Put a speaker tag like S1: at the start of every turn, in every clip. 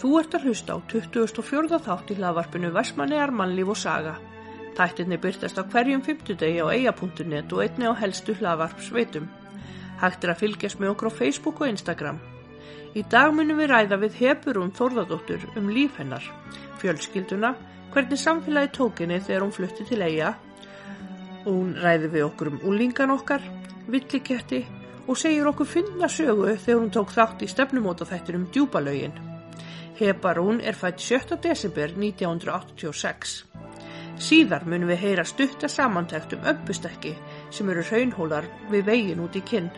S1: Þú ert að hlusta á 24. þátt í hlaðvarpinu Vestmannegar mannlíf og saga. Þættinni byrtast á hverjum fimmtudegi á eia.net og einni á helstu hlaðvarpsveitum. Hægt er að fylgjast með okkur á Facebook og Instagram. Í dag munum við ræða við Heburún Þórðardóttur um líf hennar, fjölskylduna, hvernig samfélagi tókinni þegar hún flutti til eiga. Hún ræði við okkur um úlingan okkar, villiketti og segir okkur finna sögu þegar hún tók þátt í stefnumóta þættinum djúbalögin. Hebarún er fætt 7. desember 1986. Síðar munum við heyra stutta samantækt um öppustekki sem eru raunhólar við vegin út í kinn.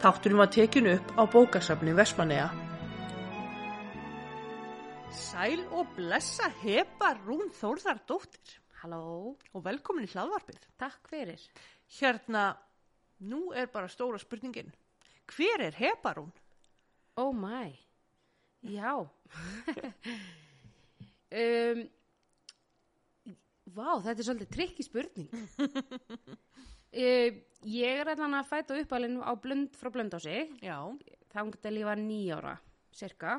S1: Þátturinn var tekinu upp á bókasafni Vestmanneja. Sæl og blessa Hebarún Þórðardóttir
S2: Halló,
S1: og velkomin í hlaðvarpið.
S2: takk fyrir.
S1: Hérna, nú er bara stóra spurningin. Hver er Hebarún?
S2: Oh my, já. um, vá, þetta er svolítið trikki spurning. um, ég er allan að fæta uppalinn á blönd frá blöndósi.
S1: Já,
S2: Þangt að lífa nýjára, cirka.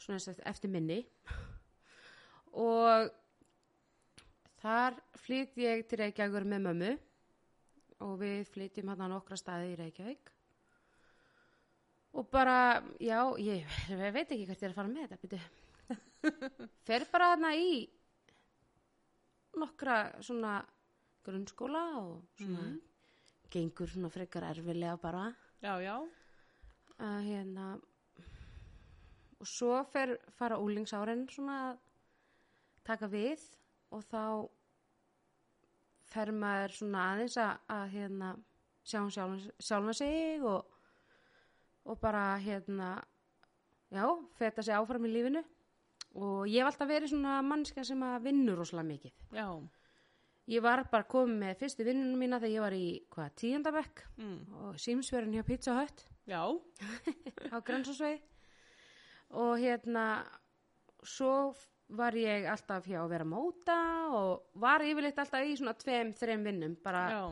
S2: Svona þess að eftir minni. Og þar flytt ég til Reykjavíkur með mömmu og við flytjum hann á nokkra staði í Reykjavík. Og bara, já, ég, ég veit ekki hvert ég er að fara með þetta, byrju. Fer bara þarna í nokkra svona grunnskóla og svona gengur svona frekar erfilega bara
S1: já, já.
S2: að hérna og svo fer fara úlingsárin svona að taka við og þá fer maður svona aðeins að, að hérna sjá um sjálfan, sjálfan sig og, og bara hérna já, feta sig áfram í lífinu og ég hef alltaf verið svona mannska sem að vinnur rosalega mikið
S1: Já,
S2: ég var bara komin með fyrstu vinnunum mína þegar ég var í hvað, tíundabekk
S1: mm.
S2: og símsverðin hjá Pizza Hut
S1: já,
S2: á grænsasveið og hérna svo var ég alltaf hjá að vera móta og var yfirleitt alltaf í svona tveim, þreim vinnum bara
S1: já,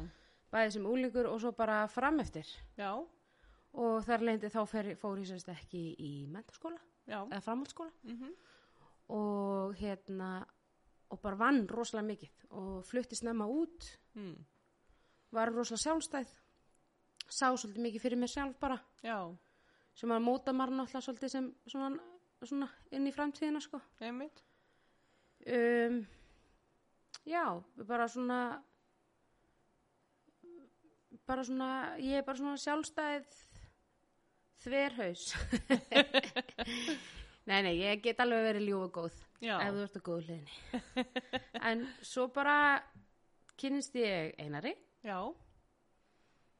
S2: bæði sem úlingur og svo bara frameftir
S1: já,
S2: og þar leindi þá fer, fór ég sérst ekki í mentaskóla
S1: já,
S2: eða framhaldsskóla
S1: mhm,
S2: og hérna og bara vann rosalega mikið og flutti snemma út
S1: mm.
S2: var rosalega sjálfstæð sá svolítið mikið fyrir mér sjálf bara
S1: já,
S2: sem að móta maður náttúrulega svolítið sem svona, svona inn í framtíðina sko
S1: einmitt,
S2: um, já, bara svona bara svona ég er bara svona sjálfstæð þverhaus nei, nei, ég get alveg verið ljúfa góð
S1: já,
S2: ef þú ert á góðu hliðinni en svo bara kynnist ég einari
S1: já,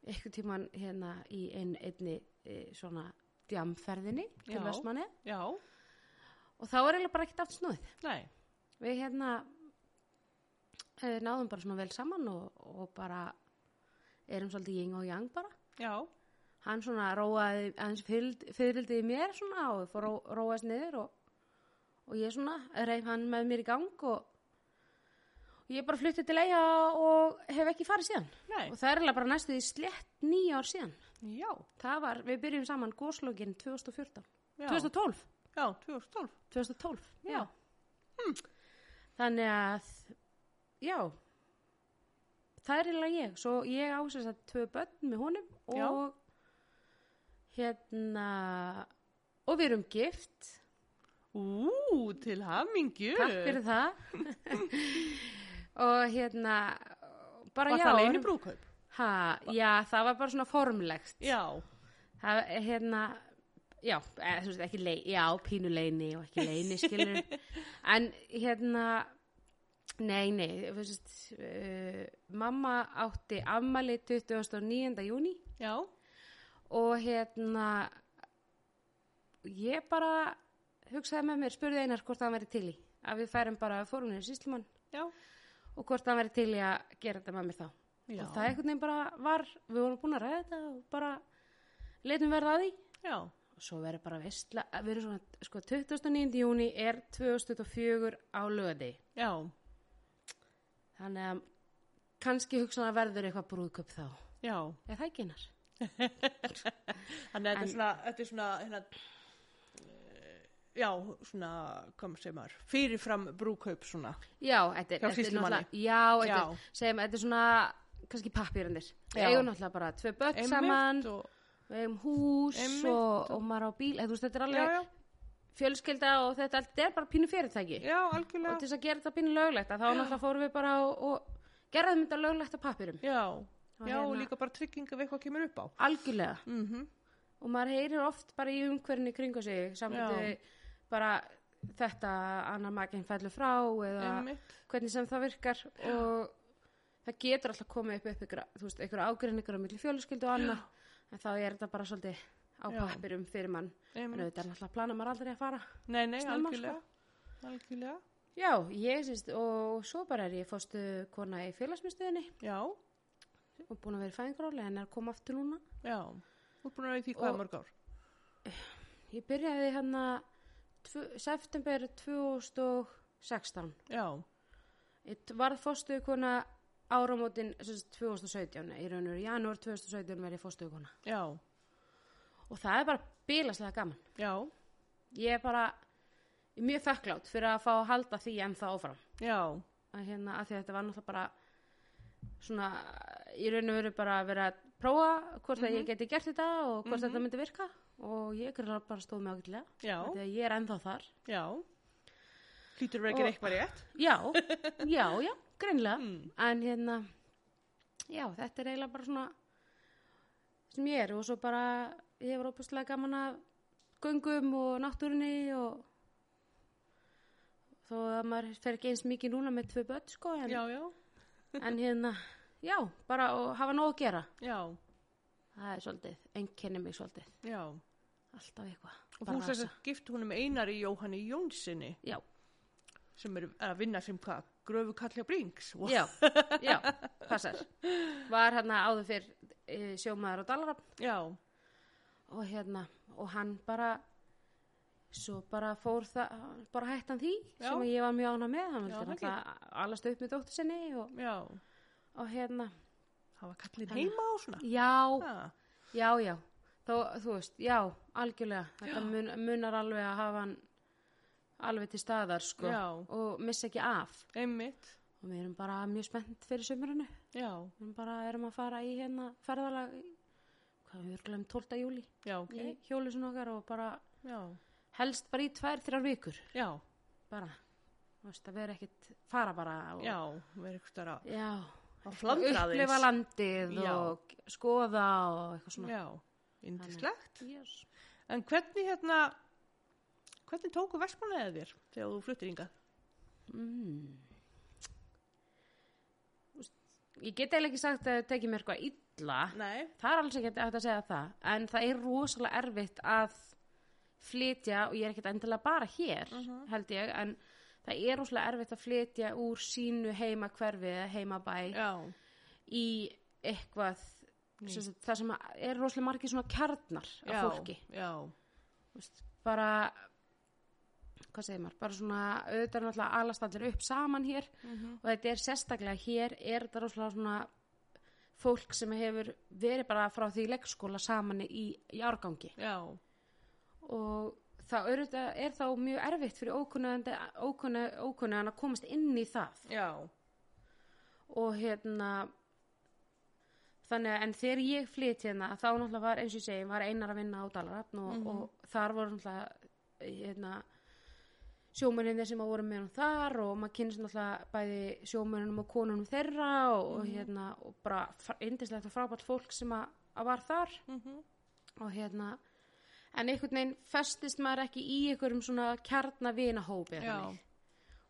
S2: einhvern tímann hérna í ein, einni e, svona djamferðinni til
S1: Já.
S2: Vestmanni
S1: já,
S2: og þá er eiginlega bara ekkert aftur snúið
S1: nei,
S2: við hérna e, náðum bara svona vel saman og, og bara erum svolítið ying og yang bara
S1: já,
S2: hann svona róaði aðeins fyrild- fyrirldiði mér svona og fór að róaðast niður og, og ég svona reyf hann með mér í gang og, og ég bara flutti til eiga og hef ekki farið síðan
S1: nei,
S2: og það er eiginlega bara næstu því slett nýja ár síðan
S1: já,
S2: Það var, við byrjum saman góslókin 2014,
S1: já,
S2: 2012,
S1: já, 2012,
S2: 2012, já. Hmm.
S1: Já.
S2: Þannig að, já, það er eiginlega ég. Svo ég á þess að tvö börn með honum og
S1: Já.
S2: hérna, og við erum gift,
S1: ú, til hamingju,
S2: takk fyrir það. og hérna, bara
S1: var
S2: já.
S1: það leini brúkaup,
S2: Ha, já, það var bara svona formlegt.
S1: já,
S2: það er hérna já, eða, þú veist ekki lei, já, pínu leini og ekki leini skilur en hérna nei, nei, þú veist uh, mamma átti afmæli 29. júni
S1: já,
S2: og hérna ég bara hugsaði með mér, spurði Einar hvort hann væri til í að við færum bara fórunni síslumann
S1: já,
S2: og hvort hann væri til í að gera þetta með mér þá
S1: já,
S2: og það einhvern veginn bara var, við vorum búin að ræða þetta og bara leitum verða að því
S1: já,
S2: og svo verður bara veistla við erum svona, sko 29. júni er 2004 á löði
S1: já,
S2: þannig að kannski hugsan að verður eitthvað brúðköp þá eða
S1: já,
S2: það ekki hennar
S1: þannig að þetta er
S2: En-
S1: svona, þetta er svona, hérna, já, svona, hvað maður segir maður, fyrirfram brúkaup svona.
S2: Já, þetta er,
S1: Hjá
S2: þetta er
S1: sýslumanni.
S2: náttúrulega- já, þetta
S1: Já.
S2: er, segjum, þetta er svona kannski pappírandir.
S1: Já.
S2: Við eigum náttúrulega bara tvö börn
S1: Einmitt
S2: saman,
S1: og-
S2: við eigum hús
S1: Einmitt
S2: og, og maður á bíl, eða þú veist, þetta er
S1: Já,
S2: alveg
S1: já,
S2: fjölskylda og þetta, allt- þetta er bara pínu fyrirtæki.
S1: já,
S2: Og
S1: algjörlega.
S2: til þess að gera þetta pínu löglegt, að þá náttúrulega fórum við bara og, og gerðum þetta löglegt á pappírum.
S1: Já,
S2: Og
S1: já, og
S2: hérna- Mhm.
S1: líka bara trygging ef eitthvað kemur upp á.
S2: Algjörlega.
S1: Mm
S2: og maður heyrir oft bara í umhverfinni kringu sig
S1: Já.
S2: samfandi bara þetta annar makinn fellur frá eða
S1: Einmitt.
S2: hvernig sem það virkar og það getur alltaf komið upp upp ykkur, þú veist, ykkur ágreiningur á milli fjöluskyldu og annað en þá er þetta bara svolítið á
S1: Já.
S2: pappirum fyrir mann en
S1: Einmitt.
S2: auðvitað er alltaf að plana maður aldrei að fara
S1: Nei, nei,
S2: Snemma, sko.
S1: algjörlega. Algjörlega,
S2: já, ég syns og svo bara er ég fórstu kona í félagsmyndstöðinni
S1: já,
S2: og búin að vera í fæðingaróli en er að koma aftur núna
S1: já. Þú er búin að vera í því hvað
S2: Og-
S1: mörg ár?
S2: ég byrjaði hérna tvö- september 2016
S1: Já,
S2: Ég varð fórstöðukona áramótin sem sagt, 2017, í raun og veru janúar 2017 verð ég fórstöðukona.
S1: já,
S2: Og það er bara bílaslega gaman.
S1: já,
S2: Ég er bara ég er mjög þakklátt fyrir að fá að halda því ennþá áfram.
S1: já,
S2: Að hérna, að því að þetta var náttúrulega bara svona, í raun og veru bara að vera að prófa hvort að ég geti gert þetta og hvort þetta myndi virka og ég er bara stóð með ágætlega.
S1: Já.
S2: Af því að Ég er ennþá þar.
S1: já. Hlýtur verið að gera
S2: Og-
S1: eitthvað rétt?
S2: Já, já, já, greinlega
S1: Hmm.
S2: En hérna Já, þetta er eiginlega bara svona sem ég er og svo bara ég hefur óbúslega gaman að göngum og náttúrunni og þó að maður fer ekki eins mikið núna með tvö börn sko en,
S1: Já, já,
S2: en hérna, já, bara og hafa nóg að gera
S1: já,
S2: það er svolítið, einkennir mig svolítið
S1: já.
S2: alltaf eitthvað
S1: Og
S2: bara
S1: þú sér
S2: að-
S1: að gift húnum Einari Jóhanni Jónssini
S2: Já,
S1: sem er að vinna sem hvað? Gröfu kallja Brings? Wow.
S2: já, já, passar Var hérna áður fyrr e, sjómaður og dalarafn
S1: Já,
S2: og hérna og hann bara svo bara fór það bara hættan því
S1: Já.
S2: sem ég var mjög ána með hann
S1: Já,
S2: vildi
S1: það
S2: alltaf allast upp með dóttur sinni og,
S1: já.
S2: og hérna
S1: Það var kallin
S2: Þannig-
S1: heima og svona.
S2: já,
S1: Já,
S2: já, já Þó, þú veist, já, algjörlega þetta mun, munar alveg að hafa hann alveg til staðar sko
S1: Já.
S2: og missa ekki af
S1: einmitt.
S2: og við erum bara mjög spennt fyrir sömurinu
S1: Já,
S2: við erum bara erum að fara í hérna ferðalag í- hvað við erum 12. júli
S1: já, ok.
S2: í hjólusun okkar og bara
S1: Já,
S2: helst bara í tvær, þrjár vikur
S1: já,
S2: bara þú veist, að vera ekkit fara bara og,
S1: já. Verið eitthvað stara.
S2: já
S1: Að flandra aðeins.
S2: upplifa landið
S1: Já.
S2: og skoða og eitthvað svona
S1: Já, indislegt.
S2: yes.
S1: En hvernig hérna, hvernig tóku Vestmannaðið þér þegar þú fluttir hingað?
S2: mm. Þú veist, ég get eiginlega ekki sagt að það tekið mér eitthvað illa
S1: Nei.
S2: það er alls ekki hægt að segja það en það er rosalega erfitt að flytja og ég er ekkit endilega bara hér
S1: Mhm.
S2: held ég en það er rosalega erfitt að flytja úr sínu heima hverfi eða heimabæ
S1: Já,
S2: í eitthvað sem sagt, það sem að- er rosalega margir svona kjarnar af
S1: já,
S2: fólki
S1: já,
S2: Þú veist, bara hvað segir maður, bara svona auðvitað er náttúrulega alast allir upp saman hér og þetta er sérstaklega hér er þetta rosalega svona fólk sem hefur verið bara frá því leikskóla saman í, í árgangi
S1: já,
S2: og það auðvitað er þá mjög erfitt fyrir ókunnaðan að komast inn í það
S1: já,
S2: og hérna þannig að en þegar ég flytt hérna þá náttúrulega var eins og ég segi var einar að vinna á Dalarafn og, og þar voru náttúrulega hérna sjómöninni sem að voru með hann þar og maður kynst náttúrulega bæði sjómöninum og konunum þeirra og, og hérna og bara fra- yndislegt og frábært fólk sem að, að var þar
S1: Mhm.
S2: og hérna en einhvern veginn festist maður ekki í einhverjum svona kjarnavinahópi eða
S1: Já.
S2: þannig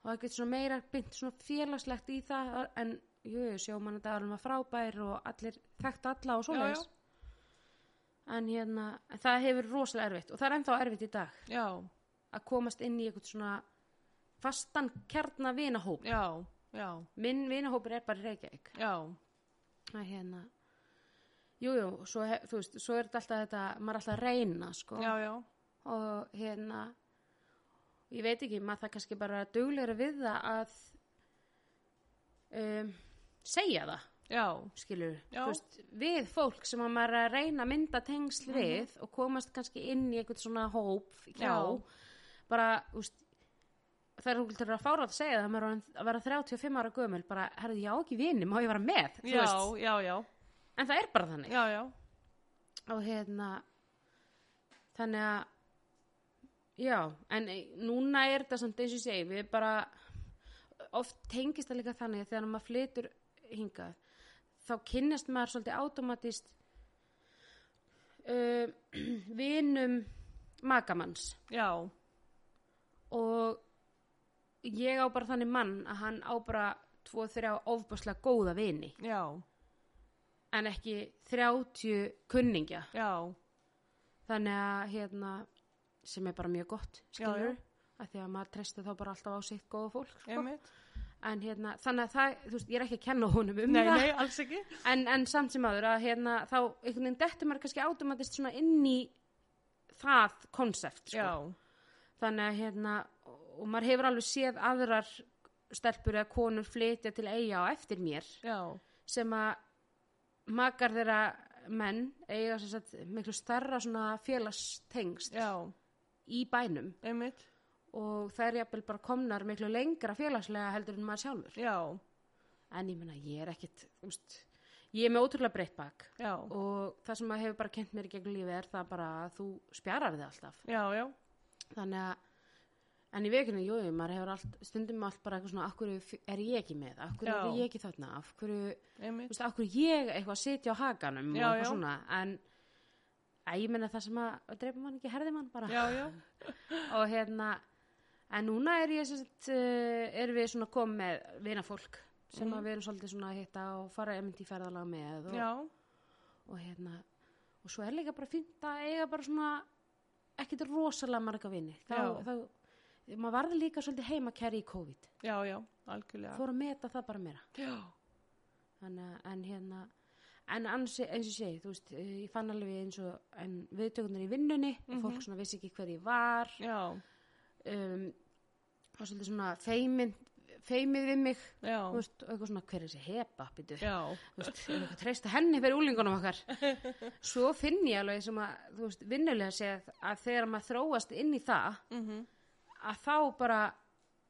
S2: og það getur svona meira bynd svona félagslegt í það en jú, sjómannadagurum var frábær og allir þekkt alla og
S1: Já,
S2: svoleiðis en hérna, en það hefur rosalega erfitt og það er ennþá erfitt í dag
S1: já,
S2: að komast inn í eitthvað svona fastan kjarna vinahóp
S1: já, já,
S2: minn vinahópur er bara í Reykjavík
S1: já,
S2: að hérna jú, jú, svo, hef, þú veist, svo er þetta alltaf þetta maður er alltaf að reyna, sko
S1: já, já,
S2: og hérna ég veit ekki, maður það kannski bara duglegra við það að um, segja það
S1: já,
S2: skilur,
S1: Já.
S2: veist, við fólk sem að maður er
S1: Mhm.
S2: að reyna að mynda tengsl við og komast kannski inn í einhvern svona hóp hjá,
S1: Já.
S2: bara, úst, það er úrlega að fára að segja það maður er orðin- að vera 35 ára gömul bara, herrðu, já ekki vini, má ég vera með Þú
S1: já,
S2: veist,
S1: já, já,
S2: en það er bara þannig
S1: já, já.
S2: og hérna þannig að já, en eh, núna er þetta samt eins og ég segi, við bara oft tengist það líka þannig að þegar maður flytur hingað þá kynnist maður svolítið automatist uh, vinum makamanns
S1: Já,
S2: og ég á bara þannig mann að hann á bara tvo, þrjá ofbáslega góða vini
S1: já,
S2: en ekki 30 kunningja
S1: já,
S2: þannig að hérna sem er bara mjög gott
S1: Já,
S2: skilur að því að maður treysti þá bara alltaf á sitt góða fólk sko.
S1: einmitt.
S2: en hérna, þannig að það, þú veist, ég er ekki að kenna honum um
S1: Nei,
S2: það
S1: nei, alls ekki.
S2: En, en samt sem aður að hérna þá einhvern veginn dettur maður kannski automatist svona inn í það konsept sko.
S1: Já,
S2: þannig að hérna og maður hefur alveg séð aðrar stelpur eða konur flytja til eiga á eftir mér
S1: já,
S2: sem að makar þeirra menn eiga sem sagt miklu starra svona félagstengst
S1: já,
S2: í bænum
S1: einmitt.
S2: og það er jafnvel bara komnar miklu lengra félagslega heldur en maður sjálfur
S1: Já,
S2: en ég meina ég er ekkit umst, ég er með ótrúlega breytt bak
S1: já,
S2: og það sem maður hefur bara kent mér í gegn lífi er það bara að þú spjarar þig alltaf
S1: já, já,
S2: þannig að en í vekunni, jú, jú, maður hefur allt, stundum allt bara eitthvað svona, af hverju f- er ég ekki með af hverju
S1: Já.
S2: er ég ekki þarna, af hverju þú
S1: einmitt.
S2: veist, af hverju ég eitthvað að sitja á hakanum
S1: Já,
S2: og eitthvað
S1: já.
S2: svona, en að ég menna það sem að dreipa mann ekki herði mann bara
S1: Já, já,
S2: og hérna en núna er ég sérst uh, er við svona kom með vinafólk sem að við erum svolítið svona að hitta og fara einmitt í ferðalag með og,
S1: Mhm. já,
S2: og hérna og svo er líka bara fínt að eiga bara svona ekkit rosalega marga vini þá,
S1: Já.
S2: þá maður varði líka svolítið heima kæri í COVID
S1: já, já, algjörlega.
S2: fór að meta það bara meira
S1: Já,
S2: Þannig, að- en hérna en ansi, eins og ég segi, þú veist eh, ég fann alveg eins og en viðtökunar í vinnunni
S1: Mhm.
S2: fólk svona vissi ekki hver ég var
S1: já,
S2: um, það var svolítið svona feimin, feimið við mig
S1: já,
S2: þú veist, og eitthvað svona hver er þessi hepa býtu,
S1: já,
S2: þú veist, er eitthvað treysta henni fyrir úlingunum okkar svo finn ég alveg sem að, þú veist, vinnulega séð að þegar maður þróast inn í það
S1: mhm,
S2: að þá bara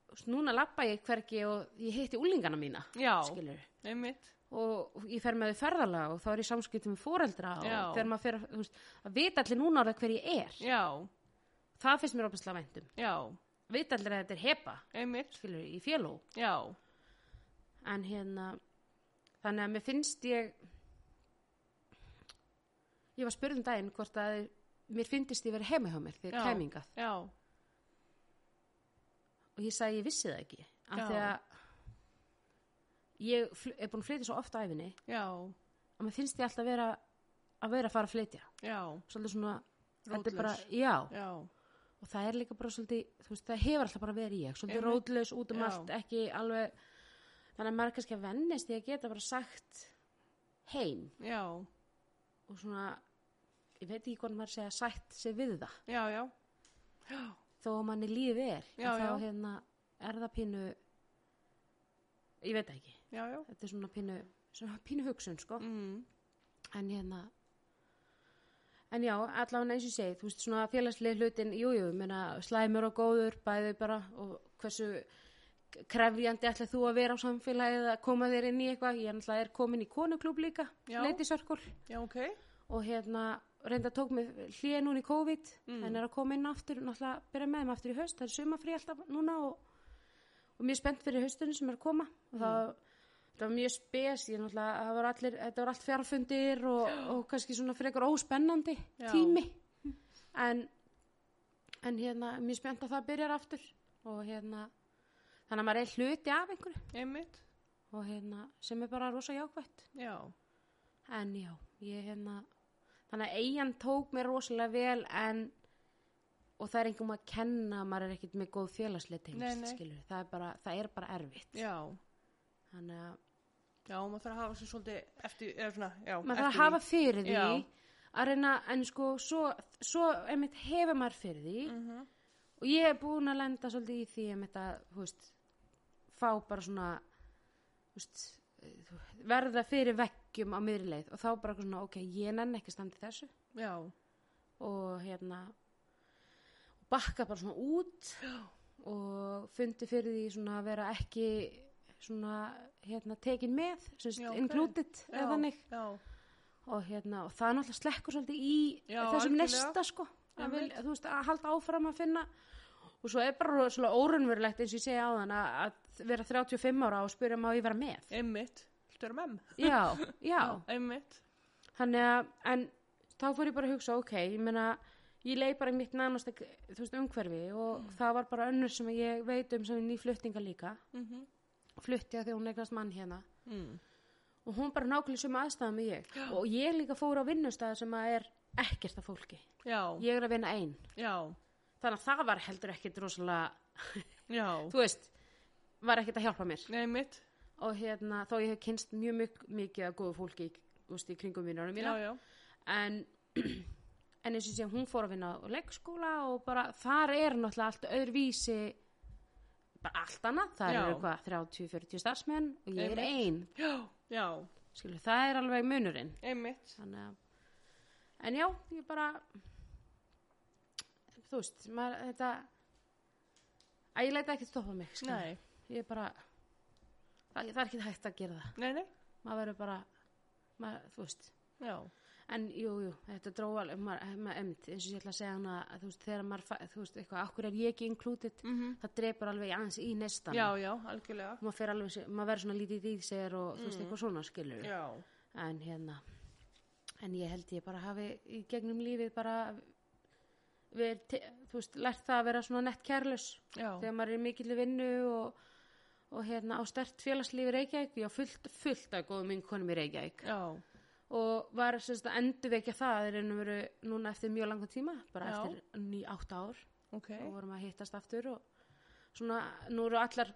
S2: þú veist, núna lappa ég hvergi og ég hitti úlingana mína
S1: já,
S2: skilur
S1: einmitt.
S2: og ég fer með þau ferðalega og þá er ég samskiptum með foreldra og
S1: Já.
S2: þegar maður fer að, þú veist, að vita allir núna orðið hver ég er
S1: Já,
S2: það finnst mér opaslega væntum
S1: já,
S2: vita allir að þetta er hepa
S1: einmitt.
S2: skilur, í féló
S1: Já,
S2: en hérna þannig að mér finnst ég ég var spurð um daginn hvort að mér finnist ég verið heima hjá mér
S1: Já.
S2: þegar ég kæmingað
S1: já,
S2: og ég sagði ég vissi það ekki
S1: Já.
S2: af því að ég fl- er búin að flytja svo oft á æfinni
S1: já,
S2: að mér finnst ég alltaf vera að vera að fara að flytja
S1: já,
S2: svolítið svona þetta er bara,
S1: Rótlaus.
S2: já,
S1: já,
S2: og það er líka bara svolítið þú veist, það hefur alltaf bara verið ég svolítið
S1: Einmitt.
S2: rótlaus út um
S1: Já.
S2: allt ekki alveg þannig að maður er kannski að vennist ég að geta bara sagt heim
S1: já,
S2: og svona ég veit ekki hvernig maður segja sætt sig við það
S1: já, já,
S2: þó að manni lífið er
S1: Já,
S2: að þá
S1: já.
S2: hérna er það pínu ég veit það ekki
S1: já, já,
S2: þetta er svona pínu, svona pínu hugsun sko.
S1: mhm,
S2: en hérna en já, allavega eins og ég segi þú veist svona félagslega hlutin, jújú meina, slæmur og góður, bæði bara og hversu krefjandi ætla þú að vera á samfélagið að koma þér inn í eitthvað, ég náttúrulega er komin í konuklub líka,
S1: Já.
S2: leitisörkul
S1: já, ok,
S2: og hérna reynda tók mig hlýja núna í COVID
S1: Mm.
S2: en er að koma inn aftur, náttúrulega byrja með þeim aftur í haust, það er sumafrí alltaf núna og, og mjög spennt fyrir haustunum sem er að koma
S1: Mm.
S2: og það, það var mjög spes, ég náttúrulega það var allir, þetta var allt fjarfundir og, og kannski svona fyrir eitthvað óspennandi
S1: Já.
S2: tími en, en hérna, mjög spennt að það byrjar aftur og hérna þannig að maður er hluti af einhverju
S1: einmitt.
S2: og hérna, sem er bara rosa jákvætt
S1: Já,
S2: En já, ég hérna þannig að eigin tók mér rosalega vel en og það er engum að kenna að maður er ekkit með góð félagslega
S1: Nei,
S2: tengst,
S1: nei.
S2: skilur það er bara, það er bara erfitt
S1: já,
S2: þannig að
S1: já, maður þarf að hafa sér svolítið eftir, eða svona, já,
S2: maður þarf
S1: eftir
S2: að hafa fyrir því
S1: Já.
S2: að reyna, en sko svo, svo einmitt hefur maður fyrir því
S1: Mhm.
S2: og ég hef búin að lenda svolítið í því einmitt að, hú veist fá bara svona hú veist, eh, verða fyrir veggjum á miðri leið og þá bara eitthvað svona, ok, ég nenn ekki standi þessu
S1: Já,
S2: og hérna bakka bara svona út og fundi fyrir því svona að vera ekki svona hérna tekin með, sem
S1: Já,
S2: sagt
S1: ok.
S2: included eða þannig
S1: já,
S2: og hérna og það náttúrulega slekkur svolítið í
S1: Já,
S2: þessum
S1: algjörlega.
S2: nesta sko að, vil,
S1: Einmitt.
S2: þú veist, að halda áfram að finna og svo er bara svona órunverulegt eins og ég segja á þann að vera 35 ára og spyrja má ég vera með
S1: einmitt Þetta er mem
S2: já, já,
S1: Einmitt
S2: þannig að en þá fór ég bara að hugsa, ok, ég meina ég leið bara í mitt nánasta þú veist, umhverfi og það var bara önnur sem ég veit um sem er nýfluttinga líka
S1: mm
S2: flutti að því að hún eignast mann hérna
S1: mm.
S2: og hún bara nákvæmlega sem aðstæðum með ég og ég líka fór á vinnustæð sem að er ekkert af fólki
S1: Já,
S2: ég er að vinna einn
S1: já,
S2: þannig að það var heldur ekkit rosalega
S1: já
S2: þú veist, var ekkit að hjálpa mér
S1: Einmitt
S2: og hérna, þó ég hef kynst mjög mjög mikið að góðu fólki í, þú veist, í kringum mínur mína,
S1: Já, já,
S2: en en eins og sé hún fór að vinna á leikskóla og bara, þar er náttúrulega allt öðruvísi bara allt annað, það
S1: Já.
S2: eru hvað 30-40 starfsmenn og ég er
S1: Einmitt.
S2: ein
S1: já, já
S2: skilu, það er alveg munurinn
S1: Einmitt
S2: þannig að en já, ég bara þú veist, maður þetta að ég leita ekki stoppa mig skilur.
S1: Nei,
S2: ég bara það, það er ekki hægt að gera það
S1: nei, nei
S2: maður verður bara maður, þú veist
S1: Já,
S2: En jú, jú, þetta dróð alveg, maður, maður emmitt, eins og ég ætla að segja hana, að, þú veist, þegar maður, fa- þú veist, eitthvað, akkur er ég ekki included,
S1: Mhm.
S2: það drepur alveg aðeins í nestan.
S1: já, já, algjörlega
S2: Maður fer alveg, sér- maður verður svona lítið í sér og, þú veist, eitthvað svona skilur.
S1: Mm. Já,
S2: En hérna, en ég held ég bara hafi í gegnum lífið bara, verið, te- þú veist, lært það að vera svona nett kærlaus
S1: já,
S2: þegar maður er mikill í vinnu og, og hérna á stert félagslífi í Reykjavík, já, fullt, fullt að góðum vinkonum í Reykjavík
S1: já,
S2: og var semst, að endurvekja það er einu veru núna eftir mjög langan tíma bara
S1: Já.
S2: eftir ný átt ár
S1: ok
S2: og vorum að hittast aftur og svona nú eru allar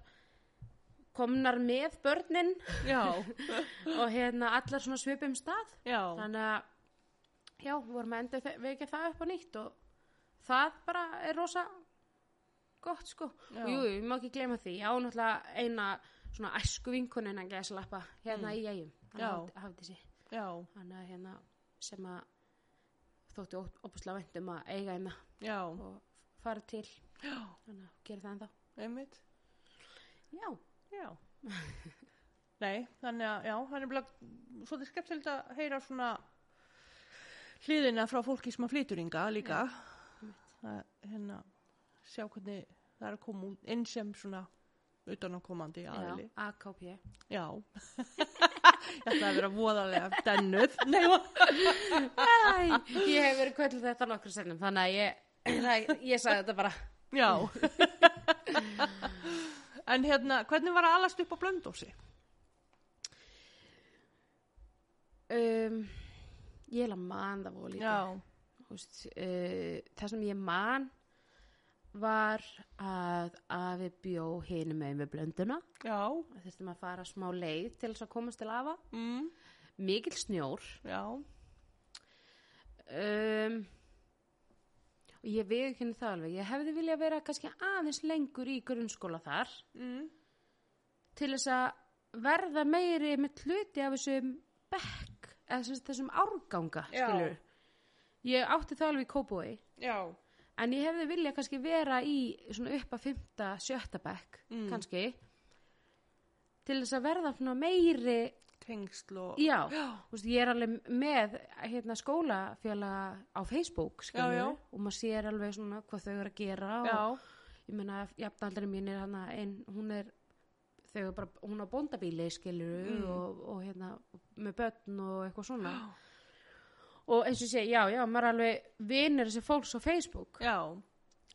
S2: komnar með börnin
S1: Já,
S2: og hérna allar svona svipum stað
S1: já,
S2: þannig að já, vorum að endurvekja það upp á nýtt og það bara er rosa gott sko
S1: Já.
S2: og jú, jú, ég má ekki gleyma því, ég á náttúrulega eina svona æsku vinkunina gæslappa hérna í eigum, hann
S1: Mm. Já.
S2: hafði, hafði sér
S1: já,
S2: hann að hérna sem að þótti ó- óbúslega vænt um að eiga hérna
S1: já,
S2: og fara til
S1: já,
S2: þannig að gera það ennþá
S1: einmitt
S2: já,
S1: Já. Nei, þannig að, já, hann er bara svolítið skemmtilegt að heyra svona hliðina frá fólki sem að flytur ynga líka. Að, hérna, sjá hvernig það er að koma út inn sem svona utanakomandi aðli.
S2: já AKP
S1: Já. Ég ætlaði að vera voðalega dennuð. Nei, va-
S2: Æ, ég hef verið kvöldu þetta nokkur sinnum þannig að ég, það, ég sagði þetta bara
S1: já. en hérna, hvernig var að alast upp á blöndósi?
S2: um, ég er að man það voru líka Þú veist, uh, það sem ég man var að að við bjó hinum með blönduna
S1: Já.
S2: þurftum að fara smá leið til þess að komast til afa
S1: Mm,
S2: mikill snjór
S1: já.
S2: um, og ég viðkynni það alveg ég hefði vilja vera kannski aðeins lengur í grunnskóla þar
S1: Mm,
S2: til þess að verða meiri með hluti af þessum bekk eða sem sagt þessum árganga
S1: Já.
S2: skilur ég átti það alveg í kóbói
S1: já.
S2: en ég hefði vilja kannski vera í svona upp að fymta, sjötta bekk
S1: Mm.
S2: kannski til þess að verða svona meiri
S1: Tengsl og...
S2: Já, þú veist, ég er alveg með hérna, skólafélaga á Facebook skilur,
S1: já.
S2: og maður sér alveg svona hvað þau eru að gera og
S1: Já.
S2: ég meina, jafnaldri mín er hana ein, hún er þau eru bara, hún á bóndabíli skilur
S1: Mm.
S2: og, og hérna, með börn og eitthvað svona og eins og ég segi, já, já, maður er alveg vinur þessi fólks á Facebook
S1: Já,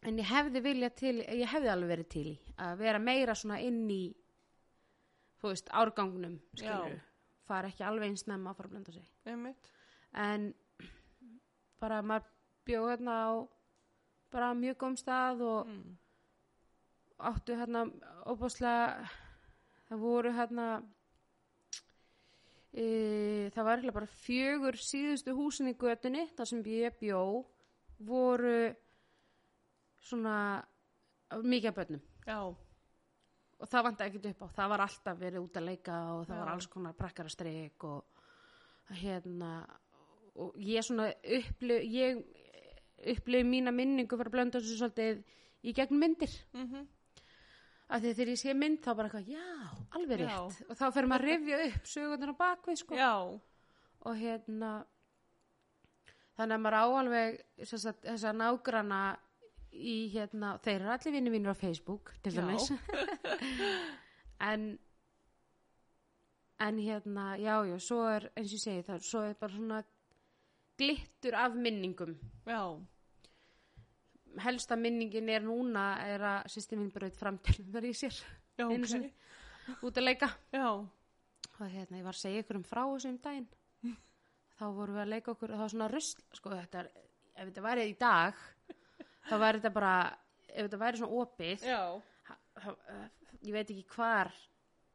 S2: en ég hefði vilja til, ég hefði alveg verið til í að vera meira svona inn í þú veist, árgangnum skilur,
S1: Já.
S2: fara ekki alveg eins nefn að fara að blenda sig
S1: einmitt.
S2: en bara maður bjóð hérna á bara mjög góðum stað og
S1: Mm.
S2: áttu hérna óbáslega það voru hérna e, það var hérna bara fjögur síðustu húsin í götunni þar sem ég bjó voru svona mikið af börnum
S1: Já,
S2: og það vant ekkert upp á, það var alltaf verið út að leika og það
S1: Já.
S2: var alls konar brakkar að streik og hérna og ég svona upplif ég upplifið mína minningu fyrir að blönda þessu svolítið í gegn myndir af því að þegar ég sé mynd þá bara eitthvað, já, alveg
S1: Já.
S2: rétt og þá fer maður að rifja upp sögundur á bakvið sko.
S1: Já,
S2: og hérna þannig að maður á alveg sem sagt, þessa nágrana í hérna, þeir eru allir vinni mínir á Facebook til
S1: Já.
S2: dæmis en en hérna, já, já, svo er eins og ég segi það, svo er bara svona glittur af minningum
S1: já,
S2: helsta minningin er núna er að sýsti mín braut framtölunar í sér
S1: já,
S2: Einu
S1: ok.
S2: sinni. út að leika
S1: Já,
S2: og hérna, ég var að segja ykkur um frá þessu um daginn þá vorum við að leika okkur það var svona rusl, sko þetta er, ef þetta væri í dag þá væri þetta bara, ef þetta væri svona opið
S1: já,
S2: ha- ha- eh, ég veit ekki hvar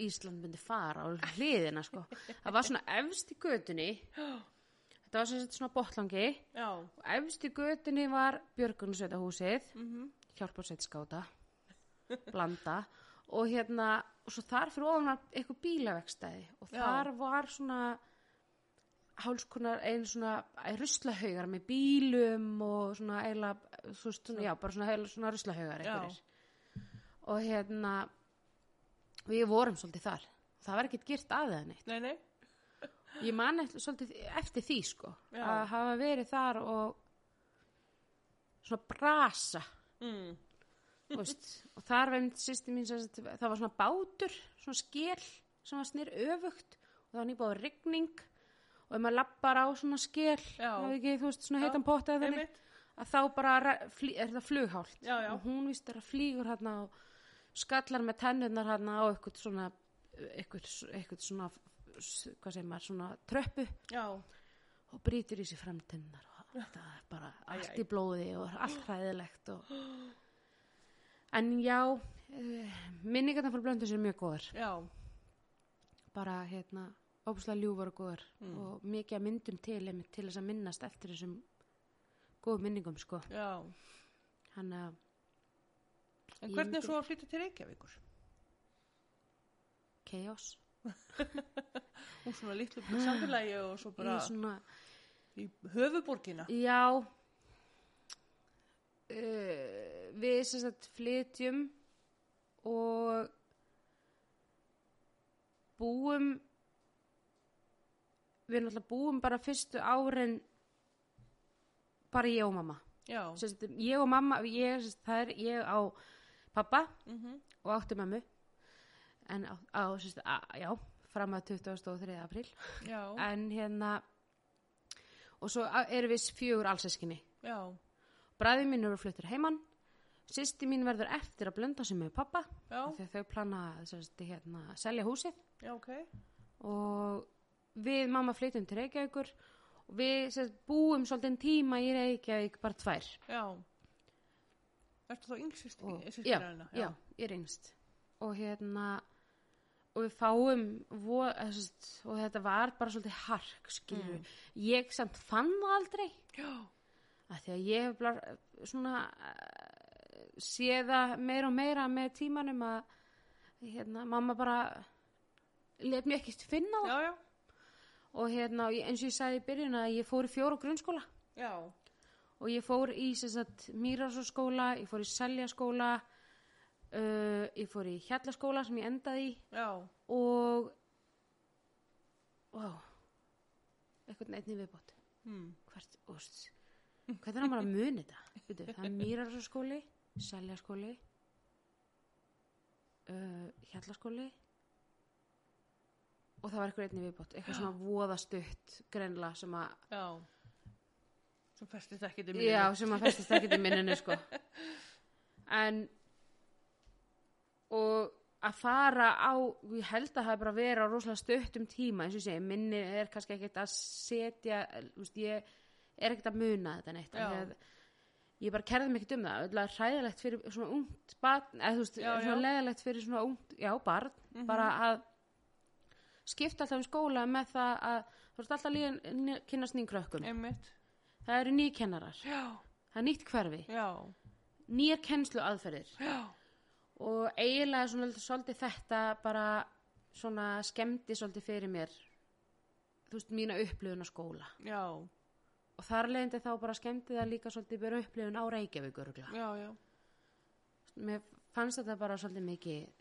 S2: Ísland myndi fara á hliðina sko, það var svona efst í götunni þetta var sem sagt svona botlangi
S1: já,
S2: og efst í götunni var Björgunsveitahúsið
S1: mhm,
S2: hjálparsveitskáta blanda og hérna og svo þar fyrir ofan var eitthvað bílavegstæði og
S1: Já.
S2: þar var svona hálskunar einn svona æ, ruslahaugar með bílum og svona eila þú veist, svona, já, bara svona eila svona ruslahaugar
S1: Já.
S2: einhverjir. og hérna og ég vorum svolítið þar það var ekkert girt að það neitt
S1: nei, nei,
S2: ég man eftir, svolítið eftir því sko
S1: Já.
S2: að hafa verið þar og svona brasa
S1: mm.
S2: Þú veist, og þar var einmitt sýsti mín sem sagt, það var svona bátur, svona skél sem var snir öfugt og það var nýbáð rigning og ef maður lappar á svona skél
S1: Já.
S2: það er ekki, þú veist, svona
S1: Já,
S2: heitan potta eða þannig,
S1: einmitt,
S2: að þá bara re- flý- er það flughált
S1: Já, já.
S2: og hún víst er að flýgur hérna og skallar með tennurnar hérna á eitthvað svona eitthvað, eitthvað svona s- hvað segir maður, svona tröppu
S1: já,
S2: og brýtur í sig fremdennar og þetta er bara
S1: Æ,
S2: allt
S1: æ.
S2: í blóði og allt hræðilegt og... en já eh, minningarnar fyrir blöndu sér mjög góðar
S1: já,
S2: bara hérna óbúslega ljúfar og góðar
S1: Mm.
S2: og mikið af myndum til einmitt, til þess að minnast eftir þessum góðum minningum sko
S1: já,
S2: hann að
S1: en
S2: Ég
S1: hvernig er
S2: myndi-
S1: svo að flytja til Reykjavíkur?
S2: chaos
S1: Úr svona litlu samfélagi og svo bara
S2: í svona
S1: í höfuborgina?
S2: Já uh, Við sem sagt flytjum og búum við náttúrulega búum bara fyrstu árin bara ég og mamma
S1: Já,
S2: sem sagt, ég og mamma ég, sem sagt, það er ég á pappa
S1: mhm,
S2: og átti mammu en á, á sem sagt, a, já, fram að 23. apríl
S1: já,
S2: en hérna og svo a- erum við fjögur allseskinni
S1: já,
S2: bræði mín eru fluttur heimann sýsti mín verður eftir að blönda sig með pappa
S1: já,
S2: af því að þau plana að sem sagt, hérna, selja húsið
S1: já, ok,
S2: og við mamma flytjum til Reykjavíkur og við sem sagt, búum svolítið tíma í Reykjavík bara tvær
S1: já. Ertu þá yngsist
S2: og,
S1: í
S2: já,
S1: sýstirina?
S2: já, ég er einst og hérna og við fáum vo, eða, sem sagt, og þetta var bara svolítið hark skilur ég samt fann það aldrei
S1: já,
S2: að því að ég hef bara svona eh, séð það meira og meira með tímanum að hérna, mamma bara let mér ekkert finna það
S1: já, já,
S2: og hérna, og ég- eins og ég sagði í byrjun að ég fór í fjóra grunnskóla
S1: já,
S2: og ég fór í sem sagt, mýrarsaskóla, ég fór í seljaskóla uh, ég fór í hjallaskóla sem ég endaði í
S1: já,
S2: og wow, eitthvað neitt nýð viðbót
S1: mhm,
S2: hvert, úst, hvernig er hann bara að muni þetta? Veitu, það er mýrarskóli, seljaskóli, uh, hjallaskóli og það var eitthvað einnig viðbót, eitthvað svona voðastutt greinlega sem að,
S1: já. Svo festist ekki til
S2: já, sem að festist ekkert í minninu sko. En, og að fara á, ég held að það er bara að vera á rosalega stuttum tíma, eins og ég segi, minni er kannski ekkert að setja, úst, ég er ekkert að muna þetta neitt. af
S1: Já.
S2: því að ég bara kerði mig ekkert um það, öll að hræðilegt fyrir svona ungt barn, eða þú veist,
S1: Já, Mhm.
S2: svona
S1: já.
S2: leðilegt fyrir svona ungt, já, barn, Mhm. bara að skipta alltaf um skóla með það að þú veist alltaf líðan kynnast nýjum krökkum.
S1: Einmitt,
S2: Það eru nýjir kennarar,
S1: já,
S2: það er nýtt hverfi,
S1: já,
S2: nýjar kennslu aðferðir
S1: já,
S2: og eiginlega svona svolítið þetta bara svona skemmdi svolítið fyrir mér, þú veist, mína upplifun á skóla
S1: já,
S2: og og þar leiðandi þá bara skemmti það líka svolítið bara upplifun á Reykjavík örugla
S1: já, já,
S2: mér fannst þetta bara svolítið mikið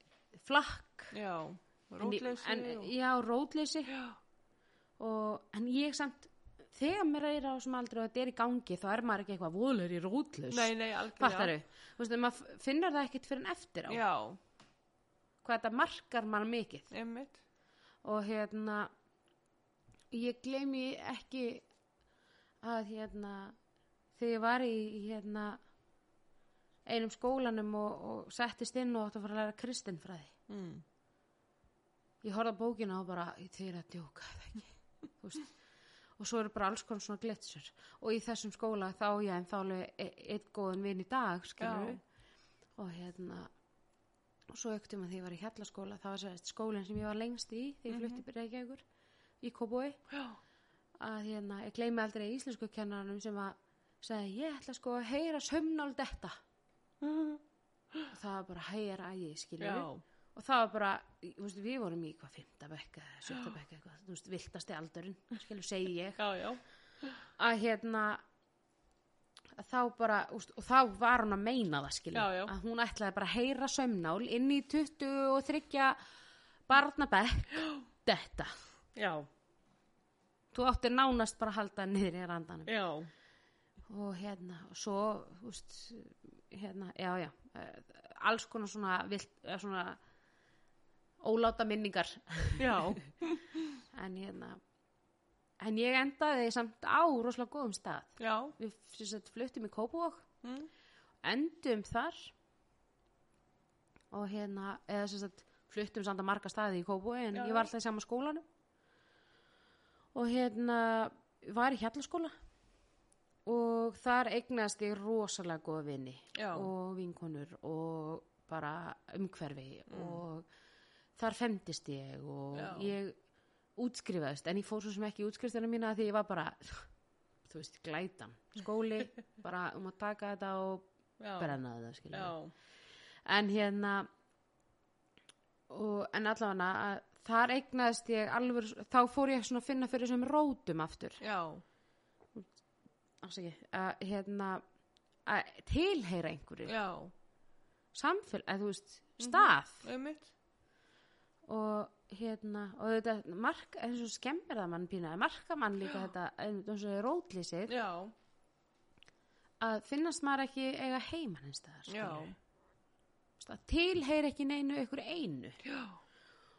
S2: flakk
S1: já,
S2: En ég-
S1: rótleysi
S2: en,
S1: og-
S2: já, rótleysi
S1: Já.
S2: og, en ég samt þegar mér er á sem aldrei og þetta er í gangi þá er maður ekki eitthvað voðlegur í rótlaus
S1: Nei, nei, algjörlega.
S2: fattar þú veist, maður f- finnur það ekkit fyrir en eftir á
S1: Já,
S2: hvað þetta markar mann mikið
S1: einmitt.
S2: og hérna ég gleymi ekki að hérna þegar ég var í hérna einum skólanum og, og settist inn og átti að fara að læra kristinfræði
S1: Mm.
S2: ég horfði á bókina og bara þið er að djóka eða ekki Þú veist. og svo eru bara alls konar svona glitsur og í þessum skóla þá ég en þá alveg e- einn góðan vin í dag skilur og hérna og svo auktum að því ég var í hjallaskóla það var sérst skólinn sem ég var lengst í þegar ég flutti byrja ekki ykkur í Kóbói
S1: Já,
S2: að hérna, ég gleymi aldrei íslensku kennaranum sem að sagði ég ætla sko að heyra sömnál detta og það var bara heyra að ég skilur
S1: já,
S2: og það var bara, þú veist, við vorum í hvað fymta bekka, eða sjötta bekka eitthvað, þú veist, viltasti aldurinn, skilur segi ég
S1: já, já.
S2: að hérna að þá bara, úst, og þá var hún að meina það skilur,
S1: Já, já.
S2: að hún ætlaði bara að heyra sömnál inn í 23 barna bekk þetta,
S1: Já,
S2: þú áttir nánast bara að halda niður í randanum
S1: já,
S2: og hérna, og svo úst, hérna, já, já eh, alls konar svona, vilt, eh, svona óláta minningar
S1: já,
S2: en hérna en ég endaði samt á rosalega góðum stað
S1: já,
S2: við sem sagt, fluttum í Kópavog
S1: mm.
S2: endum þar og hérna eða sem sagt, fluttum samt að marga staði í Kópavog en
S1: Já,
S2: ég
S1: já.
S2: var alltaf í sama skólanum og hérna var í hjallaskóla og þar eignast ég rosalega góða vini
S1: Já.
S2: og vinkonur og bara umhverfi og þar femdist ég og
S1: Mm. Já.
S2: ég útskrifaðist en ég fór svo sem ekki í útskrifstuna mína af því ég var bara, þú veist, glætan skóli, bara um að taka þetta og
S1: já,
S2: brenna þetta skilja
S1: já,
S2: en hérna og, en allavega að þar eignaðist ég alveg þá fór ég svona að finna fyrir þessum rótum aftur
S1: já,
S2: Afsakið, að hérna að tilheyra einhverju
S1: já, Mhm.
S2: samfél, að þú veist, stað
S1: einmitt.
S2: og hérna og þetta mark, eins og skemmir það mann pína marka mann líka þetta eins og rótlýsið
S1: Já,
S2: að finnast maður ekki eiga heiman eins staðar
S1: já,
S2: skilurðu. að tilheyra ekki neinu ykkur einu
S1: já,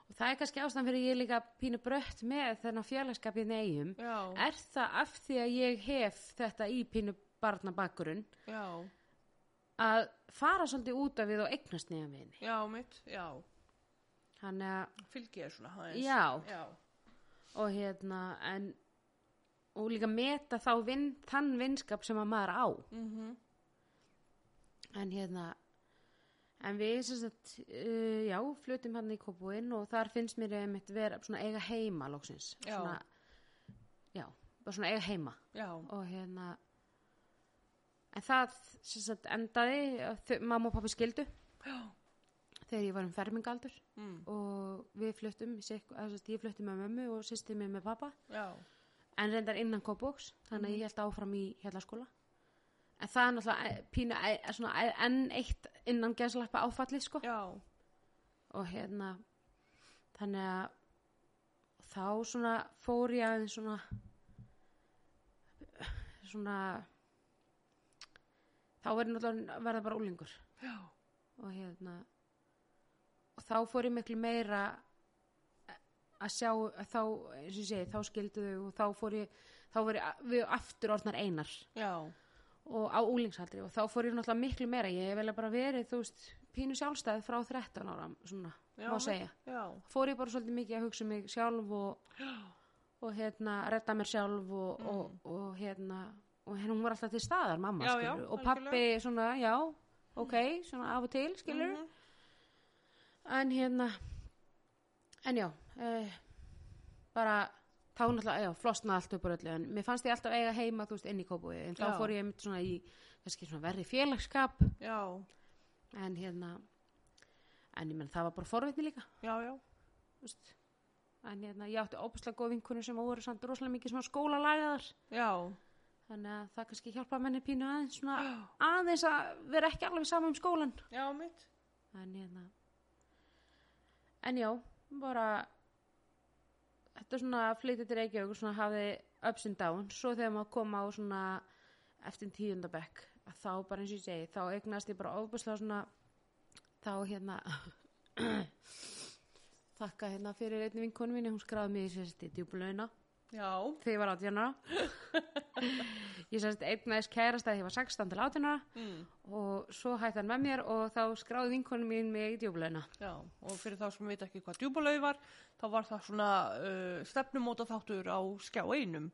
S2: og það er kannski ástæðan fyrir að ég er líka pínu brött með þennan fjarlægskap í eigum
S1: já,
S2: er það af því að ég hef þetta í pínu barnabakkurinn
S1: já,
S2: að fara svolítið út af við og eignast nýja vini
S1: já, mitt, já.
S2: hann að,
S1: Fylgi ég svona aðeins.
S2: Já.
S1: Já,
S2: og hérna en, og líka meta þá vin, þann vinskap sem að maður á
S1: mhm,
S2: en hérna en við sem sagt, uh, já, flutum hann í kópúinn og þar finnst mér einmitt vera svona eiga heima lóksins
S1: Já.
S2: svona, já, bara svona eiga heima
S1: já,
S2: og hérna en það sem sagt endaði að þau- mamma og pappi skildu
S1: já,
S2: þegar ég var um fermingaldur
S1: mm,
S2: og við fluttum í sikk- eða sem sagt, ég fluttum með mömmu og sýsti mig með pappa
S1: já,
S2: en reyndar innan kópóks þannig að ég held áfram í hellaskóla en það er náttúrulega eh, pínu eh, svona, eh, enn eitt innan gæslappa áfallið sko
S1: já,
S2: og hérna þannig að þá svona fór ég aðeins svona svona þá verður náttúrulega að verða bara úlingur
S1: já,
S2: og hérna og þá fór ég miklu meira að sjá að þá, eins og ég segi, þá skildu þau og þá fór ég, þá var ég a- við aftur orðnar einar
S1: já,
S2: og á úlingsaldri og þá fór ég náttúrulega miklu meira, ég hef vel bara verið, þú veist pínu sjálfstæð frá 13 ára svona,
S1: Já,
S2: má
S1: mitt.
S2: segja
S1: já,
S2: fór ég bara svolítið mikið að hugsa um mig sjálf og, og hérna, redda mér sjálf og, og, og hérna og hérna hún var alltaf til staðar, mamma
S1: Mm. Já,
S2: skilur
S1: já,
S2: og pappi svona, já, ok svona af og til, skilur
S1: Mhm.
S2: en hérna en já eh, bara, þá náttúrulega, já, flosna allt upp úr öllu, en mér fannst ég alltaf eiga heima, þú veist, inn í kópúi, en þá
S1: Já.
S2: fór ég einmitt svona í, kannski svona verri félagsskap
S1: já,
S2: en hérna en ég menn, það var bara forvitni líka
S1: já, já,
S2: þú veist en hérna, ég átti óbúslega góð vinkunum sem voru samt rosalega mikið svona skólalagaðar
S1: já,
S2: þannig að það kannski hjálpa menni pínu aðeins svona aðeins að vera ekki alveg saman um skólan
S1: Já, mitt.
S2: en hérna en já, bara þetta er svona flytið til Reykjavík svona hafði ups and downs svo þegar maður kom á svona eftir tíundabekk að þá bara eins og ég segi þá eignast ég bara ofbúslega svona þá hérna þakka hérna fyrir einni vinkonu minni hún skráði mig í sérst í djúblauna
S1: Já,
S2: þegar ég var 18 ára ég sérst eignaðist kærasta þegar ég var 16 til 18 ára
S1: mm.
S2: og svo hætti hann með mér og þá skráði vinkonum mín mig í djúblauna
S1: já. Og fyrir þá sem veit ekki hvað djúbulauð var, þá var það svona uh, stefnumóta þáttur á skjá einum.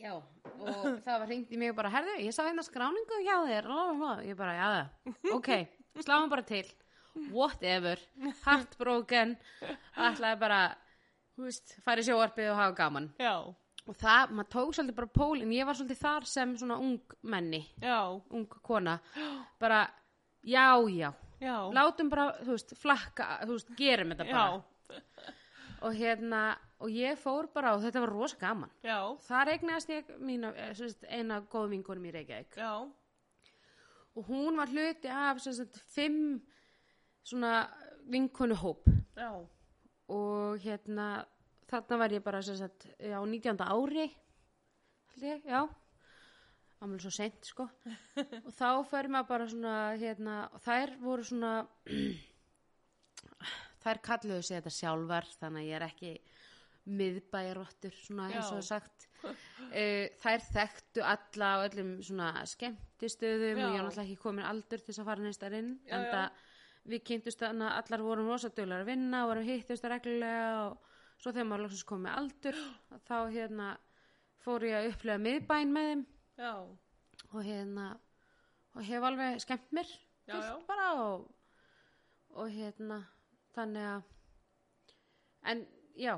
S2: já, og það var hringt í mig og bara, herðu, ég sá hérna skráningu hjá þér og ég bara, já, ok sláum bara til, whatever heartbroken ætlaði bara, þú veist fara í sjóarpið og hafa gaman
S1: Já,
S2: og það, maður tók svolítið bara pólinn ég var svolítið þar sem svona ung menni
S1: já,
S2: ung kona, bara já, já,
S1: já.
S2: látum bara þú veist, flakka, þú veist, gerum þetta bara
S1: já,
S2: og hérna, og ég fór bara og þetta var rosa gaman
S1: já,
S2: þar eignast ég mína, eh, sem sagt, eina góð vinkonum í Reykjavík
S1: já,
S2: og hún var hluti af sem sagt, fimm svona vinkonuhóp
S1: já,
S2: og hérna þarna var ég bara sem sagt, eh, á 19. ári held ég, já ámlega svo sent sko og þá fer maður bara svona hérna, og þær voru svona þær kalluðu sig þetta sjálfar þannig að ég er ekki miðbæjarottur svona
S1: Já.
S2: eins og sagt Eh, þær þekktu alla á öllum svona skemmtistöðum
S1: Já.
S2: og ég var náttúrulega ekki komin aldur til þess að fara neist að inn
S1: Já,
S2: en það við kynntust þannig að allar vorum rosaduglar að vinna vorum hittust reglulega og svo þegar maður loksins komið aldur þá hérna fór ég að upplega miðbæn með þeim
S1: já,
S2: og hérna og hef alveg skemmt mér
S1: Já, já.
S2: fullt bara og, og hérna þannig að en já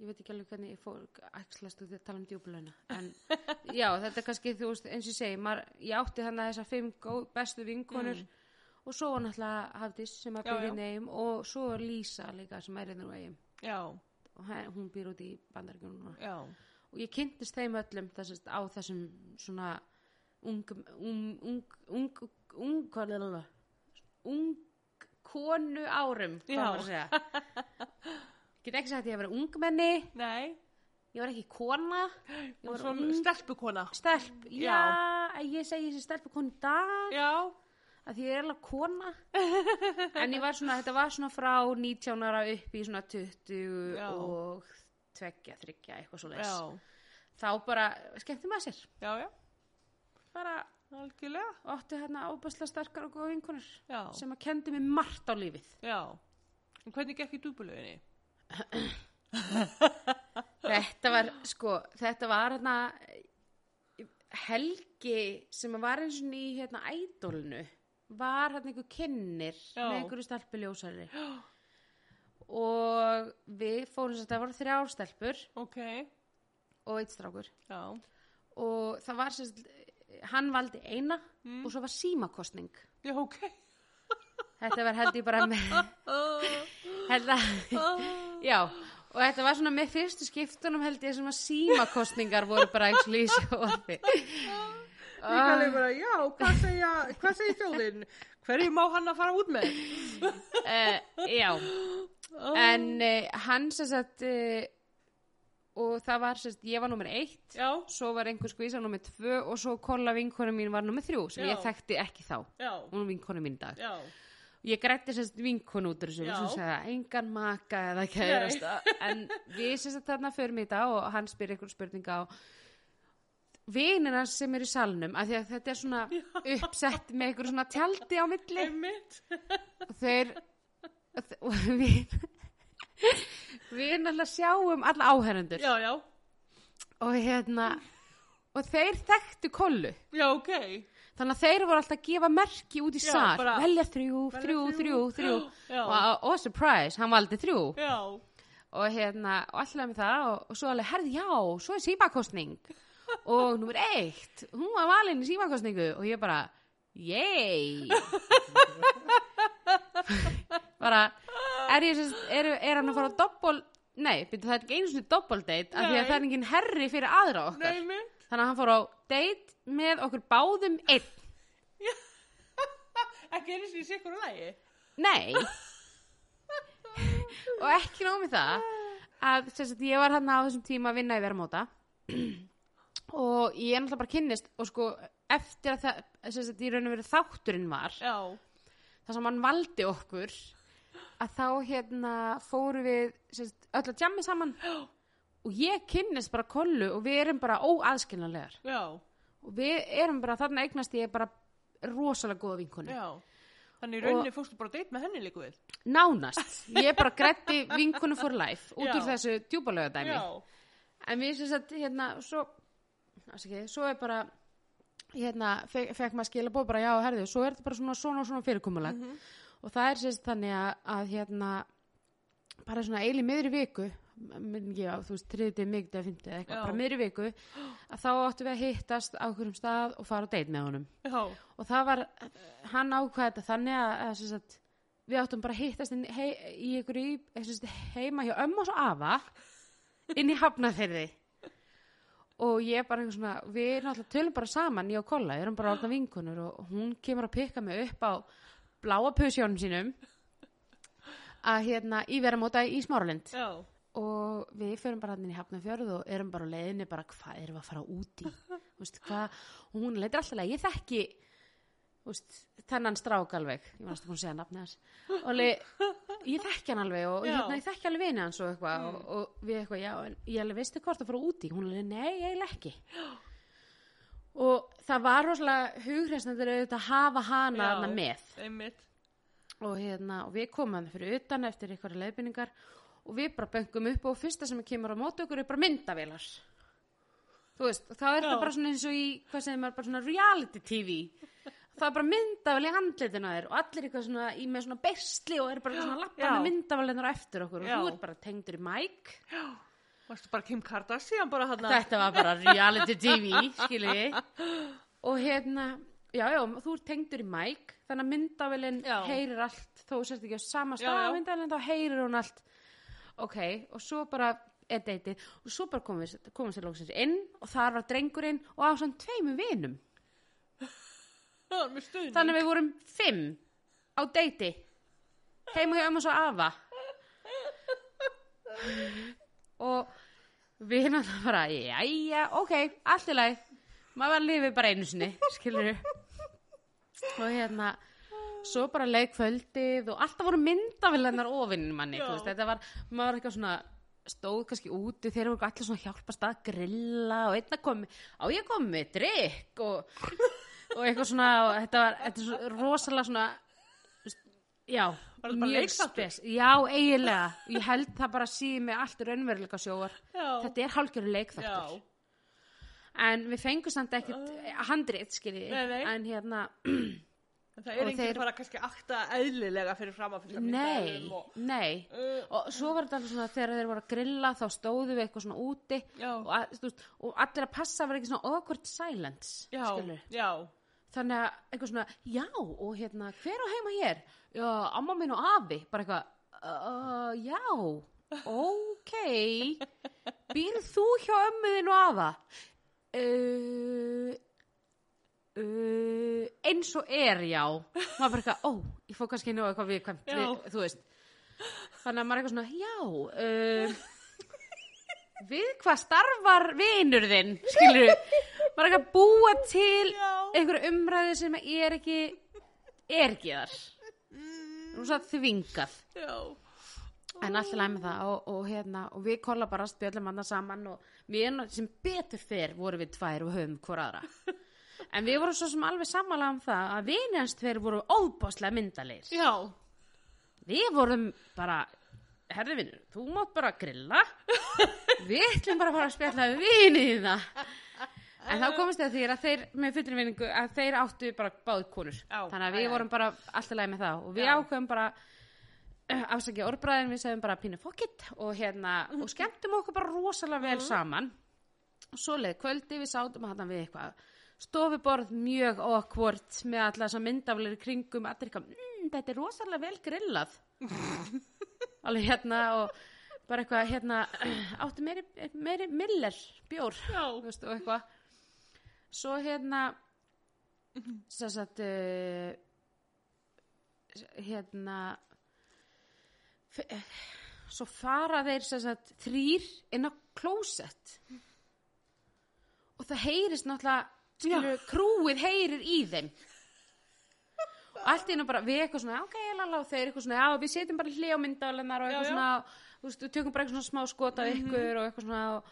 S2: ég veit ekki alveg hvernig ég fór æxlast út í að tala um djúbulöna en já þetta er kannski þú veist eins og ég segi maður, ég átti þannig að þessar fimm góð, bestu vinkonur og svo var náttúrulega Hafdís sem að
S1: Mm. Já,
S2: byrja
S1: já.
S2: neim og svo er Lísa líka sem er einnig og eigum
S1: já,
S2: og hæ- hún býr út í bandaríkjum núna
S1: já,
S2: og ég kynntist þeim öllum þessast, á þessum svona ungum um, ung, ung, ung, ung, hvað er það? ung konu árum hvað
S1: Já.
S2: á maður að segja get ekki sagt að ég var ungmenni
S1: nei,
S2: ég var ekki kona ég
S1: og
S2: var
S1: svo
S2: ung
S1: stelpukona.
S2: stelp, já,
S1: Já.
S2: ég segi þessi stelp konu í dag
S1: Já,
S2: að því ég er alveg kona en ég var svona, þetta var svona frá 19 ára upp í svona 20
S1: Já.
S2: og 2, 3, eitthvað svo leis
S1: já,
S2: þá bara skemmti maður sér
S1: já, já,
S2: bara
S1: algjörlega,
S2: óttu hérna ábæsla sterkar og góða vinkonur
S1: já,
S2: sem að kendi mér margt á lífið
S1: já. En hvernig gekk í dúbulauðinni?
S2: þetta var sko þetta var hérna helgi sem að var eins og ný hérna ædolnu var hérna einhver kynnir
S1: Já.
S2: með einhverju stelpu ljósari og við fórum sem þetta voru þrjár stelpur
S1: Ok,
S2: og eitt strákur
S1: já,
S2: og það var sem sagt hann valdi eina og svo var símakostning
S1: já, ok.
S2: þetta var held ég bara með held að Já, og þetta var svona með fyrstu skiptunum held ég sem að símakostningar voru bara ekki lýsi og því.
S1: Líkaði bara, já, hvað segja, hvað segja þjóðin? Hverju má hann að fara út með?
S2: Uh, já,
S1: Eh.
S2: en uh, hann sem sagt, uh, og það var sem sagt, ég var nummer eitt,
S1: Já,
S2: svo var einhver skvísa nummer tvö og svo kolla vinkonu mín var nummer þrjú sem
S1: Já.
S2: ég þekkti ekki þá.
S1: já,
S2: Hún er vinkonu mín í dag.
S1: já,
S2: Ég grætti sérst vinkonu út úr þessu
S1: Já.
S2: sem sagði að engan maka eða kærasta en við sérst þarna förum í þetta og hann spyr einhverjum spurninga og vinina sem eru í salnum af því að þetta er svona uppsett með einhverju svona tjaldi á milli
S1: einmitt,
S2: og þeir og þe- og við við náttúrulega sjáum alla áherendur
S1: já, já,
S2: og hérna og þeir þekktu kollu
S1: já, ok,
S2: þannig að þeir voru alltaf að gefa merki út í
S1: Já,
S2: sal
S1: bara-
S2: velja þrjú,
S1: Velja
S2: þrjú, þrjú,
S1: þrjú.
S2: þrjú
S1: Já.
S2: og, og surprise, hann valdi þrjú
S1: já,
S2: og hérna, og alltaf með það og, og svo alveg, herði já, svo er símakostning og númer eitt hún var valinn í símakostningu og ég bara yey bara er, ég, sem sagt- er, er hann að fara að doppol Nei, byrju, það er ekki einu svona double date af því
S1: Nei.
S2: að það er engin herri fyrir aðra okkar
S1: Nei, mynd.
S2: Þannig að hann fór á date með okkur báðum einn
S1: Ekki einu sinni í sikkur lagi.
S2: Nei Og ekki nómið það að sem sagt, ég var hann á þessum tíma að vinna í verðmóta og ég er náttúrulega bara kynnist og sko eftir að það sem sagt, í raun og verið þátturinn var
S1: Já.
S2: þar sem hann valdi okkur að þá hérna fóru við sérst, öll að jammi saman og ég kynnist bara kollu og við erum bara óaðskiljanlegar
S1: Já.
S2: og við erum bara þarna eignast ég bara rosalega góða vinkonu
S1: Já. Þannig í rauninni fórstu bara að date með henni líku við.
S2: nánast, ég bara gretti vinkonu for life út
S1: Já.
S2: úr þessu djúbalöga dæmi en við sem sagt hérna svo, afsakið, svo er bara hérna fekk, fekk maður skila bóð bara já og herðu svo er þetta bara svona svona og svona fyrirkomulag
S1: Mhm.
S2: og það er sérst þannig að, að hérna bara svona eil í miðri viku minn ekki á þú veist þriðið mikið eða fymtið eða
S1: Já.
S2: eitthvað bara miðri viku að þá áttum við að hittast á hverjum stað og fara á deit með honum
S1: Já.
S2: og það var hann ákvað þetta þannig að, að sem sagt, við áttum bara að hittast inn, hei, í ykkur í, eh, sem sagt, heima hjá ömmu og svo afa inn í hafnaferði og ég bara einhver svona við náttúrulega tölum bara saman ég og Kolla, erum bara orðna vinkunur og hún kemur að pikka mig upp á bláa pusjónum sínum að hérna í vera móta í Smáralind
S1: Já.
S2: og við förum bara hann inn í Hafnarfjörð og erum bara á leiðinni bara hvað erum við að fara út í Þú veist, hvað, og hún leitir alltaf leið ég þekki þú veist, þennan strák alveg ég var næstum búin að segja nafni hans og le, ég þekki hann alveg og
S1: Já. Mm.
S2: hérna, ég þekki alveg vini hans og eitthvað og, og við eitthvað, já, en ég alveg veistu hvort að fara út í hún alveg, nei, eiginlega ekki og það var rosalega hugreisnandur auðvitað að hafa hana
S1: Já.
S2: þarna með
S1: Einmitt.
S2: og, hérna, og við komum hann fyrir utan eftir einhverja leiðbynningar og við bara bengum upp og fyrsta sem kemur á móti okkur er bara myndavélar þú veist, þá er
S1: Já.
S2: það bara svona eins og í hvað segir maður, bara svona reality tv það er bara myndavél í handlitina þér og allir eitthvað svona í með svona besli og eru bara svona lappa
S1: Já.
S2: með myndavélinar á eftir okkur og
S1: Já.
S2: þú ert bara tengdur í mæk
S1: Varstu bara Kim Kardashian bara hann
S2: þetta var bara reality tv skiljiði og hérna, já, já, þú ert tengdur í mæk þannig að myndavélinn
S1: Já.
S2: heyrir allt þó þú sérst ekki á sama
S1: Já,
S2: stað
S1: já.
S2: á myndavélinn þá heyrir hún allt ok, og svo bara er deytið og svo bara komum við komum sér lóksins inn og þar var drengurinn og á svona tveimum vinum
S1: Það var með stuðning.
S2: þannig að við vorum fimm á deiti heim og hjá ömmu og svo afa og við hérna það bara jæja, ok, allt í lagi maður var lifið bara einu sinni skilur og hérna svo bara leið kvöldið og alltaf voru myndavillennar ofinnin manni
S1: Já.
S2: þú veist, þetta var, maður var eitthvað svona stóð kannski úti, þeir voru allir svona að hjálpast að grilla og einna komi á ég komi, drikk og, og eitthvað svona og þetta var, þetta er svo rosalega svona já,
S1: þetta bara leikþáttur?
S2: spes já, eiginlega, ég held það bara síði með allt raunveruleika sjóar
S1: Já.
S2: þetta er hálgjörn leikþáttur
S1: Já.
S2: en við fengum samt ekkit handrið, skiljið,
S1: Nei, nei.
S2: en hérna
S1: En það er
S2: Og
S1: enginn
S2: þeir-
S1: þeir... bara kannski akta eðlilega fyrir fram að fylgja
S2: Nei,
S1: Og...
S2: nei
S1: Uh.
S2: og svo var þetta alveg svona þegar þeir voru að grilla þá stóðu við eitthvað svona úti
S1: Já.
S2: og, að, þú veist, og allir að passa var eitthvað svona awkward silence
S1: Já,
S2: skilurðu.
S1: já,
S2: þannig að eitthvað svona já og hérna hver á heima hér já, amma minn og afi bara eitthvað uh, já, ok býrð þú hjá ömmuðin og afa uh, uh, eins og er já maður bara eitthvað, ó, ég fór kannski nú eitthvað viðkvæmt
S1: Já.
S2: við, þú veist þannig að maður er eitthvað svona, já uh, við hvað starfar vinur þinn skilur maður er ekki að búa til
S1: Já.
S2: einhverja umræðu sem er ekki er ekki þar nú svo þvingað
S1: já.
S2: en allir læg með það og, og, hérna, og við kolla bara spjöllum annað saman og við erum sem betur fyrr vorum við tvær og höfum hvora aðra en við vorum svo sem alveg sammála um það að vinjast tveir voru óbáslega myndalegir
S1: Já,
S2: við vorum bara herði vinnur, þú mátt bara grilla við ætlum bara að fara að spjalla við vinið í það en þá komist það því að þeir með fullri vinningu að þeir áttu bara báð konur
S1: Já,
S2: þannig að
S1: já,
S2: við
S1: já.
S2: vorum bara alltaf læg með það og við
S1: Já.
S2: ákveðum bara afsækja orðbræðin við segðum bara pínu fokkitt og hérna og skemmtum okkur bara rosalega
S1: Mhm.
S2: vel saman og svo leið kvöldi við sátum að við eitthvað stofuborð mjög okkvort með alltaf þess að myndaflir í kringum "Mm, allir eitthvað, mmm, þetta er rosalega vel grillað alveg hérna og bara eitthvað hérna áttu meiri, meiri miller bjór
S1: Já.
S2: þú veist, og eitthvað svo hérna sem sagt uh, hérna f- eh, svo fara þeir sem sagt þrýr inn á klósett og það heyrist náttúrulega skilur, krúið heyrir í þeim og allt í einu bara við eitthvað svona, ok, lala, og þeir eitthvað svona já, við setjum bara hljá myndalennar og eitthvað
S1: Já, Mhm. já.
S2: svona þú veist, við tökum bara eitthvað svona smá skot af ykkur og eitthvað svona og,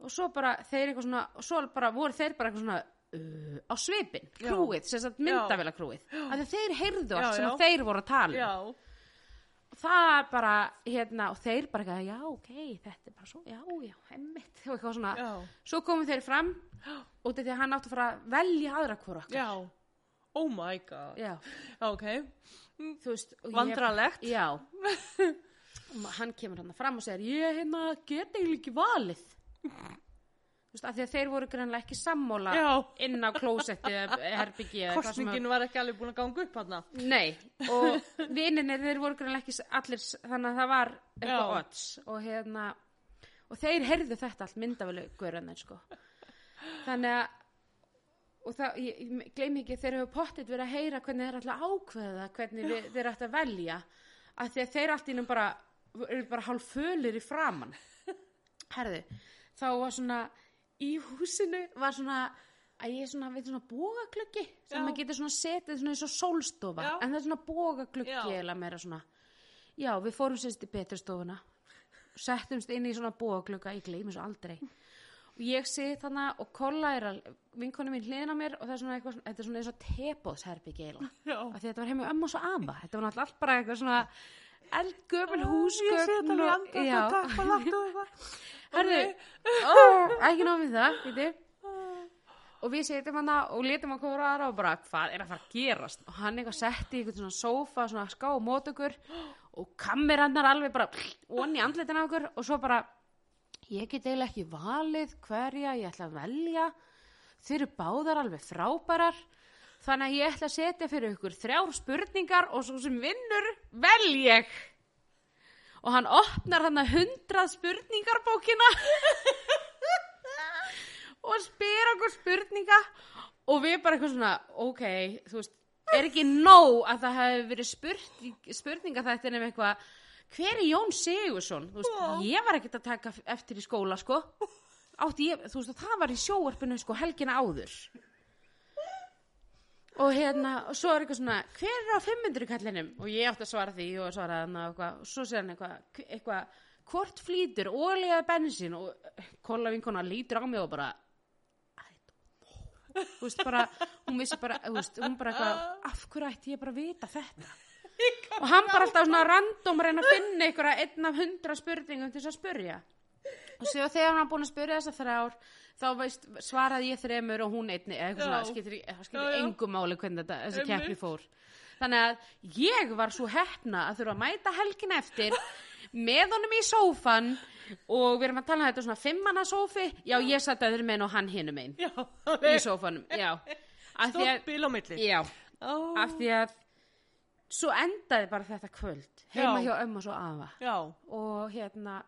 S2: og svo bara þeir eitthvað svona og svo bara voru þeir bara eitthvað svona uh, á svipin,
S1: Já.
S2: krúið, sem sagt myndavela krúið að þeir heyrðu allt
S1: Já,
S2: sem
S1: já.
S2: að þeir voru að tala um.
S1: Já.
S2: og það er bara, hérna, og þeir bara eitthvað, já, ok, þetta er bara svo, já, já, hemmitt og eitthvað svona,
S1: Já.
S2: svo komu þeir fram út af því að hann átti að fara að velja aðra hvora okkar
S1: Já. Oh my god.
S2: Já,
S1: Ok.
S2: þú veist og ég-
S1: Vandralegt.
S2: Já Og ma- Hann kemur hann fram og segir Ég hérna get eiginlega ekki valið Þú veist, af því að þeir voru greinlega ekki sammála
S1: Já.
S2: inn á klósetti eða herbyggi eða hvað sem að-
S1: Kostningin var ekki alveg búin að ganga upp hann.
S2: Nei, og vininir þeir voru greinlega ekki s- allir, s- þannig að það var eitthvað
S1: Já.
S2: odds og hérna og þeir heyrðu þetta allt myndafélugurinn sko. þannig að og það, ég, ég gleym ekki þeir hefur pottit verið að heyra hvernig þeir ætla að ákveða hvernig við, þeir ætla að velja af því að þeir allt innum bara eru bara hálf fölir í framann herðu, þá var svona í húsinu var svona að ég er svona, veit svona bógaglöggi sem
S1: Já.
S2: maður getur svona setið svona eins og sólstofa
S1: Já.
S2: en það er svona
S1: Já.
S2: bógaglöggi eða meira svona já, við fórum sérst í betri stofuna settumst inn í svona bógaglögga ég gleymi svo aldrei og ég sit þarna og kolla er að vinkonu mín hliðina á mér og það er svona eitthvað svona- þetta er svona eins og tebóðsherbyggi eiginlega
S1: Já.
S2: af því þetta var heim með ömmu og svo ama þetta var náttúrulega allt bara eitthvað svona eldgöful húsgögn
S1: Ég sé þetta alveg
S2: og-
S1: andast
S2: Já.
S1: og takk og lagt og það.
S2: Herðu, ó, ekki námið það, veitir Og við setjum hann og letum að kóra aðra og bara, hvað er að fara að gerast? Og hann eitthvað setti í einhvern svona sófa, svona ská og mót okkur og kamerannar alveg bara onni andlitin á okkur og svo bara, ég get eiginlega ekki valið hverja ég ætla að velja. Þeir eru báðar alveg frábærar, þannig að ég ætla að setja fyrir ykkur þrjár spurningar og svo sem vinnur vel ég og hann opnar hann að hundrað spurningarbókina og spyr okkur spurninga og við bara eitthvað svona, ok, þú veist, er ekki nóg að það hefði verið spurning, spurninga þetta nefnir eitthvað, hver er Jón Sigursson? Þú veist, ég var ekkert að taka eftir í skóla, sko. Átti ég, þú veist, og það var í sjóarpinu, sko, helgina áður. Og hérna, og svo er eitthvað svona, hver er á 500 kallinum? Og ég átti að svara því og svaraði hann og eitthvað, og svo segir hann eitthvað, hv- eitthvað, hvort flýtur, olíu eða bensín? Og eh, kolla vinkona lítur á mig og bara, I don't know. Þú veist, bara, hún vissi bara, þú veist, hún bara eitthvað, af hverju ætti ég bara að vita þetta? Og hann bara alltaf svona random að reyna að finna einhverja einn af hundra spurningum til þess að spurja. Og svo þegar hann var búin að spurja þessa þrjár, þá veist, svaraði ég þremur og hún einni, eða eitthvað
S1: Já.
S2: svona, skiptir, í- það skiptir
S1: Já, já.
S2: engu máli hvernig þetta, þessi
S1: Einmitt.
S2: keppni fór þannig að ég var svo heppna að þurfa að mæta helgin eftir með honum í sófan og við erum að tala um þetta svona fimmanna sófi já ég satt öðrum megin og hann hinum megin
S1: Já.
S2: í sófanum, já af því
S1: Stórt
S2: að,
S1: bíl á milli.
S2: já,
S1: Ó.
S2: af því að svo endaði bara þetta kvöld heima
S1: Já.
S2: hjá ömmu og svo afa
S1: Já.
S2: og hérna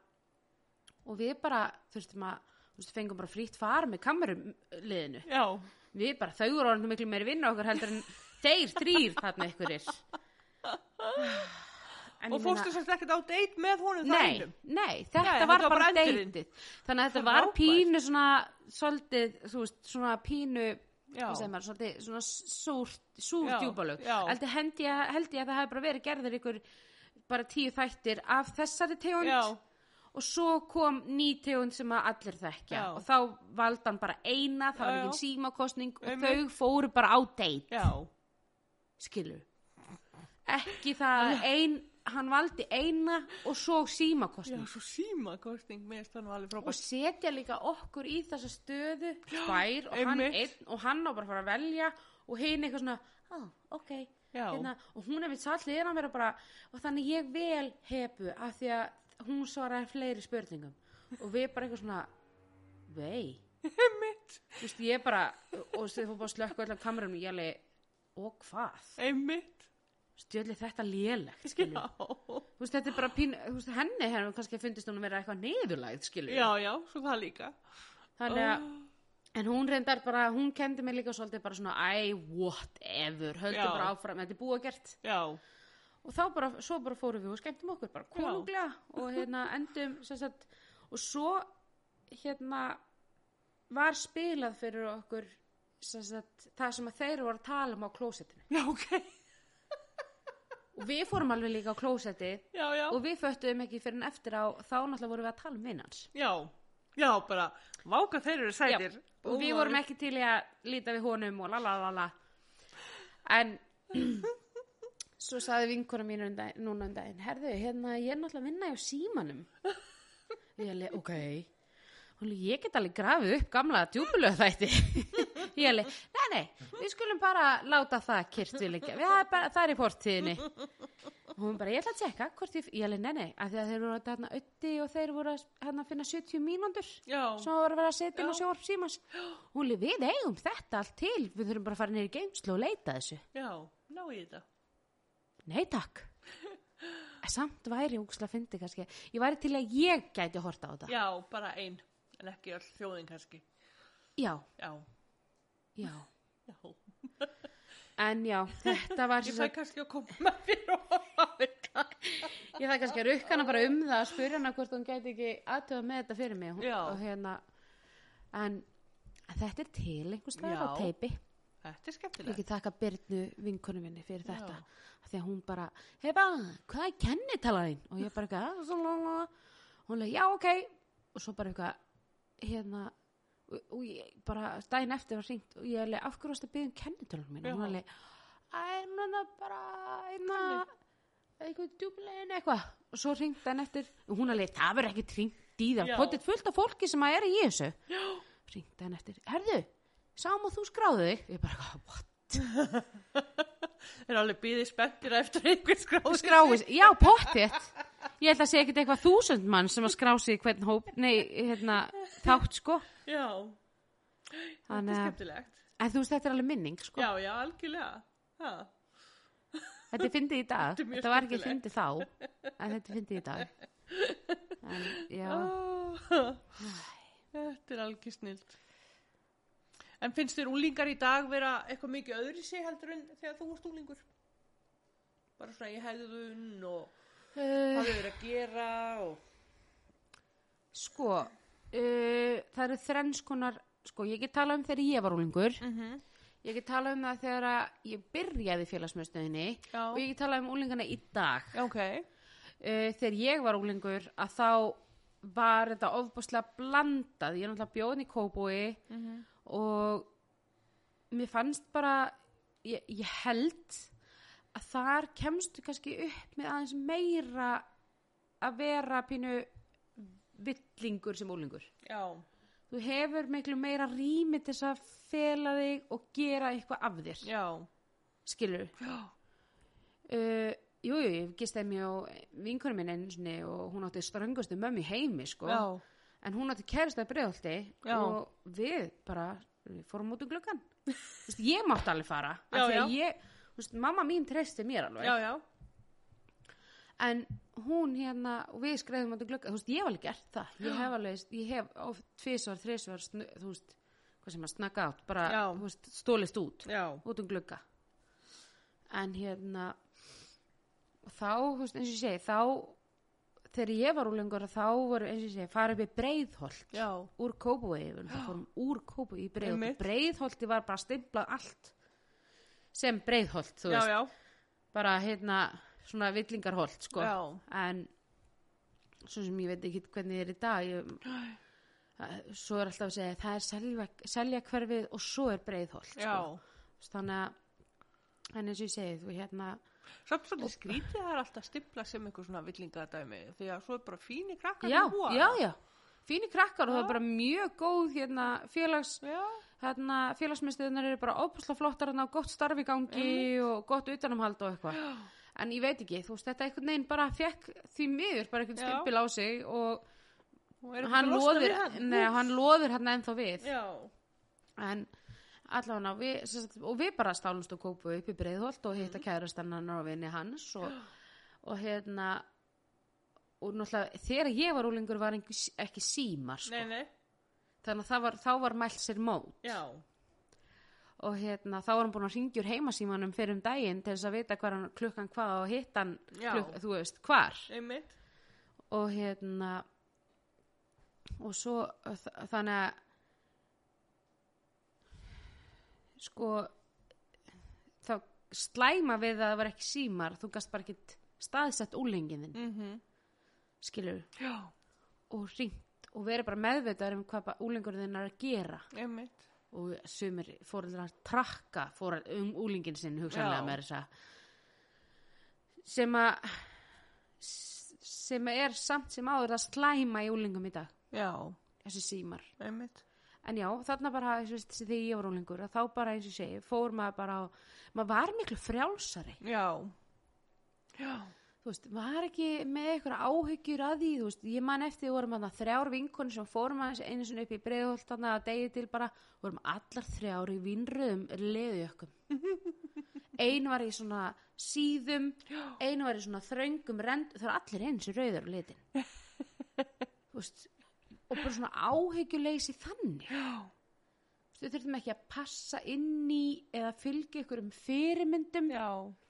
S2: og við bara þurftum að þú veist, fengum bara frítt far með kameruliðinu
S1: Já.
S2: við bara þau eru orðin miklu meiri vinna okkar heldur en þeir þrýr þarna ykkur er en
S1: Og fórstu svolítið ekkert á date með honum það
S2: nei,
S1: einum?
S2: nei, þetta
S1: Nei, um?
S2: var
S1: þetta var
S2: bara
S1: bara endirinn.
S2: deytið þannig að þetta var
S1: Frábært.
S2: pínu svona svolítið, þú veist, svona pínu
S1: Já.
S2: hvað segir maður, svolítið, svona súrt, súrt
S1: Já,
S2: djúbalög
S1: já.
S2: held ég, held ég að það hefði bara verið gerður ykkur bara tíu þættir af þessari tegund
S1: Já.
S2: og svo kom ný tegund sem að allir þekkja
S1: Já.
S2: og þá valdi hann bara eina það var
S1: Já, já.
S2: ekki símakostning og
S1: Einmitt.
S2: þau fóru bara á deit
S1: Já.
S2: skilur ekki það ein, hann valdi eina og svo
S1: Já,
S2: símakostning
S1: svo síma kostning, mér finnst það nú alveg
S2: og
S1: frábært.
S2: setja líka okkur í þessa stöðu tvær og hann,
S1: einmitt.
S2: einn, og hann á bara að fara að velja og hinn eitthvað svona ah, ok hérna."
S1: Já.
S2: og hún er við satt liðan að vera bara og þannig ég vel hepu af því að hún svaraði fleiri spurningum og við bara eitthvað svona vei
S1: Einmitt.
S2: Þú veist, ég bara, og þau fór bara að slökka öll af kamerunum, ég alveg, og hvað?
S1: Einmitt.
S2: stjöldi þetta lélegt skilur.
S1: Já,
S2: Þú veist, þetta er bara pín, þú veist, henni hefur kannski fundist hún að vera eitthvað niðurlægð, skilur.
S1: já, já, svo það líka. Ah.
S2: Þannig að, en hún reyndar bara, hún kendi mig líka svolítið bara svona, æ, whatever, höldum
S1: Já.
S2: bara áfram, þetta er búið að gert.
S1: Já,
S2: Og þá bara, svo bara fórum við og skemmtum okkur bara konunglega og hérna endum, sem sagt, og svo, hérna, var spilað fyrir okkur, sem sagt, það sem að þeir voru að tala um á klósettinu.
S1: já, ok,
S2: Og við fórum alveg líka á klósetti
S1: já, já,
S2: og við föttuðum ekki fyrir en eftir á, þá náttúrulega vorum við að tala um vinnans.
S1: já, já, bara, váka þeir eru
S2: Já,
S1: sætir.
S2: og við vorum ekki til í að líta við honum og lalalala en svo saði vinkona mín um daginn, núna um daginn herðu, hérna, ég er náttúrulega að vinna hjá símanum ég alveg, ok Hún, alveg, ég get alveg grafið upp gamla djúpulöð þætti ég alveg, nei, nei, við skulum bara láta það kyrrt við leikja við, það, er bara, það er í fortíðinni og hún bara, ég ætla að tjekka hvort ég, ég alveg, nei, nei af því að þeir voru að þarna ötti og þeir voru að hérna, finna 70 mínúndur
S1: Já,
S2: sem var að vera að setja inn á
S1: Já.
S2: sjóvarp símans hún lið, við eigum þetta allt til við þurfum bara að fara niður í geimslu og leita að þessu
S1: já, ná í þetta.
S2: nei takk En samt væri úksla fyndi kannski ég væri til að ég gæti horta á þetta
S1: Já, bara ein, en ekki öll þjóðin kannski.
S2: já,
S1: Já,
S2: já.
S1: já,
S2: en já, þetta var
S1: ég
S2: sem
S1: fæ
S2: sagt-
S1: kannski að koma með fyrir og hafa þetta.
S2: ég það kannski að rukka hana bara um það að spyrja hana hvort hún gæti ekki aðtöða með þetta fyrir mig hún,
S1: Já.
S2: og hérna en, en þetta er til
S1: Já.
S2: einhvers staðar á teipi
S1: Þetta er
S2: Ég
S1: skemmtilegt.
S2: get þakka Byrnu vinkonu minni fyrir þetta af því að hún bara, hei bara, hvað er kennitalan þín? Og ég bara eitthvað, "Ah, svona, svona, svona." hún leik, já, ok og svo bara eitthvað, hérna og, og ég bara, daginn eftir var hringt og ég leik, af hverju varst að byggja um kennitalan mín?
S1: Já.
S2: Og hún leik, æ, hún er bara, hérna eitthvað djúplegin eitthvað og svo hringt hann eftir, og hún leik, það verður ekki hringt í það,
S1: Já.
S2: potið fullt af fólki sem að er í þessu
S1: Já,
S2: hringdi hann eftir, herðu, sáum að þú skráðu þig ég bara, what?
S1: þeir eru alveg býðið spenntir eftir einhver skráði.
S2: skráið, já, pottitt ég held að segja ekkert eitthvað þúsund mann sem að skrá sig í hvern hóp, nei, hérna þátt, sko
S1: Já, þetta er
S2: Þannig að-
S1: skemmtilegt.
S2: en þú veist, þetta er alveg minning, sko,
S1: Já, já, algjörlega. Ha.
S2: þetta er fyndið í dag
S1: Þetta er mjög
S2: þetta var ekki
S1: skemmtilegt.
S2: fyndið þá en þetta er fyndið í dag en, já,
S1: Ah, Þetta er algjör snilt. En finnst þér úlingar í dag vera eitthvað mikið öðri sig heldur en þegar þú vorst úlingur? Bara svona í hegðun og
S2: uh,
S1: hvað þau eru að gera og...
S2: sko uh, það eru þrennskonar sko, ég get talað um þegar ég var úlingur
S1: Mm -hmm.
S2: ég get talað um það þegar að ég byrjaði í félagsmyndstöðinni
S1: Já.
S2: og ég get talað um úlingana í dag
S1: Já, ok.
S2: uh, þegar ég var úlingur að þá var þetta ofbúslega blandað, ég er náttúrulega bjóðin í kóbúi og mér fannst bara ég, ég held að þar kemstu kannski upp með aðeins meira að vera pínu villingur sem úlingur
S1: Já,
S2: þú hefur miklu meira rými til þess að fela þig og gera eitthvað af þér
S1: já,
S2: skilur
S1: já,
S2: Uh, jú, jú, ég gistaði mér á vinkunum minn einu sinni og hún átti ströngustu mömmu í heimi, sko.
S1: já,
S2: En hún átti kæristaði bregðaldi
S1: Já.
S2: og við bara við fórum út um gluggan. Þú veist, ég mátti alveg fara. af
S1: Já,
S2: því að
S1: já.
S2: Ég, þú veist, mamma mín treysti mér alveg.
S1: já, já,
S2: En hún hérna, og við skreiðum út um gluggan, þú veist, ég hef alveg gert það. Ég hef alveg, ég hef oft tvisvar, þrisvar, snu- þú veist, hvað sem að snakka átt, bara,
S1: Já.
S2: þú veist, stólist út
S1: já,
S2: út um glugga en hérna og þá, þú veist, eins og ég segi þá, þegar ég var úlengur þá voru, eins og ég segi, farið við breiðholt
S1: já,
S2: úr kópúi, við erum það fórum úr kópúi í
S1: Einmitt.
S2: breiðholt, breiðholti var bara stimplað allt sem breiðholt, þú
S1: já,
S2: veist,
S1: já,
S2: bara hérna svona villingarholt, sko
S1: já,
S2: en svo sem ég veit ekki hvernig er í dag ég, að- svo er alltaf að segja það er selja, selja hverfið og svo er breiðholt
S1: já.
S2: sko þannig að en eins og ég segi þú hérna
S1: Samt svolítið skrítið það er alltaf stifla sem einhver svona villingadæmi því að svo er bara fínir krakkar
S2: já,
S1: í húa.
S2: já, já, fínir krakkar og það
S1: Já.
S2: er bara mjög góð hérna, félags
S1: Já,
S2: hérna, félagsmyndstöðunar eru bara ópasla flottar hérna, og gott starf í gangi og gott utanumhald og eitthvað en ég veit ekki, þú veist þetta einhvern veginn bara fekk því miður bara einhvern
S1: Já.
S2: stimpil á sig og
S1: og er ekki
S2: hann
S1: að losna
S2: loðir,
S1: við hann.
S2: nei, hann loðir hérna ennþá við
S1: Já,
S2: en allavega við, sem sagt, og við bara stálumst og kópu upp í breiðholt og
S1: Mhm.
S2: hitta kærastann hann og vinni hans og, og hérna og náttúrulega þegar ég var úlingur var ekki, ekki símar sko.
S1: Nei, nei,
S2: þannig að það var, þá var mælt sér mót
S1: já,
S2: og hérna, þá var hann búin að ringjur heimasímanum fyrir um daginn til þess að vita hvað hann, klukkan hvað og hitt hann
S1: Já.
S2: þú veist, hvar
S1: einmitt.
S2: og hérna og svo þ- þannig að sko þá slæma við að það var ekki símar þú gast bara ekkit staðsett úlengin þinn
S1: Mm -hmm.
S2: skilur
S1: Já,
S2: og ringt og verið bara meðvitaður um hvað úlengur þinn er að gera
S1: einmitt.
S2: og sumir fóreldrar trakka fóreld, um úlingin sinn hugsanlega
S1: Já.
S2: með þess að sem að sem að er samt sem áður að slæma í úlingum í dag
S1: Já,
S2: þessi símar
S1: einmitt.
S2: en já, þarna bara, eins og þessi þegar ég var úlingur að þá bara eins og ég segi, fór maður bara á maður var miklu frjálsari
S1: Já, já,
S2: þú veist, var ekki með eitthvað áhyggjur að því, þú veist, ég man eftir við vorum að þrjár vinkonu sem fórum aðeins einu sinni upp í breiðholtana að degi til bara vorum allar þrjár í vinnröðum leðjökkum ein var í svona síðum ein var í svona þröngum rend það er allir eins í rauður á litin þú veist og bara svona áhyggjuleysi þannig
S1: Já.
S2: Þú veist, við þurfum ekki að passa inn í eða fylgja ykkur um fyrirmyndum
S1: já.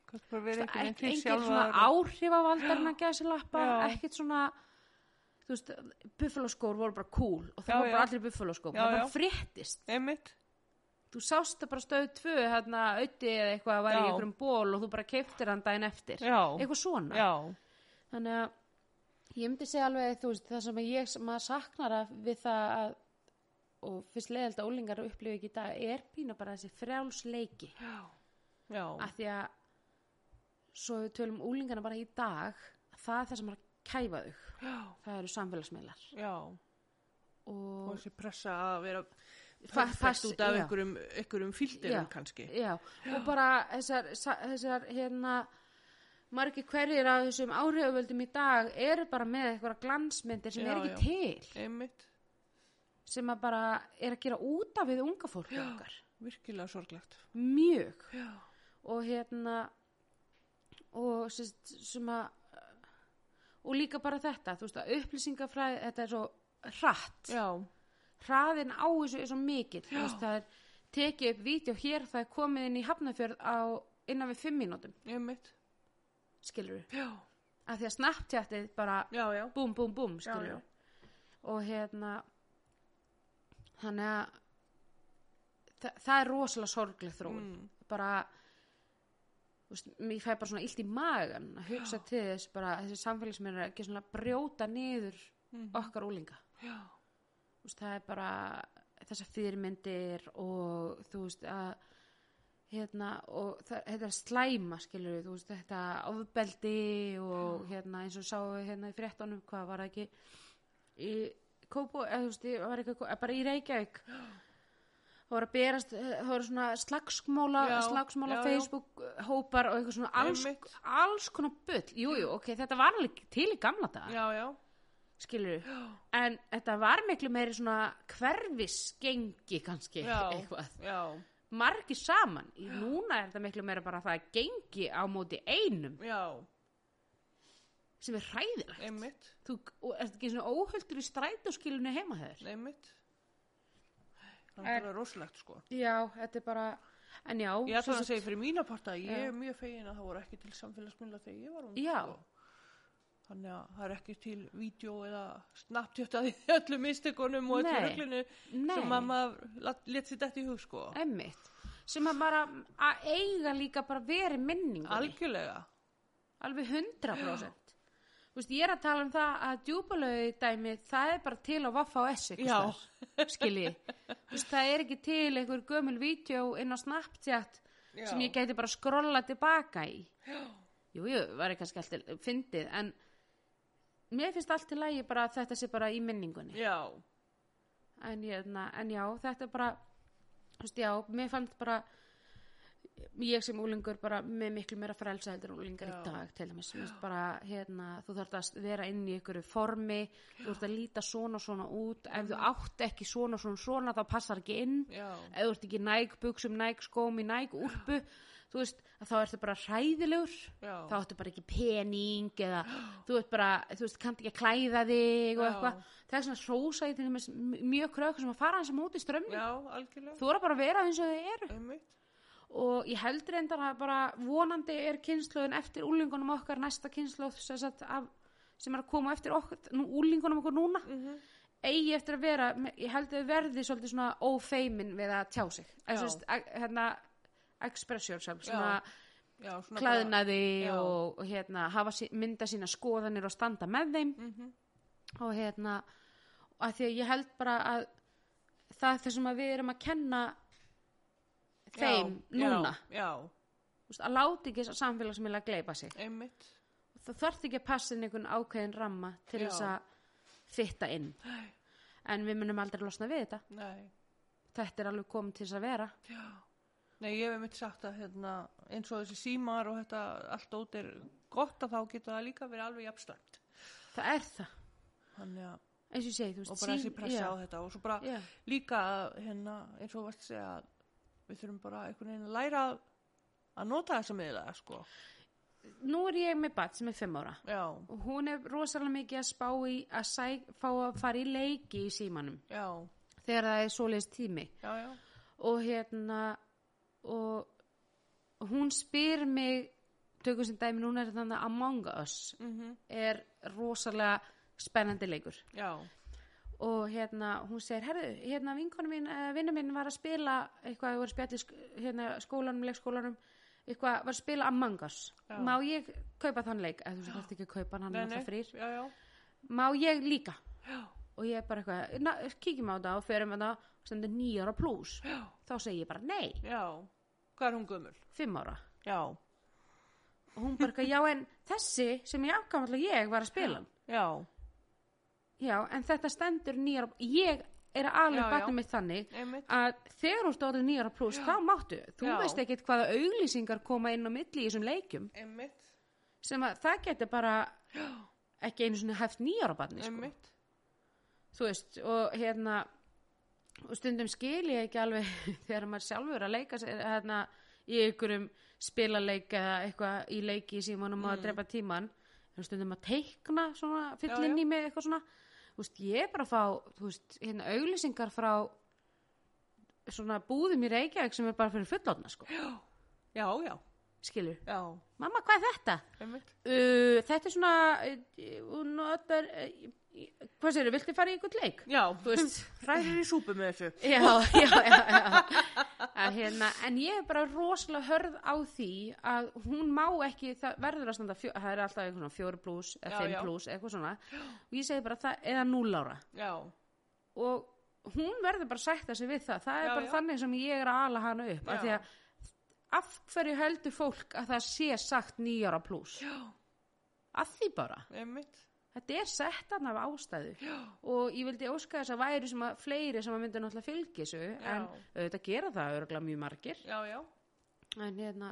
S1: Kannski bara verið
S2: Ekki-
S1: einhvern veginn til
S2: engin svona
S1: sjálfa.
S2: áhrifavaldarna gæsilappa,
S1: Já.
S2: ekkert svona þú veist, buffaloskór voru bara cool og það
S1: Já,
S2: var bara
S1: já.
S2: allir buffaloskór
S1: Já,
S2: það bara
S1: já.
S2: fréttist,
S1: Einmitt,
S2: þú sást það bara stöð tvö, hérna, auði eða eitthvað var í
S1: Já.
S2: einhverjum ból og þú bara keiftir hann daginn eftir
S1: Já.
S2: eitthvað svona
S1: já,
S2: þannig að ég myndi segja alveg þú veist, það sem ég, maður saknar að við það að og fyrst leiðald að ólingar upplifu ekki í dag er pína bara þessi frjálsleiki
S1: já,
S2: að því að svo við tölum úlingana bara í dag það er það sem er að kæfa þau
S1: já,
S2: það eru samfélagsmiðlar
S1: já. og
S2: og,
S1: þessi pressa að vera
S2: Fa-
S1: fast
S2: fast-
S1: út af
S2: já.
S1: einhverjum, einhverjum filterum
S2: Já.
S1: kannski
S2: já, og bara þessar, sa- þessar hérna margir hverjir af þessum áhrifavöldum í dag eru bara með eitthvað glansmyndir sem
S1: Já,
S2: er
S1: já.
S2: ekki til
S1: einmitt,
S2: sem að bara er að gera út af við unga fólk okkar
S1: virkilega sorglegt
S2: mjög
S1: já,
S2: og hérna og sérst, sem að og líka bara þetta þú veist að upplýsingafræði þetta er svo hratt
S1: já,
S2: hraðin á þessu er svo mikill þú veist, það er tekið upp vídeo hér það er komið inn í hafnafjörð á innan við fimm mínútum
S1: einmitt
S2: skilur við
S1: já,
S2: að því að snapptjættið bara
S1: já, já,
S2: búm búm búm
S1: Já,
S2: skilur
S1: já.
S2: við og hérna þannig að það, það er rosalega sorgleg þróun
S1: Mm.
S2: bara þú veist, mér fæ bara svona illt í magan að hugsa til þess bara að þessi samfélagsmyndir er ekki svona að brjóta niður okkar úlinga
S1: mhm. já,
S2: Þú veist, það er bara þessar fyrirmyndir og þú veist að hérna og það, þetta er slæma skilur við, þú veist þetta ofbeldi og hérna eins og sáum við hérna í fréttunum hvað var það ekki í Kópo, eða þú veist, í- var ekki, eh, bara í Reykjavík það voru að berast, eh, það voru svona slagsmála
S1: Já,
S2: slagsmála
S1: já, já.
S2: Facebook hópar og eitthvað svona alls,
S1: Einmitt.
S2: alls konar bull, jújú, jú, ok, þetta var alveg til í gamla dag
S1: já, já
S2: skilur en þetta var miklu meiri svona hverfisgengi kannski
S1: Já.
S2: eitthvað,
S1: já,
S2: margir saman í núna er þetta miklu meira bara það að gengi á móti einum
S1: já,
S2: sem er hræðilegt
S1: einmitt
S2: þú og ert ekki svona óhöldur í strætóskilunni heima þeir
S1: einmitt það er bara rosalegt sko
S2: já, þetta er bara en já,
S1: ég ætla
S2: sem
S1: að
S2: sagt-
S1: segja fyrir mína parta að ég
S2: Já.
S1: er mjög fegin að það voru ekki til samfélagsmynda þegar ég var hún
S2: Já.
S1: þannig að það er ekki til vídeo eða snapptjötaði öllum mistekunum og öllu
S2: Nei.
S1: reglinu
S2: Nei.
S1: sem að maður let sér þetta í hug sko
S2: einmitt sem að bara að eiga líka bara verið minningunni
S1: algjörlega
S2: alveg 100% Þú veist, ég er að tala um það að djúbalögu dæmi, það er bara til á Vaffa og S
S1: Já.
S2: skilji það er ekki til einhver gömul vídeo inn á Snapchat
S1: Já.
S2: sem ég gæti bara skrolla tilbaka í jú, jú, var ekki kannski alltaf fyndið, en mér finnst allt í lagi bara að þetta sé bara í minningunni
S1: já,
S2: en, hérna, en já, þetta er bara þú veist, já, mér fannst bara ég sem úlingur bara með miklu meira frelsa heldur en úlingar í
S1: Já.
S2: dag til dæmis, Mér finnst bara, hérna, þú þarft að vera inn í ykkur formi, þú þarft að líta svona og svona út, ef þú átt ekki svona og svona, svona þá passar ekki inn
S1: Mhm. já,
S2: ef þú ert ekki í næg buksum, næg skóm í næg úlpu, þú veist að þá ertu bara hræðilegur
S1: já,
S2: þá áttu bara ekki pening eða þú veist bara, þú veist, kannt ekki að klæða þig og
S1: Já.
S2: eitthvað, það er svona hrósa ég til dæmis m- mjög krökk sem að fara hans á móti strömmu,
S1: já, algjörlega,
S2: þú voru bara að vera eins og þau eru
S1: einmitt,
S2: og ég held reyndar að bara vonandi er kynnslóðin eftir úlingunum okkar næsta kynnslóð sem, sagt, af, sem er að koma eftir okkar, nú, úlingunum okkar núna
S1: Mhm.
S2: eigi eftir að vera, me- ég held að þau verði svolítið svona ófeimin við að tjá sig
S1: Já.
S2: eða svona, hérna express yourself, svona
S1: Já, já, svona
S2: klæðnaði
S1: Já.
S2: og, og hérna, hafa sí, mynda sína skoðanir og standa með þeim
S1: Mhm.
S2: og hérna að því að ég held bara að það er þessum að við erum að kenna
S1: Já,
S2: þeim núna
S1: já, já,
S2: Þú veist, að láti ekki samfélagsmiðla að gleipa sig
S1: einmitt
S2: það þarf ekki að passa inn einhvern ákveðin ramma til
S1: Já.
S2: þess að fitta inn
S1: Nei,
S2: en við munum aldrei losna við þetta
S1: nei,
S2: þetta er alveg komið til þess að vera
S1: já Nei, ég hef einmitt sagt að hérna, eins og þessi símar og þetta allt ótt er gott að þá getur það líka verið alveg jafnstæmt.
S2: það er það,
S1: Þannig að,
S2: eins og ég segi þú veist,
S1: og bara þessi
S2: sín-
S1: pressa
S2: já,
S1: á þetta og svo bara
S2: já,
S1: líka að, hérna, eins og þú varst að segja að við þurfum bara einhvern veginn að læra að- að nota þessa miðla, sko.
S2: nú er ég með bat sem er fimm ára
S1: Já,
S2: og hún er rosalega mikið að spá í að sæk, fá að fara í leiki í símanum
S1: já,
S2: þegar það er svoleiðis tími
S1: já, já,
S2: og hérna og hún spyr mig tökum sem dæmi núna er þannig að Among Us
S1: mm
S2: er rosalega spennandi leikur
S1: já,
S2: og hérna hún segir, herðu, hérna vinkonu mín uh, vinnu mín var að spila eitthvað, þau voru að spjalla í sk- hérna, skólanum, leikskólanum eitthvað, var að spila Among Us
S1: Já.
S2: má ég kaupa þann leik, eða þú veist ekki að kaupa hann, hann er alltaf frýr,
S1: já, já,
S2: má ég líka
S1: já,
S2: og ég er bara eitthvað, na, kíkjum á þetta og förum þetta og stendur nýjara pluss
S1: já,
S2: þá segi ég bara nei,
S1: já, hvað er hún gömul?
S2: fimm ára
S1: Já,
S2: og hún bara eitthvað, já en þessi sem ég afgamalla ég var að spila hann
S1: já,
S2: já en þetta stendur nýjara ég er að
S1: Já,
S2: alveg
S1: já.
S2: batna mitt þannig
S1: einmitt,
S2: að þegar þú stóður nýjara pluss þá máttu, þú
S1: Já.
S2: veist ekkit hvaða auglýsingar koma inn á milli í þessum leikum
S1: einmitt,
S2: sem að það getur bara ekki einu svona hæft nýjara batni sko.
S1: einmitt,
S2: þú veist, og hérna og stundum skil ég ekki alveg þegar maður sjálfur að leika sér hérna í ykkurum spilaleik eða eitthvað í leiki sem manum mm. að drepa tíman en stundum að teikna svona
S1: Já, já.
S2: fyllin í mig eitthvað svona þú veist, ég er bara að fá, þú veist, hérna auglýsingar frá svona búðum í Reykjavík sem er bara fyrir fullotna sko,
S1: já, já,
S2: skilur
S1: já,
S2: mamma, hvað er þetta?
S1: einmitt,
S2: Uh, þetta er svona uh, hún notar uh, hvað sér, viltu fara í ykkur leik?
S1: já,
S2: þú veist,
S1: ræðir í súpu með þessu.
S2: já, já, já, já. Að, hérna, en ég er bara rosalega hörð á því að hún má ekki, það verður að standa fjó, það er alltaf einhvern fjóri pluss
S1: Já,
S2: eða fimm
S1: já.
S2: pluss, eitthvað svona og ég segi bara það, eða núll ára
S1: Já,
S2: og hún verður bara að sætta sig við það það er
S1: Já,
S2: bara
S1: já.
S2: þannig sem ég er að ala hana upp af
S1: Já.
S2: því að af hverju heldur fólk að það sé sagt nýjara pluss
S1: já,
S2: að því bara,
S1: einmitt,
S2: þetta er sett hann af ástæðu
S1: já,
S2: og ég vildi óska þess að væri sem að fleiri sem að myndu náttúrulega fylgi þessu en auðvitað gera það örgulega mjög margir
S1: já, já,
S2: en hérna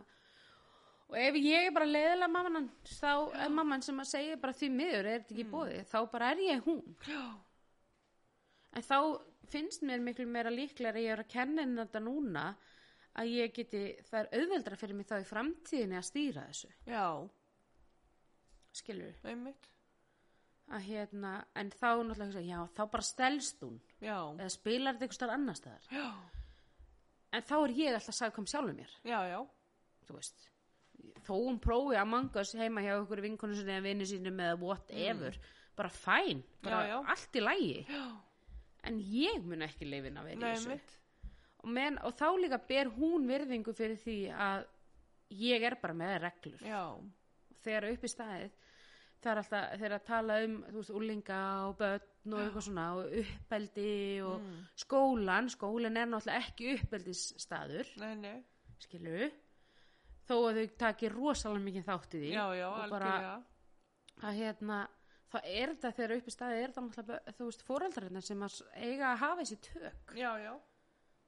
S2: og ef ég er bara leiðilega mamman hans, þá er mamman sem að segja bara því miður er þetta ekki mm. bóði, þá bara er ég hún
S1: já,
S2: en þá finnst mér miklu meira líklega að ég er að kenna henni þetta núna að ég geti, það er auðveldra fyrir mig þá í framtíðinni að stýra þessu
S1: já,
S2: skilur,
S1: einmitt,
S2: að hérna en þá náttúrulega, hugsa ég, já, þá bara stelst hún
S1: já,
S2: eða spilar þetta eitthvað starf annar staðar
S1: já,
S2: en þá er ég alltaf sagkom sjálfum mér
S1: já, já,
S2: þú veist þó hún prófi að manga sig heima hjá okkur vinkonu sinni eða vinnu sínum eða whatever bara fæn, bara
S1: Mm. Já, já.
S2: allt í lægi
S1: já,
S2: en ég mun ekki leifin að vera
S1: nei,
S2: í þessu
S1: einmitt,
S2: og, men, og þá líka ber hún virðingu fyrir því að ég er bara með reglur
S1: já,
S2: þegar upp í staðið það er alltaf, þegar að tala um þú veist, úlinga og börn og eitthvað svona og uppeldi
S1: Mm.
S2: og skólan skólan er náttúrulega ekki uppeldisstaður
S1: nei, nei,
S2: skilu þó að þau taki rosalega mikið þátt í því
S1: já, já,
S2: og bara
S1: algjörlega,
S2: að hérna þá er þetta þegar upp í staði er það náttúrulega bara, þú veist fóreldrarinn sem að s-
S1: oh,
S2: eiga að hafa þessi tök
S1: já, já, oh.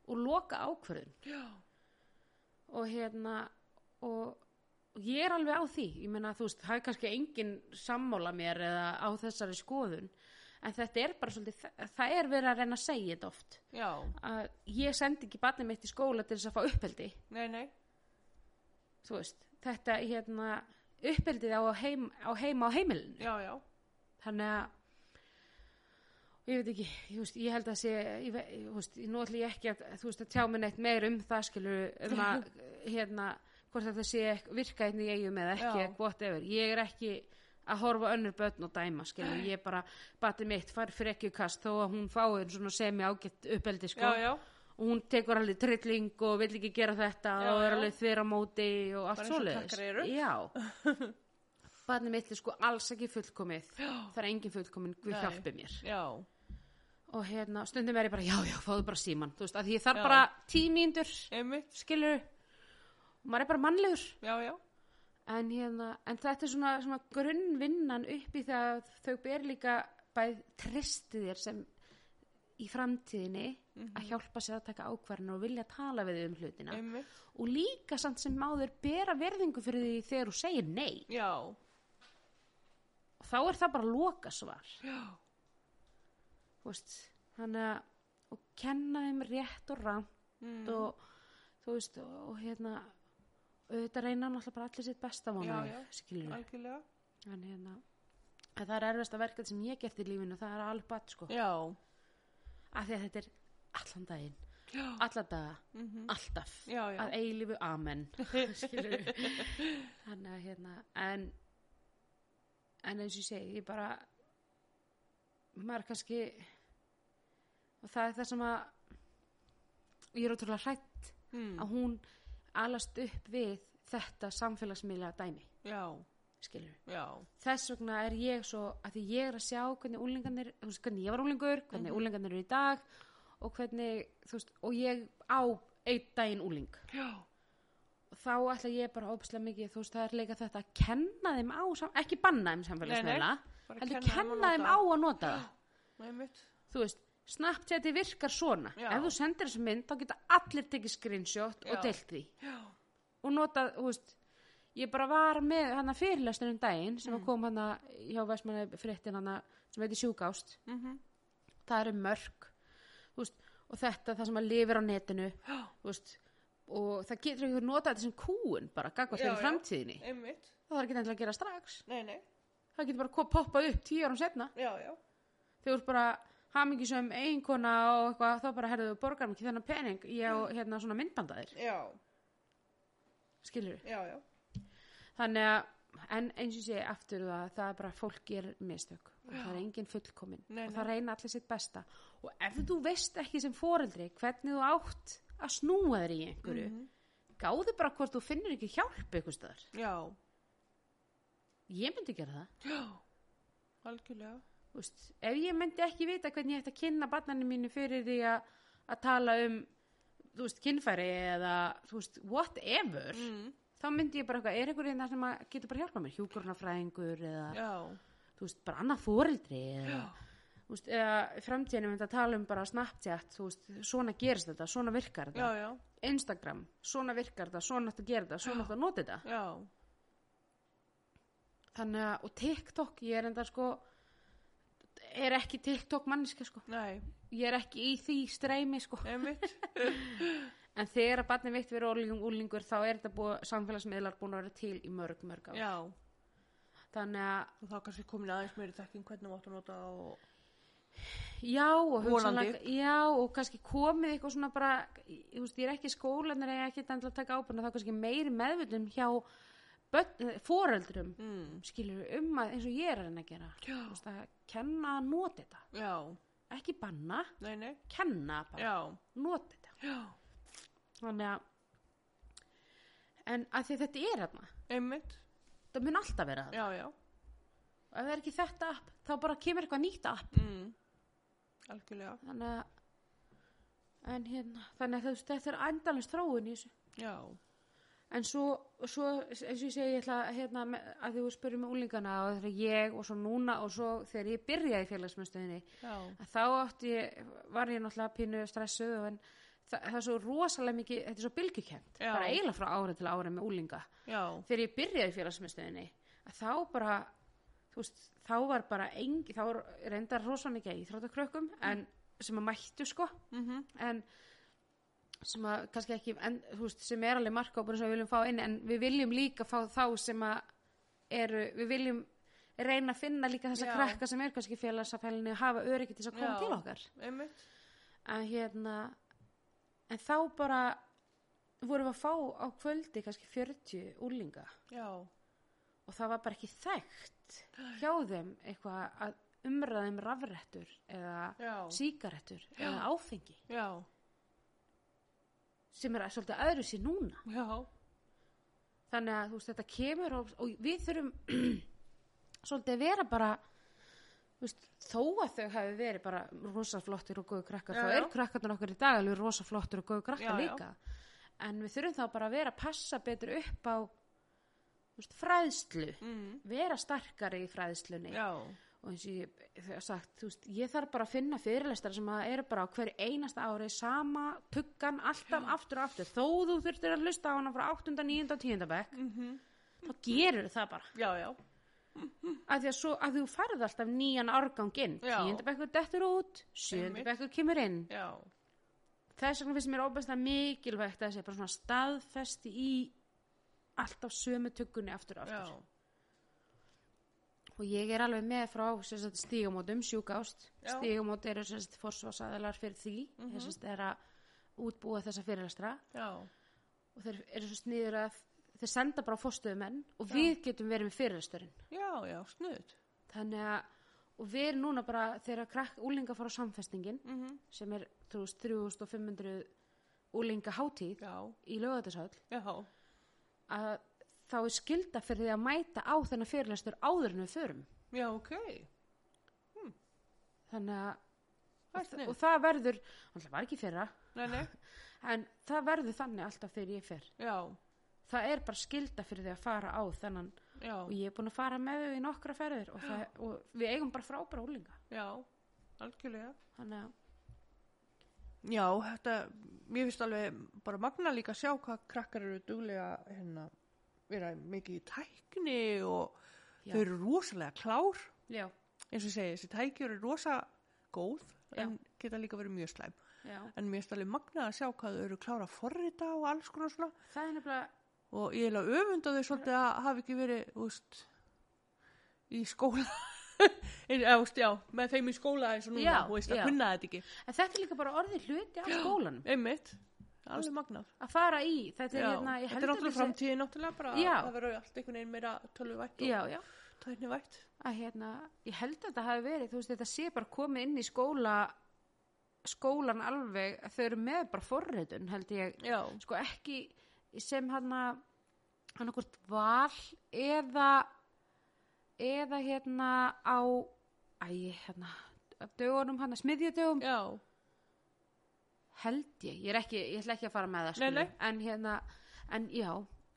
S2: og loka ákvörðun
S1: já,
S2: og hérna og og ég er alveg á því ég meina þú veist, það er kannski engin sammála mér eða á þessari skoðun en þetta er bara svolítið það- það er verið að reyna að segja þetta oft
S1: Já,
S2: að ég sendi ekki barnið mitt í skóla til þess að fá uppeldi
S1: nei, nei.
S2: þú veist, þetta hérna uppeldið á, heim, á heima á heimilinu
S1: Já, já.
S2: þannig að og ég veit ekki, ég, veist, ég held að sé ég, ve- ég, veist, nú ætlum ég ekki að, þú veist, að tjá mig neitt meir um það skilur um að, hérna, hvort þetta sé ekk- virka einn í eigum eða ekki
S1: Já.
S2: eða whatever, ég er ekki að horfa á önnur börn og dæma skilur, ég bara, bati mitt fær fyrir ekki kast þó að hún fái svona semi ágætt uppeldi sko,
S1: Já, já.
S2: og hún tekur alveg trilling og vill ekki gera þetta
S1: Já,
S2: og er
S1: já.
S2: alveg þver á móti og allt
S1: Bara eins og
S2: svoleiðis
S1: krakkar eru.
S2: já barnið mitt er sko alls ekki fullkomið
S1: Já.
S2: það er engin fullkomin, við
S1: Nei.
S2: hjálpi mér
S1: Já.
S2: og hérna, stundum er ég bara, já, já, fáðu bara síman þú veist, að því ég þarf
S1: Já.
S2: bara tímíndur
S1: Einmitt.
S2: skilur, maður er bara mannlegur
S1: Já, já.
S2: en hérna, en þetta er svona, svona grunnvinnan upp í það að þau ber líka bæð tristið þér sem í framtíðinni að hjálpa sér að taka ákvarðan og vilja tala við þau um hlutina
S1: Mhm. Einmitt.
S2: og líka samt sem máður bera verðingu fyrir því þegar þú segir nei
S1: Já.
S2: og þá er það bara lokasvar
S1: Já.
S2: þú veist, þannig að og kenna þeim rétt og rangt
S1: Mm.
S2: og þú veist og, og hérna auðvitað reyna náttúrulega bara allir sitt besta vona
S1: Já, já.
S2: skilur
S1: Algjörlega.
S2: en hérna en það er erfasta verkefni sem ég gert í lífinu það er alveg bætt sko
S1: Já.
S2: af því að þetta er allan daginn
S1: Já.
S2: alla daga,
S1: oh. Mhm.
S2: alltaf
S1: Já, já.
S2: að eilífu amen skilur þannig að hérna en, en eins og ég segi ég bara maður kannski og það er það sem að ég er ótrúlega hrætt
S1: Mm.
S2: að hún alast upp við þetta samfélagsmiðla dæmi
S1: Já.
S2: skilur
S1: Já.
S2: þess vegna er ég svo að því ég er að sjá hvernig úlingarnir þú veist, hvernig ég var úlingur,
S1: Mhm.
S2: hvernig úlingarnir eru í dag og hvernig, þú veist, og ég á einn daginn úling
S1: Já.
S2: og þá ætla ég bara ópslega mikið, þú veist, það er leika þetta að kenna þeim á, sam- ekki banna þeim samfélagsmeila,
S1: Bara
S2: heldur
S1: kenna þeim að
S2: kenna þeim
S1: nota.
S2: á að nota það,
S1: Einmitt.
S2: þú veist Snapchati virkar svona,
S1: Já.
S2: ef þú sendir þessu mynd þá geta allir tekið screenshot
S1: Já.
S2: og deilt því
S1: Já.
S2: og notað, þú veist ég bara var með hann að fyrirlestur um daginn sem mm. kom hann að hjá Vestmanni fréttin hann sem heitir sjúkást
S1: Mhm.
S2: það eru mörg þú veist, og þetta það sem að lifir á netinu
S1: Já.
S2: þú veist, og það getur ekki notað þetta sem kúun bara gagvað
S1: Já,
S2: þegar
S1: já.
S2: framtíðinni
S1: Einmitt.
S2: það þarf ekki endilega að gera strax
S1: Nei, nei.
S2: það getur bara ko- poppað upp tíu árum setna
S1: Já, já.
S2: þegar þú ert bara hamingisum eiginkona og eitthvað þá bara herðu borgar mig ekki þennan pening ég og hérna svona myndbandaðir
S1: Já.
S2: skilur
S1: Já, já.
S2: þannig að en eins og ég segi aftur það það er bara að fólk ger mistök og það er engin fullkomin
S1: Nei,
S2: og það reyna allir sitt besta og ef þú veist ekki sem foreldri hvernig þú átt að snúa þér í einhverju
S1: Mhm.
S2: gáðu bara hvort þú finnur ekki hjálp einhvers staðar
S1: Já.
S2: ég myndi gera það
S1: Já. Algjörlega.
S2: Þú veist, ef ég myndi ekki vita hvernig ég ætti að kynna barnanum mínu fyrir því að að tala um þú veist, kynfæri eða þú veist, whatever
S1: Mm.
S2: þá myndi ég bara eitthvað, er einhverjum það sem að getur bara hjálpa mér, hjúkurnafræðingur eða
S1: Já.
S2: þú veist, bara annað fóreldri eða, þú veist, eða framtíðinu myndi að tala um bara Snapchat, þú veist, svona gerist þetta, svona virkar þetta,
S1: Já, já.
S2: Instagram svona virkar þetta, svona áttu að gera þetta svona áttu að nota þetta,
S1: Já.
S2: þannig að og TikTok, ég er enda sko er ekki TikTok manniska sko,
S1: Nei.
S2: ég er ekki í því streymi sko,
S1: Einmitt.
S2: en þegar að barnið mitt verið ólíkum úlingur þá er þetta búið, samfélagsmiðlar búin að vera til í mörg, mörg ár,
S1: já.
S2: þannig að
S1: Og þá kannski komin aðeins meiri þekking hvernig máttu nota og...
S2: Já, og
S1: Vonandi.
S2: hugsanlega- já, og kannski komið eitthvað svona bara, ég, þú veist, ég er ekki skólanir eða ekki endilega að taka ábyrna, þá kannski meiri meðvöldum hjá börn, eh, foreldrum,
S1: Mm.
S2: skilur um að eins og ég er að reyna að gera,
S1: Já.
S2: þú veist, að kenna að nota þetta,
S1: Já.
S2: ekki banna,
S1: Nei, nei.
S2: kenna bara,
S1: Já.
S2: nota þetta,
S1: Já.
S2: þannig að, en að því að þetta er þarna,
S1: Einmitt.
S2: það mun alltaf vera þarna,
S1: Já, já.
S2: og ef það er ekki þetta app, þá bara kemur eitthvað nýtt app,
S1: Mm. Algjörlega.
S2: þannig að, en hérna, þannig að þú veist, þetta er endalins þróun í þessu.
S1: Já.
S2: En svo, svo eins og ég segi, ég ætla að, hérna, me- að því þú spyrir með úlingana og þegar ég og svo núna og svo þegar ég byrjaði í félagsmyndstöðinni
S1: Já.
S2: að þá átti ég, var ég náttúrulega pínu stressuð og en það, það er svo rosalega mikið, þetta er svo bylgjukent
S1: Já.
S2: bara eiginlega frá ári til ári með úlinga
S1: já,
S2: þegar ég byrjaði í félagsmyndstöðinni að þá bara þú veist, þá var bara engi þá var reyndar rosa mikið að íþróta krökkum en, sem að mættu sko
S1: mm
S2: en sem að kannski ekki en, þú veist, sem er alveg markhópur sem við viljum fá inn en við viljum líka fá þá sem að eru, við viljum reyna að finna líka þessa
S1: Já.
S2: krakka sem er kannski í félagsafælinni og hafa öryggi til þess að koma
S1: Já.
S2: til okkar
S1: einmitt
S2: en hérna en þá bara vorum við að fá á kvöldi kannski 40 úlinga
S1: já,
S2: og það var bara ekki þekkt hjá þeim eitthvað að umræða þeim rafrettur eða
S1: já,
S2: sígarettur eða áfengi
S1: já,
S2: sem er svolítið öðru sér núna
S1: já
S2: þannig að þú veist þetta kemur og, og við þurfum svolítið að vera bara þú veist, þó að þau hafi verið bara rosa flottir og góðu krakkar
S1: Já,
S2: þá
S1: já.
S2: er krakkarnar okkur í dag alveg rosa flottir og góðu krakkar
S1: Já, já.
S2: líka en við þurfum þá bara að vera að passa betur upp á þú veist, fræðslu
S1: mm.
S2: vera starkari í fræðslunni
S1: já,
S2: og eins og ég hef sagt, þú veist, ég þarf bara að finna fyrirlestar sem að eru bara á hverju einasta ári sama tuggan alltaf aftur og aftur þó þú þurftir að hlusta á hana frá 8. 9. og 10. bekk
S1: Mhm.
S2: þá gerur það bara
S1: já, já
S2: að því að, svo, að þú farð alltaf nýjan árgang inn
S1: Já.
S2: 10. bekkur dettur út 7.
S1: Einmitt.
S2: bekkur kemur inn
S1: já,
S2: þess vegna finnst mér óbæðslega mikilvægt að þessi bara svona staðfesti í alltaf sömu tuggunni aftur og aftur
S1: já,
S2: og ég er alveg með frá sem sagt, stígamótum, sjúkást
S1: Já.
S2: stígamót eru sem sagt, forsvarsæðalar fyrir því mm -hmm. sagt, er að útbúa þessa fyrirlestra
S1: já,
S2: og þeir eru svo sniður að þeir senda bara fórstöðumenn og við getum verið með fyrirlesturinn
S1: já, já, snuð
S2: þannig að og við erum núna bara þegar krakk úlinga fara á samfestingin
S1: mm
S2: sem er þú veist, 3500 úlinga hátíð
S1: já,
S2: í lögatasáll
S1: já,
S2: að þá er skilda fyrir því að mæta á þennan fyrirlestur áður en við förum
S1: já, ok
S2: þannig að
S1: Það er
S2: og, þa-
S1: sniðugt.
S2: og það verður, alltaf var ekki í fyrra
S1: nei, nei,
S2: en það verður þannig alltaf þegar ég fer
S1: já,
S2: það er bara skilda fyrir því að fara á þennan
S1: já,
S2: og ég er búin að fara með þau í nokkra ferðir og, það, og við eigum bara frábæra úlinga
S1: já algjörlega
S2: þannig að,
S1: Já, þetta, mér finnst alveg bara magna líka að sjá hvað krakkar eru duglega hérna, vera mikið í tækni og
S2: Já.
S1: þau eru rosalega klár,
S2: já,
S1: eins og ég segi, þessi tæki eru rosa góð,
S2: Já.
S1: en geta líka verið mjög slæm.
S2: já
S1: En mér finnst alveg magna að sjá hvað þau eru klára að forrita og alls konar svona
S2: það er nefnilega,
S1: og ég er að öfunda þau svolítið að hafa ekki verið, úst, í skóla, En, eða, úst, já, með þeim í skóla eins og núna,
S2: Já,
S1: þú veist, að
S2: já.
S1: kunna þetta ekki.
S2: en þetta er líka bara orðið hluti af skólanum
S1: Einmitt, alveg magnað.
S2: að fara í, þetta er
S1: Já,
S2: hérna ég
S1: þetta
S2: held
S1: er náttúrulega
S2: þetta sé-
S1: framtíði náttúrulega bara
S2: Já.
S1: að það verður allt einhvern veginn meira tölvuvætt
S2: já,
S1: og
S2: já,
S1: tæknivætt
S2: að hérna, ég held að þetta hafi verið þú veist, þetta sé bara komið inn í skóla skólan alveg þau eru með bara forritun held ég
S1: já,
S2: sko ekki sem hann hann okkur val eða eða hérna á æ, hérna dögunum hann að smiðjadögum
S1: já,
S2: held ég, ég er ekki, ég ætla ekki að fara með það
S1: Nei,
S2: skilur.
S1: nei.
S2: en hérna, en já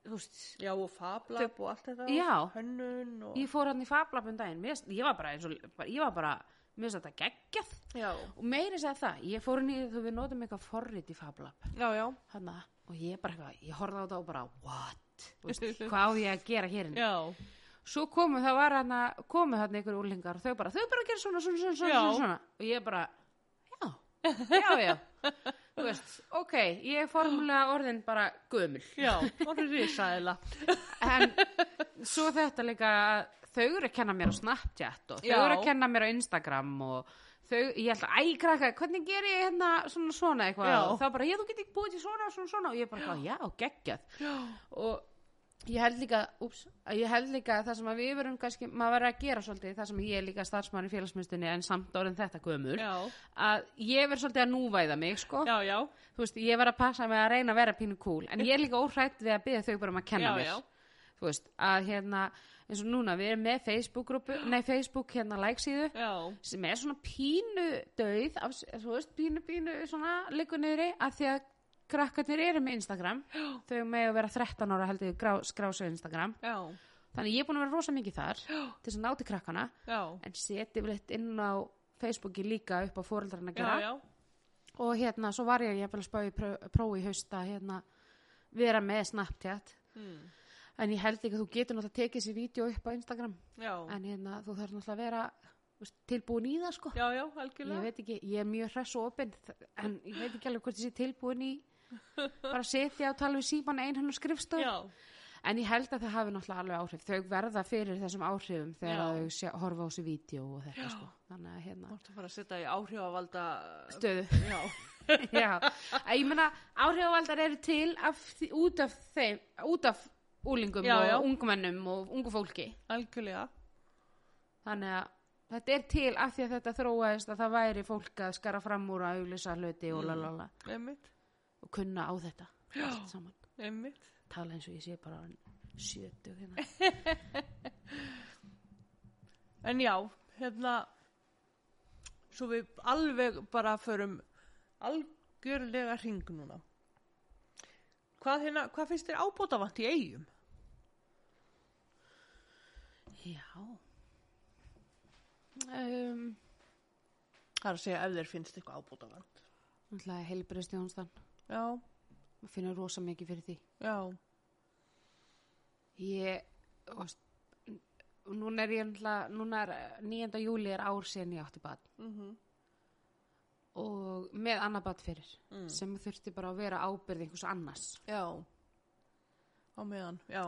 S2: þú veist,
S1: já og fablab og allt þetta
S2: Já.
S1: og hönnun og
S2: ég fór hann í fablapun daginn, Mér finnst- ég var bara eins og bara- ég var bara, mér finnst þetta geggjað
S1: já,
S2: og meiri segði það, ég fór hann í þú við notum eitthvað forrit í fablap
S1: já, já,
S2: hana, og ég bara eitthvað, ég horfði á þetta og bara what, Þú veist, hvað á ég að gera hér inni?
S1: já,
S2: svo komu það var hana komu þarna ykkur úlingar og þau bara þau bara gera svona svona svona, svona,
S1: Já.
S2: svona, svona. og ég bara já já já þú veist ok ég er formulega orðin bara gömul
S1: já og það er risaðila
S2: en svo þetta líka að þau eru að kenna mér á Snapchat og þau
S1: Já.
S2: eru að kenna mér á Instagram og þau, ég held að, æ, krakka, hvernig ger ég hérna svona svona eitthvað
S1: Já.
S2: og þá bara, ég, þú getur ekki búið til svona, svona, svona og ég bara, eitthvað, já, geggjað
S1: já,
S2: og ég held líka, úps, að ég held líka að það sem að við verum kannski, maður verður að gera svolítið það sem ég er líka starfsmann í félagsmyndinni en samt orðin þetta gömul
S1: já,
S2: að ég verður svolítið að núvæða mig sko.
S1: já, já,
S2: þú veist, ég verður að passa mig að reyna að vera pínu cool en ég er líka óhrætt við að byrja þau bara um að kenna
S1: Já,
S2: mér
S1: já.
S2: þú veist, að hérna eins og núna, við erum með Facebook-grúpu nei, Facebook hérna læksíðu
S1: já,
S2: sem er svona pínu döið af, þú veist, pínu, pínu, svona liggur niðri að því að krakkarnir eru með Instagram þau með að vera 13 ára heldur grá, skrásu Instagram
S1: já,
S2: þannig ég er búin að vera rosa mikið þar til þess að náti krakkana
S1: já,
S2: en seti vel eitt inn á Facebooki líka upp á fóreldrarna
S1: já,
S2: gera
S1: já,
S2: og hérna, svo var ég jafnvel að spá í pró- prófi í haust að hérna, vera með Snapchat
S1: Mm.
S2: en ég held ekki að þú getur náttúrulega tekið þessi vídeo upp á Instagram
S1: Já.
S2: en hérna, þú þarf náttúrulega að vera þú veist, tilbúin í það sko
S1: já, já,
S2: ég
S1: algjörlega.
S2: veit ekki, ég er mjög hress og opinn en ég veit ekki alveg hvort ég sé tilbúin í bara að setja og tala við síman einhvern og skrifstof
S1: Já,
S2: en ég held að það hafi náttúrulega alveg áhrif þau verða fyrir þessum áhrifum þegar
S1: Já.
S2: að þau sjá, horfa á þessu vídeo og þetta
S1: Já.
S2: sko þannig að
S1: þú
S2: hérna,
S1: ert að fara að setja í áhrifavalda...
S2: stöðu
S1: Já,
S2: Já, að ég meina áhrifavaldar eru til af, því- út af þeim, út af úlingum
S1: Já,
S2: og
S1: já.
S2: ungmennum og ungu fólki.
S1: algjörlega.
S2: Þannig að þetta er til af því að þetta þróaðist að það væri fólk að skara fram úr að auglýsa hluti og
S1: Mm.
S2: lalala
S1: Einmitt,
S2: og kunna á þetta
S1: Já.
S2: allt saman.
S1: einmitt.
S2: Tala eins og ég sé bara sjötug hérna.
S1: En já, hérna, svo við alveg bara förum algjörlega hring núna. Hvað, hérna, hvað finnst þér ábótavant í eigum?
S2: Já. Um,
S1: Það er að segja ef þér finnst eitthvað ábótavant.
S2: Náttúrulega heilbreyðstjónstan.
S1: Já,
S2: Maður finnur rosa mikið fyrir því.
S1: já,
S2: Ég, þú veist, n- núna er ég náttúrulega, núna er eh, 9. júli er ár síðan ég átti bad
S1: mm
S2: og með annað bad fyrir
S1: Mm.
S2: sem þurfti bara að vera ábyrð einhvers annars
S1: já. Á meðan, já,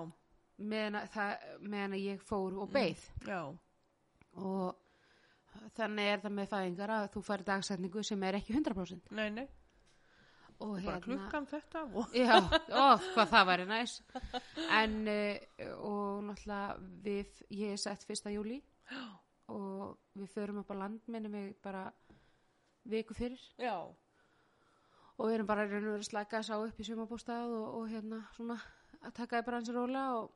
S2: meðan að, það, meðan að ég fór og beið
S1: já, Mm.
S2: og þannig er það með fæðingar að þú færi dagsetningu sem er ekki 100%
S1: nei, nei,
S2: og hérna-
S1: bara klukkan þetta og...
S2: Já, ó, hvað það væri næs En uh, og náttúrulega við, ég er sett fyrsta júli og við förum upp á land minnum við bara viku fyrir
S1: Já,
S2: og við erum bara í raun og verið slæka að sá upp í sumabústað og, og hérna svona að taka því bara hans róla og,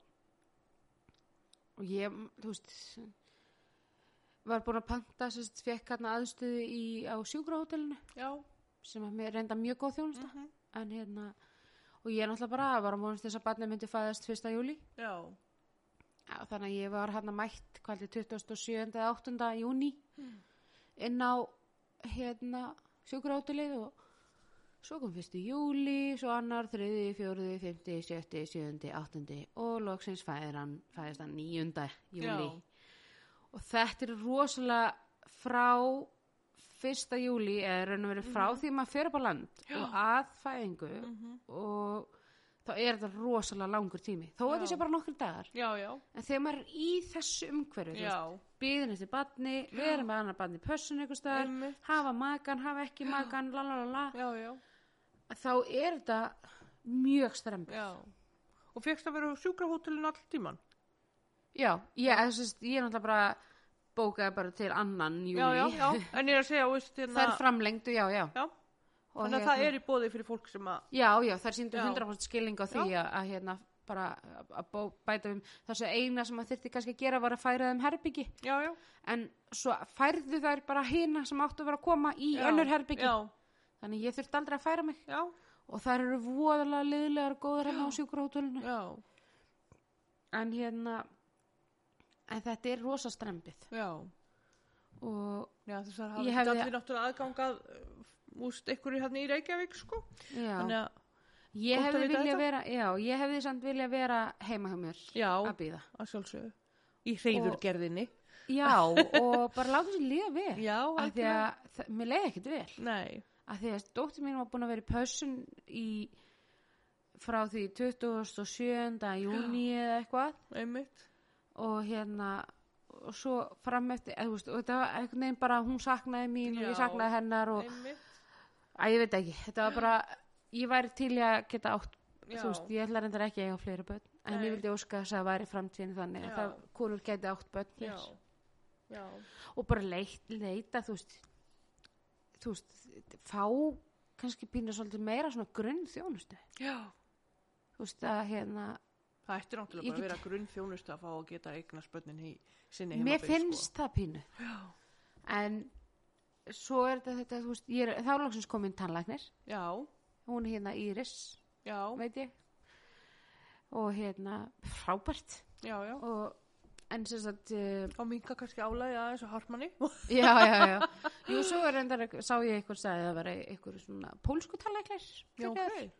S2: og ég, þú veist var búin að panta sérst, fekk hérna aðstöðu í, á sjúkrahótelinu
S1: já, Mhm.
S2: sem er mér reynda mjög góð þjónusta en hérna og ég er náttúrulega bara var að vonast þess að barnið myndi fæðast 1. júli
S1: já,
S2: Já, þannig að ég var hérna mætt kvældi 27. eða 8. júni inn á hérna sjúkurátulið og svo kom 1. júli svo annar, 3., 4., 5., 6., 7., 8. og loksins fæðir hann, fæðist hann 9. júli
S1: Já.
S2: og þetta er rosalega frá 1. júli eða raun og verið frá því maður fer upp á land og að fæðingu
S1: Mhm.
S2: og þá er þetta rosalega langur tími þó að
S1: Já.
S2: þetta sé bara nokkri dagar
S1: já, já,
S2: en þegar maður er í þessu umhverju
S1: já,
S2: býðin eftir badni, vera með annar badni pössun einhvers staðar,
S1: einmitt,
S2: hafa makan hafa ekki makan, la la la la
S1: já, já,
S2: þá er þetta mjög strembi
S1: já. Og fegst að vera á sjúkrahótelinu all tíman?
S2: já, ég, ég, sest, ég er náttúrulega bara bókaði bara til annan júli
S1: Já, já, já, en ég er að segja, veist,
S2: það
S1: hérna,
S2: er framlengdu, já, já
S1: já,
S2: Og hérna-
S1: þannig að það er í bóði fyrir fólk sem að,
S2: Já, já, þær síndu
S1: Já.
S2: 100% skilning á því að, að hérna bara að- að bó- bæta um þessu eina sem maður þyrfti kannski að gera var að færa þeim herbyggi
S1: já, já,
S2: en svo færðu þær bara hina sem áttu að vera að koma í
S1: já,
S2: önnur herbyggi
S1: já,
S2: þannig ég þurfti aldrei að færa mig
S1: já,
S2: og þær eru voðalega liðlegar og góðar hérna á sjúkurhótulinu
S1: já,
S2: en hérna en þetta er rosa strempið
S1: já,
S2: og
S1: já, þessar
S2: Ég
S1: hafa
S2: hefði-
S1: hefði... allir náttúrulega aðgangað, úst, einhverju hérna í Reykjavík, sko,
S2: já,
S1: þannig að,
S2: ég
S1: gott að
S2: hefði
S1: vita
S2: vilja
S1: þetta.
S2: vera já, ég hefði samt vilja vera heima hjá mér
S1: já,
S2: að býða
S1: að sjálfsögðu, í hreyðurgerðinni,
S2: Já, og bara láta sér líða vel.
S1: Já,
S2: af því
S1: algjörlega.
S2: að það- mér leiði ekkert vel.
S1: nei,
S2: Af því að dóttir mín var búin að vera í pössun í frá því 27. júni eða eitthvað
S1: einmitt,
S2: og hérna og svo fram eftir, eða, þú veist, og þetta var einhvern veginn bara hún saknaði mín og ég
S1: Já.
S2: saknaði hennar og
S1: einmitt,
S2: að ég veit ekki, þetta var bara ég væri til í að geta átt
S1: já,
S2: þú veist, ég ætla reyndar ekki að eiga fleiri börn en
S1: Nei.
S2: ég vildi óska þess að það væri framtíðin þannig
S1: Já.
S2: að það konur geti átt börn hér.
S1: já, já,
S2: og bara leit, leita þú veist, þú veist fá kannski pínu svolítið meira svona grunn þjónustu
S1: já,
S2: þú veist að hérna
S1: það ætti náttúrulega
S2: Ég
S1: bara að
S2: get-
S1: vera grunnþjónustu að fá að geta eigna spönnin hérna í sinni
S2: mér
S1: heimabyggð, sko.
S2: finnst það pínu
S1: Já.
S2: en svo er þetta þetta þú veist, ég er þá langsins komin tannlæknir
S1: sko. já,
S2: hún er hérna Íris,
S1: já,
S2: veit ég og hérna frábært
S1: já, já,
S2: og en sem sagt eh,
S1: Þá minga kannski álægja aðeins og harmanni.
S2: já, já, já, já. jú, svo er reyndar sá ég eitthvað sagði að það vera eitthvað svona pólsku talæklar
S1: Já, ok.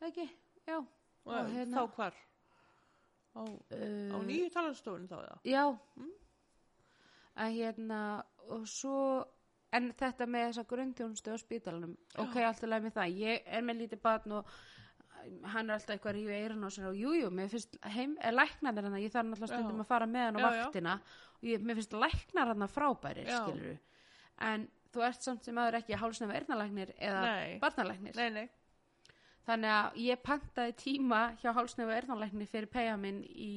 S2: ekki, já
S1: Og
S2: Og hérna-
S1: Þá hvar? Á, á
S2: uh,
S1: nýju talanstofunni þá eða?
S2: já að hérna og svo en þetta með þessa grunnþjónustu á spítalunum ok, allt er leið með það, ég er með lítið batn og hann er alltaf eitthvað að rífi eirun á sér og jújú, jú, mér finnst heim, er læknar hann að ég þarf náttúrulega stundum
S1: Já.
S2: að fara með hann á
S1: Já, já.
S2: vaktina og ég, mér finnst læknar hann að frábærir
S1: Já.
S2: skilur en þú ert samt sem aður ekki hálsnefn eirnalæknir eða
S1: Nei.
S2: barnalæknir
S1: Nei, nei.
S2: þannig að ég pantaði tíma hjá hálsnefn og erðanlækni fyrir peyja minn í,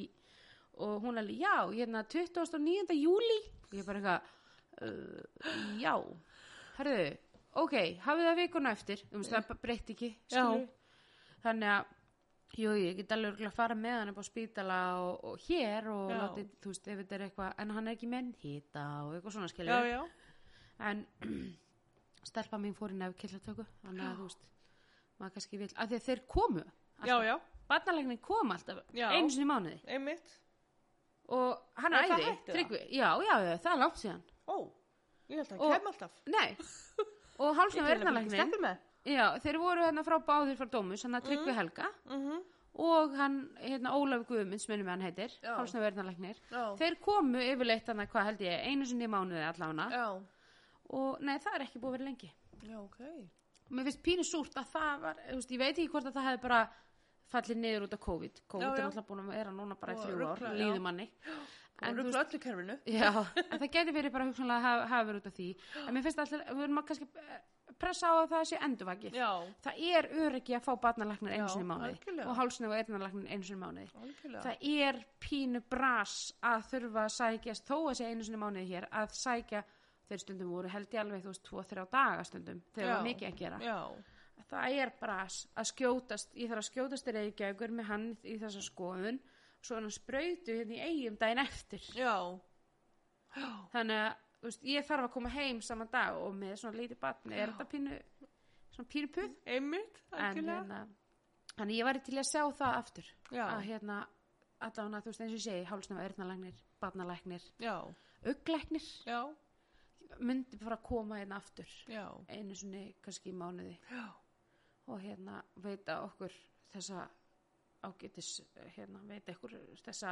S2: og hún alveg, já, hérna 29. júli ég bara eitthvað uh, já, herðu ok, hafið það vikuna eftir um, það breytti ekki skilurðu. þannig að Jú, ég get alveg örugglega að fara með hann upp á spítala og, og hér og
S1: Já.
S2: látið, þú veist, ef þetta er eitthvað, en hann er ekki menn hýta og eitthvað svona skilur
S1: Já, já.
S2: en stelpa mín fór í nefnkirlatöku þannig að þú veist maður kannski vil, af því að þeir komu
S1: Já, já.
S2: barnalegnin kom alltaf,
S1: Já.
S2: einu sinni í mánuði
S1: Einmitt.
S2: og hann
S1: Er það
S2: æði,
S1: hægt eða?
S2: tryggvi já, já, já, það er langt síðan
S1: Ó, ég held að
S2: Og-
S1: kem alltaf.
S2: nei, og hálsna verðnalegnin
S1: Steppi með.
S2: já, þeir voru hérna frá báðir frá dómus hann að tryggvi Helga
S1: Mhm.
S2: og hann, hérna Ólaf Guðmunds, minnum við hann heitir
S1: Já.
S2: hálsna verðnalegnir
S1: Já.
S2: þeir komu yfirleitt hann að hvað held ég einu sinni í mánuði allána
S1: Já.
S2: og nei, það er ekki búið að vera lengi
S1: Já, ok.
S2: mér finnst pínu súrt að það var þú veist, ég veit ekki hvort að það hefði bara fallið niður út af COVID COVID
S1: Já,
S2: er
S1: já.
S2: náttúrulega búin að vera núna bara í
S1: Og
S2: þrjú ár
S1: rugla, já.
S2: líðum manni
S1: Þú
S2: en, þú
S1: eru
S2: veist,
S1: glöðlu kerfinu.
S2: já, en það geti verið bara hugsanlega að hafa, hafa verið út af því en mér finnst alltaf, við erum að kannski eh, pressa á að það sé endurvakið
S1: Já.
S2: það er öryggi að fá barnalæknir einu
S1: Já,
S2: sinni í mánuði
S1: algjörlega.
S2: og hálsnef og eyrnalæknir einu sinni í mánuði
S1: Algjörlega.
S2: það er pínu bras að þurfa að sækjast þó að sé einu sinni í mánuði hér að sækja þeir stundum voru held ég alveg þú veist 2-3 daga stundum þegar
S1: Já.
S2: var mikið að gera
S1: Já.
S2: það er bara að- að skjótast ég þarf að skjótast í Reykjavíkur með hann í þessa skoðun svo hann sprautu hérna í eigum daginn eftir
S1: Já.
S2: þannig að þú veist, ég þarf að koma heim saman dag og með svona lítið batni er þetta pínu svona pínu puð
S1: Einmitt.
S2: en
S1: Algjörlega.
S2: hérna þannig ég væri til að sjá það aftur
S1: Já.
S2: að hérna allan að þú veist eins og ég segi hálsnafa erðnalæknir, barnalæknir
S1: Já.
S2: auglæknir
S1: Já.
S2: myndi bara að koma hérna aftur
S1: Já.
S2: einu sinni kannski í mánuði
S1: Já.
S2: og hérna veita okkur þessa ágætis hérna veita okkur þessa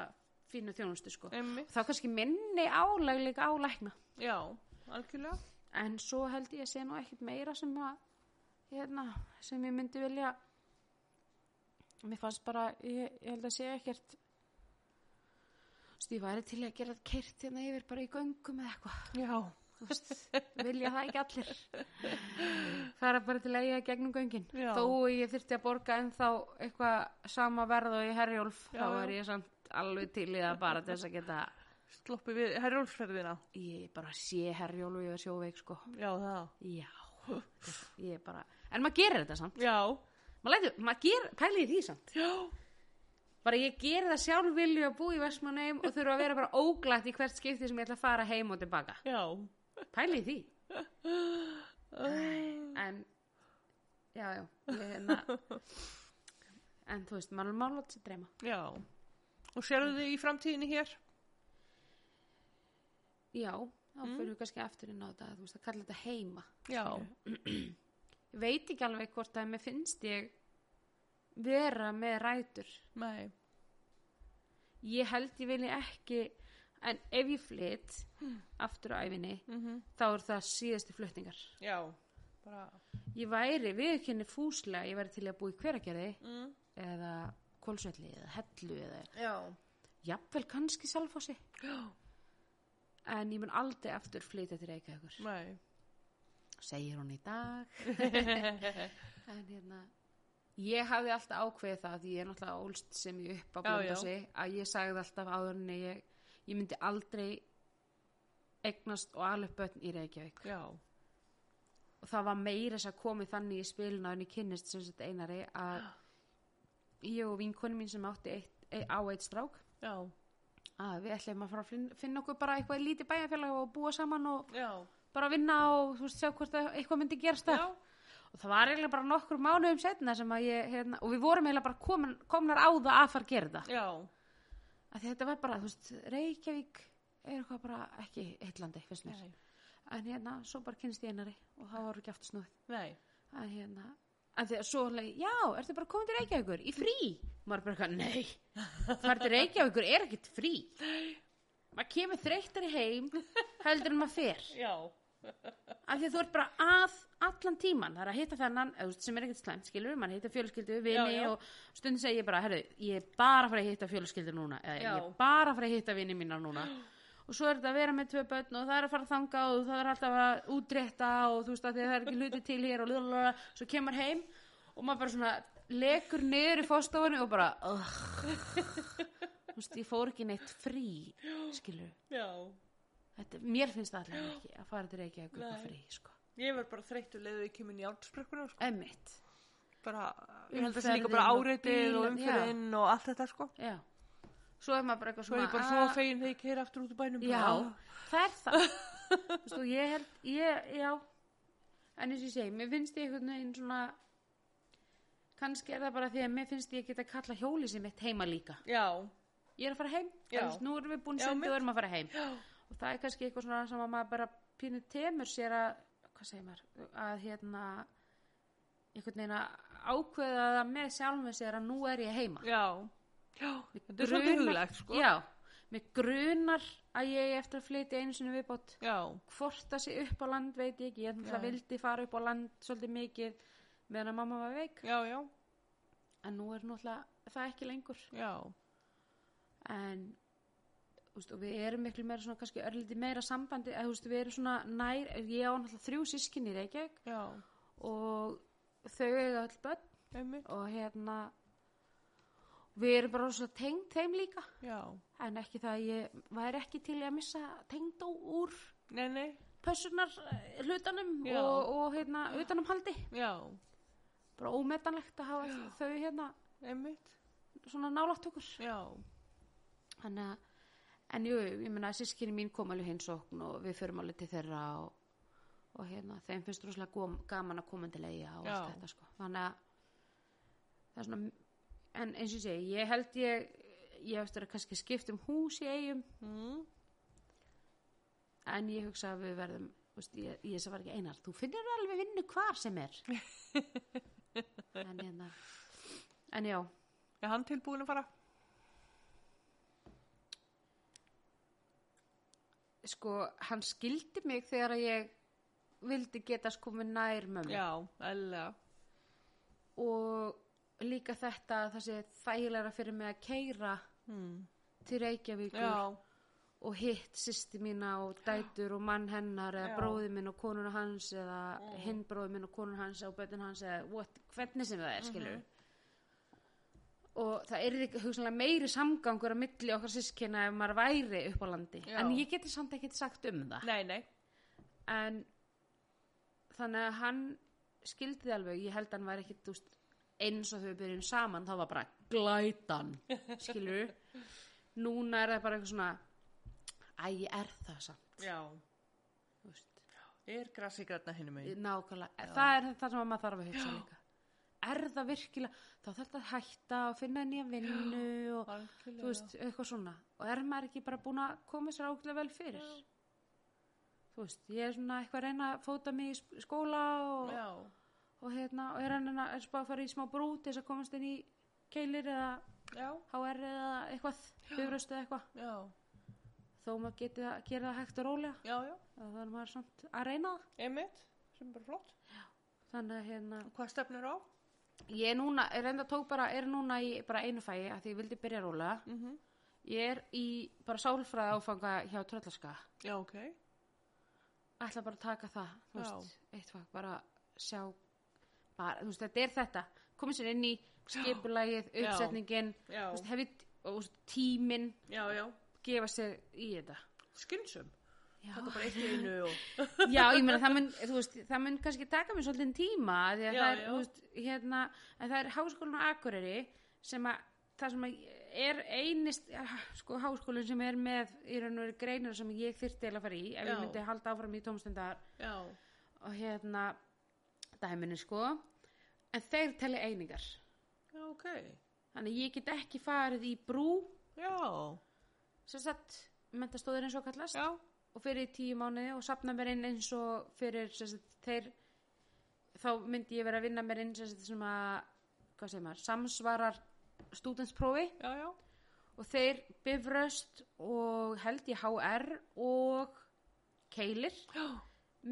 S2: fínu þjónustu sko.
S1: Einmitt.
S2: Þá kannski minni álag líka álækna
S1: Já. Algjörlega.
S2: en svo held ég að sé nú ekkit meira sem að hérna sem ég myndi vilja mér fannst bara ég, ég held að sé ekkert stífa er til í að gera kert hérna yfir bara í göngum eða eitthvað
S1: Já.
S2: Þú veist, vilja það ekki allir fara bara til að eiga gegnum göngin
S1: Já.
S2: þó að ég þyrfti að borga ennþá eitthvað sama verð og ég herjólf
S1: Já,
S2: þá
S1: já.
S2: er ég samt alveg til í það bara til þess að geta
S1: Sloppi við herjólfsferðina.
S2: ég bara sé herjólf og ég er sjóveik sko
S1: Já, það.
S2: já ég er bara, en maður gerir þetta samt
S1: Já.
S2: maður, lætur, maður ger, pælir í því samt
S1: Já.
S2: bara ég ger það sjálf vilju að búa í Vestmanheim og þurfa að vera bara óglætt í hvert skipti sem ég ætla að fara heim og tilbaka
S1: Já.
S2: pælir í því
S1: Uh,
S2: en já, já, ég hérna en þú veist, maður má láta sér dreyma
S1: já. Og sérðu þið í framtíðinni hér?
S2: já, þá fyrir við kannski aftur inn á þetta þú veist, að kalla þetta heima
S1: Já.
S2: ég veit ekki alveg hvort að mér finnst ég vera með rætur
S1: Nei.
S2: ég held ég vilja ekki en ef ég flytt aftur á æfinni,
S1: Mm
S2: þá er það síðasti flutningar
S1: Já. Bara.
S2: ég væri viðkynni fúslega ég væri til í að búa í hveragerði
S1: Mm.
S2: eða kólsvelli eða hellu eða
S1: Já.
S2: jafnvel kannski salfósi
S1: Já.
S2: en ég mun aldrei aftur flytja til Reykjavíkur
S1: Nei.
S2: segir hún í dag en hérna ég hafði alltaf ákveðið það því ég er náttúrulega ólst sem ég upp á
S1: Já, já.
S2: blöndasi að ég sagði alltaf áður en ég, ég myndi aldrei eignast og alveg börn í Reykjavík
S1: Já.
S2: og það var meira þess að komið þannig í spilinu en ég kynnist sem sett einari að ég og vinkonu mín sem átti eitt, e, á eitt strák
S1: Já.
S2: að við ætlum að fara að finna, finna okkur bara eitthvað lítið bæjarfélag og búa saman og
S1: Já.
S2: bara vinna og þú veist, sjá hvort að eitthvað myndi gerast það.
S1: Já.
S2: Og það var eiginlega bara nokkur mánuðum setna sem að ég, hérna, og við vorum eiginlega bara komin, komnar á það að fara að gera það.
S1: Já.
S2: að þetta var bara, þú veist, Reykjavík er eitthvað bara ekki heitlandi, finnst mér.
S1: Nei.
S2: En hérna, svo bara kynst ég einari og það var ekki aftur snúið.
S1: Nei.
S2: En hérna, en þegar svo leið, já, ertu bara komin til Reykjavíkur í frí? Maður bara eitthvað, nei, farið til Reykjavíkur er ekkit frí. Maður kemur þreyttari heim heldur en maður fer.
S1: Já.
S2: Af því að þú ert bara að allan tíman, það er að hitta þennan, eða þú veist, sem er ekkit slæmt, skilur, mann hitta fjölskyldu, vini
S1: Já, já.
S2: og stundum segi ég bara, herru, ég er bara að fara að hitta fjölskyldu núna,
S1: Já.
S2: eða ég er bara að fara að hitta vini mína núna. Og svo er þetta að vera með tvö börn og það er að fara að þanga og það er alltaf að útrétta og þú veist að það er ekki hluti til hér og lúðalala, svo kemur heim og maður bara svona lekur niður í fóstofunni og bara, "Ugh." þú veist, ég fór ekki neitt frí, skilur.
S1: Já.
S2: Þetta, mér finnst það allavega ekki að fara til Reykjavíkur
S1: Nei.
S2: eitthvað frí, sko.
S1: Ég var bara þreyttu leiðið ég kemur í átsprekkuna, sko.
S2: Emmitt.
S1: Bara, ég held að það sé líka
S2: Umferðin
S1: bara
S2: og
S1: áreitið og
S2: bílinn, já.
S1: umfyrinn og allt þetta, sko.
S2: Já. Svo er maður bara eitthvað
S1: Svo er
S2: svona "Ah,
S1: ég bara svo fegin þegar ég keir aftur út úr bænum.
S2: Já,
S1: bara, "Ah."
S2: það er það Þú veist, og ég held, ég, já En eins og ég segi, mér finnst ég einhvern veginn svona Kannski er það bara því að mér finnst ég geta kalla hjóli sem mitt heima líka
S1: Já.
S2: Ég er að fara heim,
S1: Já.
S2: þú veist, nú erum við búin
S1: Já,
S2: sundi
S1: mitt.
S2: og erum að fara heim já. Og það er kannski eitthvað svona sem að maður bara pínu temur sér að Hvað segir maður? Að hérna einhvern veginn að ákveða það með sjálfum sér að nú er ég heima
S1: Já. Já. Þetta er svolítið huglegt, sko.
S2: já, mér grunar að ég eigi eftir að flytja einu sinni viðbót
S1: Já.
S2: hvort það sé upp á land veit ég ekki, ég náttúrulega
S1: Já.
S2: vildi fara upp á land svolítið mikið meðan að mamma var veik
S1: Já, já.
S2: en nú er náttúrulega það ekki lengur
S1: Já.
S2: en úst, og við erum miklu meira svona kannski örlítið meira sambandi að, úst, við erum svona nær, ég á náttúrulega þrjú sískinni í Reykjavík
S1: Já.
S2: og þau eiga öll börn
S1: Einmitt.
S2: og hérna við erum bara svona tengd þeim líka
S1: Já.
S2: en ekki það að ég væri ekki til í að missa tengdó úr
S1: Nei, nei.
S2: pössunar eh, hlutanum
S1: Já.
S2: og, og hérna utanum haldi
S1: Já.
S2: bara ómetanlegt að hafa þau hérna
S1: Einmitt.
S2: svona nálátt okkur
S1: Já.
S2: en, en jú, ég meina sískinni mín kom alveg hinsókn og við förum alveg til þeirra og, og hérna, þeim finnst rosalega gom, gaman að koma til eiga og allt
S1: Já.
S2: þetta sko þannig að það er svona, en eins og ég segi ég held ég, ég hef eftir að kannski skipta um hús í eigum
S1: Mm.
S2: en ég hugsa að við verðum þú veist, ég, ég sem var ekki einar, þú finnir alveg vinnu hvar sem er en, hérna, en já
S1: Er hann tilbúin að fara?
S2: sko, hann skildi mig þegar að ég vildi geta sko með nær mömmu
S1: Já, eða.
S2: og líka þetta að það sé þægilega fyrir mig að keira
S1: Mm.
S2: til Reykjavíkur
S1: Já.
S2: og hitt sýsti mína og dætur og mann hennar eða
S1: Já. Mm.
S2: bróði minn og konuna hans eða hinn bróði minn og konuna hans og bötun hans eða what, hvernig sem það er skilur
S1: Mhm.
S2: og það er ekki hugsanlega meiri samgangur að milli okkar sískina ef maður væri upp á landi
S1: Já.
S2: en ég geti samt ekkert sagt um það
S1: Nei, nei.
S2: en þannig að hann skildi það alveg, ég held að hann var ekki þú veist, eins og þau byrjum saman þá var bara glætan skilur núna er það bara eitthvað svona æ, ég er það samt
S1: Já.
S2: þú veist,
S1: Er grassi græna hinu megin?
S2: nákvæmlega, það er það sem maður þarf að hugsa líka er það virkilega, þá þarf það að hætta og finna nýja vinnu og
S1: Algjörlega.
S2: þú veist, eitthvað svona og er maður ekki bara búin að koma sér ákveðlega vel fyrir þú veist, ég er svona eitthvað að reyna að fóta mig í sk- skóla og,
S1: Já.
S2: og hérna, og er hann að er spá að fara í smá brút til þess að komast inn í keilir eða
S1: Já.
S2: HR eða eitthvað, bifröst eða eitthvað
S1: Já.
S2: þó maður geti að gera það hægt og rólega
S1: Já, já.
S2: þá er maður samt að reyna það
S1: Einmitt. Sem er bara flott.
S2: þannig að hérna,
S1: Hvað stefnir á?
S2: ég er núna, er enda tók bara er núna í bara einu fæi að því ég vildi byrja rólega
S1: Mm -hmm.
S2: ég er í bara sálfræða áfanga hjá tröllaska
S1: Já, ok.
S2: ætla bara að taka það þú
S1: Já.
S2: veist, eitthvað, bara sjá bara, þú veist, þetta er þetta komið sér inn í skipulagið,
S1: Já.
S2: uppsetningin
S1: Já.
S2: þú veist, hefði og, þú veist, tíminn
S1: Já, já.
S2: gefa sér í þetta
S1: Skynsum.
S2: Já,
S1: Takk bara eitt í einu og...
S2: já ég meina það mun, þú veist, það mun kannski taka mér svolítið tíma af því að
S1: Já,
S2: það er,
S1: já.
S2: þú veist, hérna en það er háskólinn á Akureyri sem að það sem að er einist sko háskólinn sem er með í raun og veru greinar sem ég þyrfti eiginlega að fara í ef
S1: Já.
S2: ég myndi halda áfram í tómstundar
S1: Já.
S2: og hérna dæminni sko en þeir telja einingar
S1: Já, ok.
S2: þannig að ég get ekki farið í brú
S1: Já,
S2: sem sagt mentastóður eins og kallast
S1: já,
S2: og fyrir í tíu mánuði og sapna mér inn eins og fyrir sem sagt, þeir þá myndi ég vera að vinna mér inn sem sagt, sem að, hvað segir maður, samsvarar stúdensprófi
S1: já, já.
S2: og þeir bifröst og held í HR og keilir
S1: Já,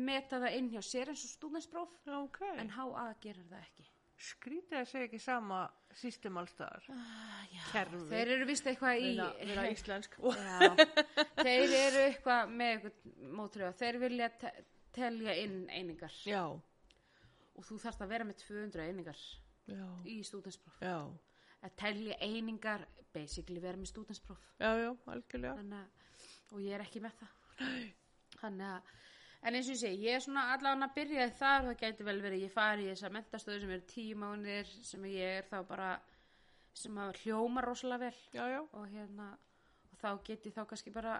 S2: meta það inn hjá sér eins og stúdenspróf
S1: já, ok.
S2: en HA gerir það ekki
S1: Skrítið að segja ekki sama system allstaðar.
S2: já,
S1: Kerfi.
S2: þeir eru vist eitthvað í
S1: Vera- vera íslensk.
S2: Já, þeir eru eitthvað með eitthvað mótröð þeir vilja te telja inn einingar
S1: Já,
S2: og þú þarfst að vera með 200 einingar
S1: já,
S2: í stúdenspróf
S1: já,
S2: að telja einingar, basically vera með stúdenspróf
S1: já, já, algjörlega.
S2: þannig að, og ég er ekki með það þannig að en eins og ég segi, ég er svona allan að byrja þar það gæti vel verið, ég fari í þessa mentastöðu sem eru tíu mánir, sem ég er þá bara, sem að hljóma rosalega vel
S1: Já, já,
S2: og hérna og þá geti þá kannski bara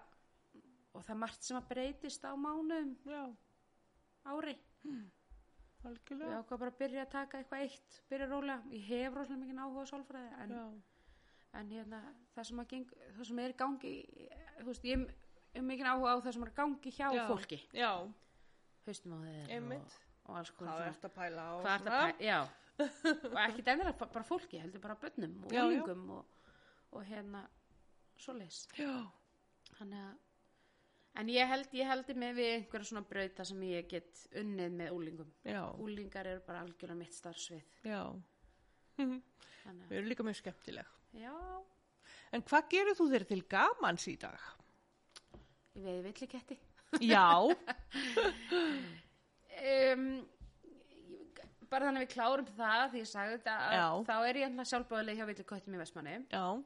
S2: og það er margt sem að breytist á mánuðum
S1: já,
S2: ári ég
S1: algjörlega.
S2: ákvað bara að byrja að taka eitthvað eitt byrja rólega, ég hef rosalega mikið áhuga á sálfræði en,
S1: Já,
S2: en hérna, það sem, að geng, það sem er í gangi þú veist, ég hef mikið áhuga á það sem er í gangi hjá
S1: já.
S2: fólki
S1: Já,
S2: haustum á þeir og,
S1: Einmitt.
S2: og alls konar
S1: hvað
S2: svona-
S1: ert að pæla á?
S2: hvað er
S1: svona?
S2: þetta já, og ekki dennilega bara fólki heldur bara bönnum og
S1: Já, já.
S2: úlingum og, og hérna, svoleiðis
S1: Já,
S2: Þannig að En ég held, ég heldi mig við einhverja svona brauta sem ég get unnið með úlingum.
S1: já,
S2: Úlingar eru bara algjörlega mitt starfsvið.
S1: já.
S2: Þannig
S1: Við erum líka mjög skemmtileg.
S2: að, já,
S1: En hvað gerir þú þér til gamans í dag?
S2: ég veiði villi ketti.
S1: Já,
S2: Um, bara þannig að við klárum það því ég sagði þetta að
S1: Já.
S2: þá er ég ennlega sjálfbóðileg hjá villi köttum í Vestmanni
S1: já.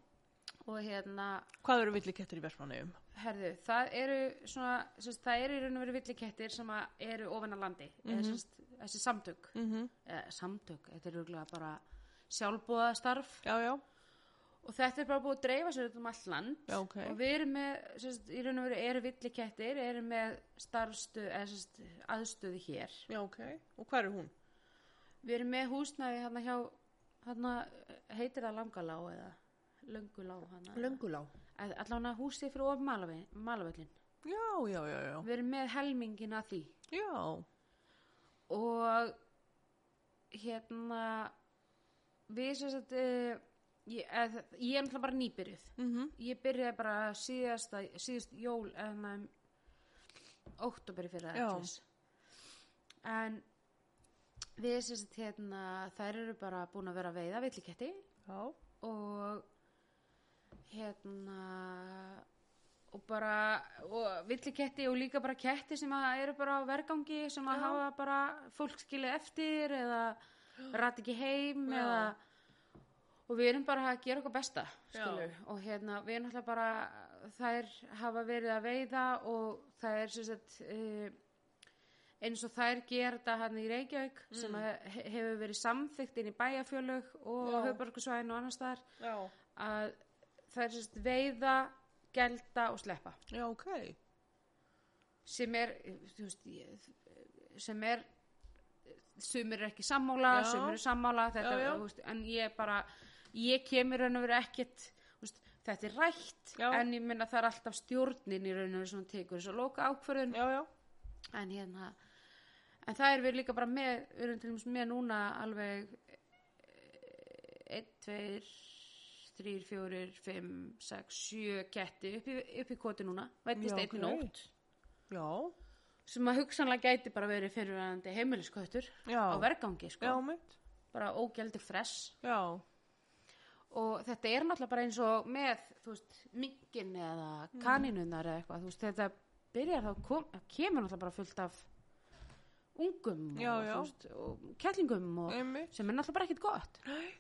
S2: og hérna,
S1: Hvað eru villikettir í versmanum?
S2: herðu, það eru svona, sérst, það eru í raun og veru villi kettir sem að eru ofan að landi, mm
S1: Mhm.
S2: -hmm. sérst, þessi samtök,
S1: Mm
S2: eh, samtök, þetta er rúglega bara sjálfbóðastarf
S1: Já, já,
S2: og þetta er bara búið að dreifa sér út um allt land
S1: Já, ok.
S2: og við erum með sérst, í raun og veru eru villikettir erum með starfstu, eða, sérst, aðstöðu hér
S1: já, ok. Og hvað er hún?
S2: við erum með húsnæði hérna hjá hérna heitir það langalá eða hérna? löngulá hana
S1: Löngulá.
S2: allan að húsi fyrir of malavöllin
S1: Já, já, já, já.
S2: við erum með helmingin að því
S1: Já,
S2: og hérna við sérst uh, ég, eð, ég er náttúrulega bara nýbyrjuð
S1: mhm,
S2: ég byrjaði bara síðasta, síðast jól en um, óttoberi fyrir
S1: Já.
S2: það en við sérst hérna þær eru bara búin að vera að veiða villiketti
S1: já,
S2: og hérna og bara og villiketti og líka bara ketti sem að eru bara á vergangi sem að
S1: Já.
S2: hafa bara fólk skilið eftir eða rætt ekki heim
S1: Já.
S2: eða og við erum bara að gera okkar besta
S1: Já.
S2: skilur, og hérna við erum alltaf bara þær hafa verið að veiða og það er sem sagt uh, eins og þær gera þetta hann í Reykjavík
S1: Mm.
S2: sem að he- hefur verið samþykkt inn í bæjarfjölög og
S1: Já.
S2: höfbarkusvæðin og annars þar
S1: já,
S2: að þær sem sagt veiða gelda og sleppa
S1: já, ok.
S2: sem er þú veist, ég- sem er sumir er ekki sammála,
S1: Já.
S2: sumir er sammála þetta,
S1: Já, já.
S2: þú Veist, en ég bara ég kemur raun og veru ekkert þú veist, þetta er rætt
S1: Já.
S2: en ég minna það er alltaf stjórnin í raun og veru sem tekur þess að loka ákvörðun
S1: Já, já,
S2: en hérna en það er við líka bara með við erum til dæmis með núna alveg 1, 2 3, 4, 5, 6, 7 ketti upp í, upp í koti núna
S1: Já,
S2: vætist einn í
S1: ok.
S2: nótt
S1: já,
S2: sem að hugsanlega gæti bara verið fyrirvæðandi heimiliskautur
S1: já.
S2: á vergangi sko,
S1: Já, mitt.
S2: bara ógjaldi fress
S1: Já,
S2: og þetta er náttúrulega bara eins og með þú veist, minkin eða
S1: Mm.
S2: kaninunar eða eitthvað, þú veist, þetta byrjar þá kom, kemur náttúrulega bara fullt af ungum
S1: Já,
S2: og,
S1: já. Mm.
S2: þú Veist, og kettlingum og,
S1: einmitt.
S2: sem er náttúrulega bara ekkert gott
S1: Nei.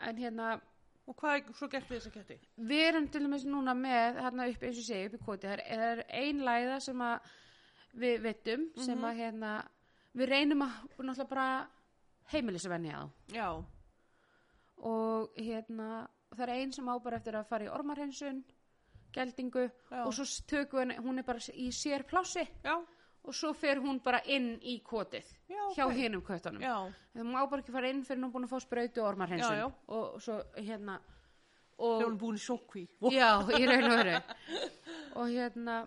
S2: en hérna,
S1: Og hvað, svo gert við þessa ketti?
S2: við erum til dæmis núna með hérna upp eins og segja upp í koti það er- er ein læða sem að við veitum
S1: Mhm.
S2: sem að hérna við reynum að náttúrulega bara heimilisvenja á
S1: Já,
S2: og hérna það er ein sem á bara eftir að fara í ormarhensun geldingu
S1: Já.
S2: og svo s- tökum við henni- hún er bara s- í sér plássi
S1: já,
S2: og svo fer hún bara inn í kotið
S1: Já,
S2: hjá
S1: ok.
S2: hinum köttunum
S1: já,
S2: það má bara ekki fara inn fyrir hún búin að fá sprautu og ormarhensun
S1: Já, já.
S2: og svo hérna
S1: þegar
S2: og
S1: hún er búin í sókví
S2: já, í raun og veru og hérna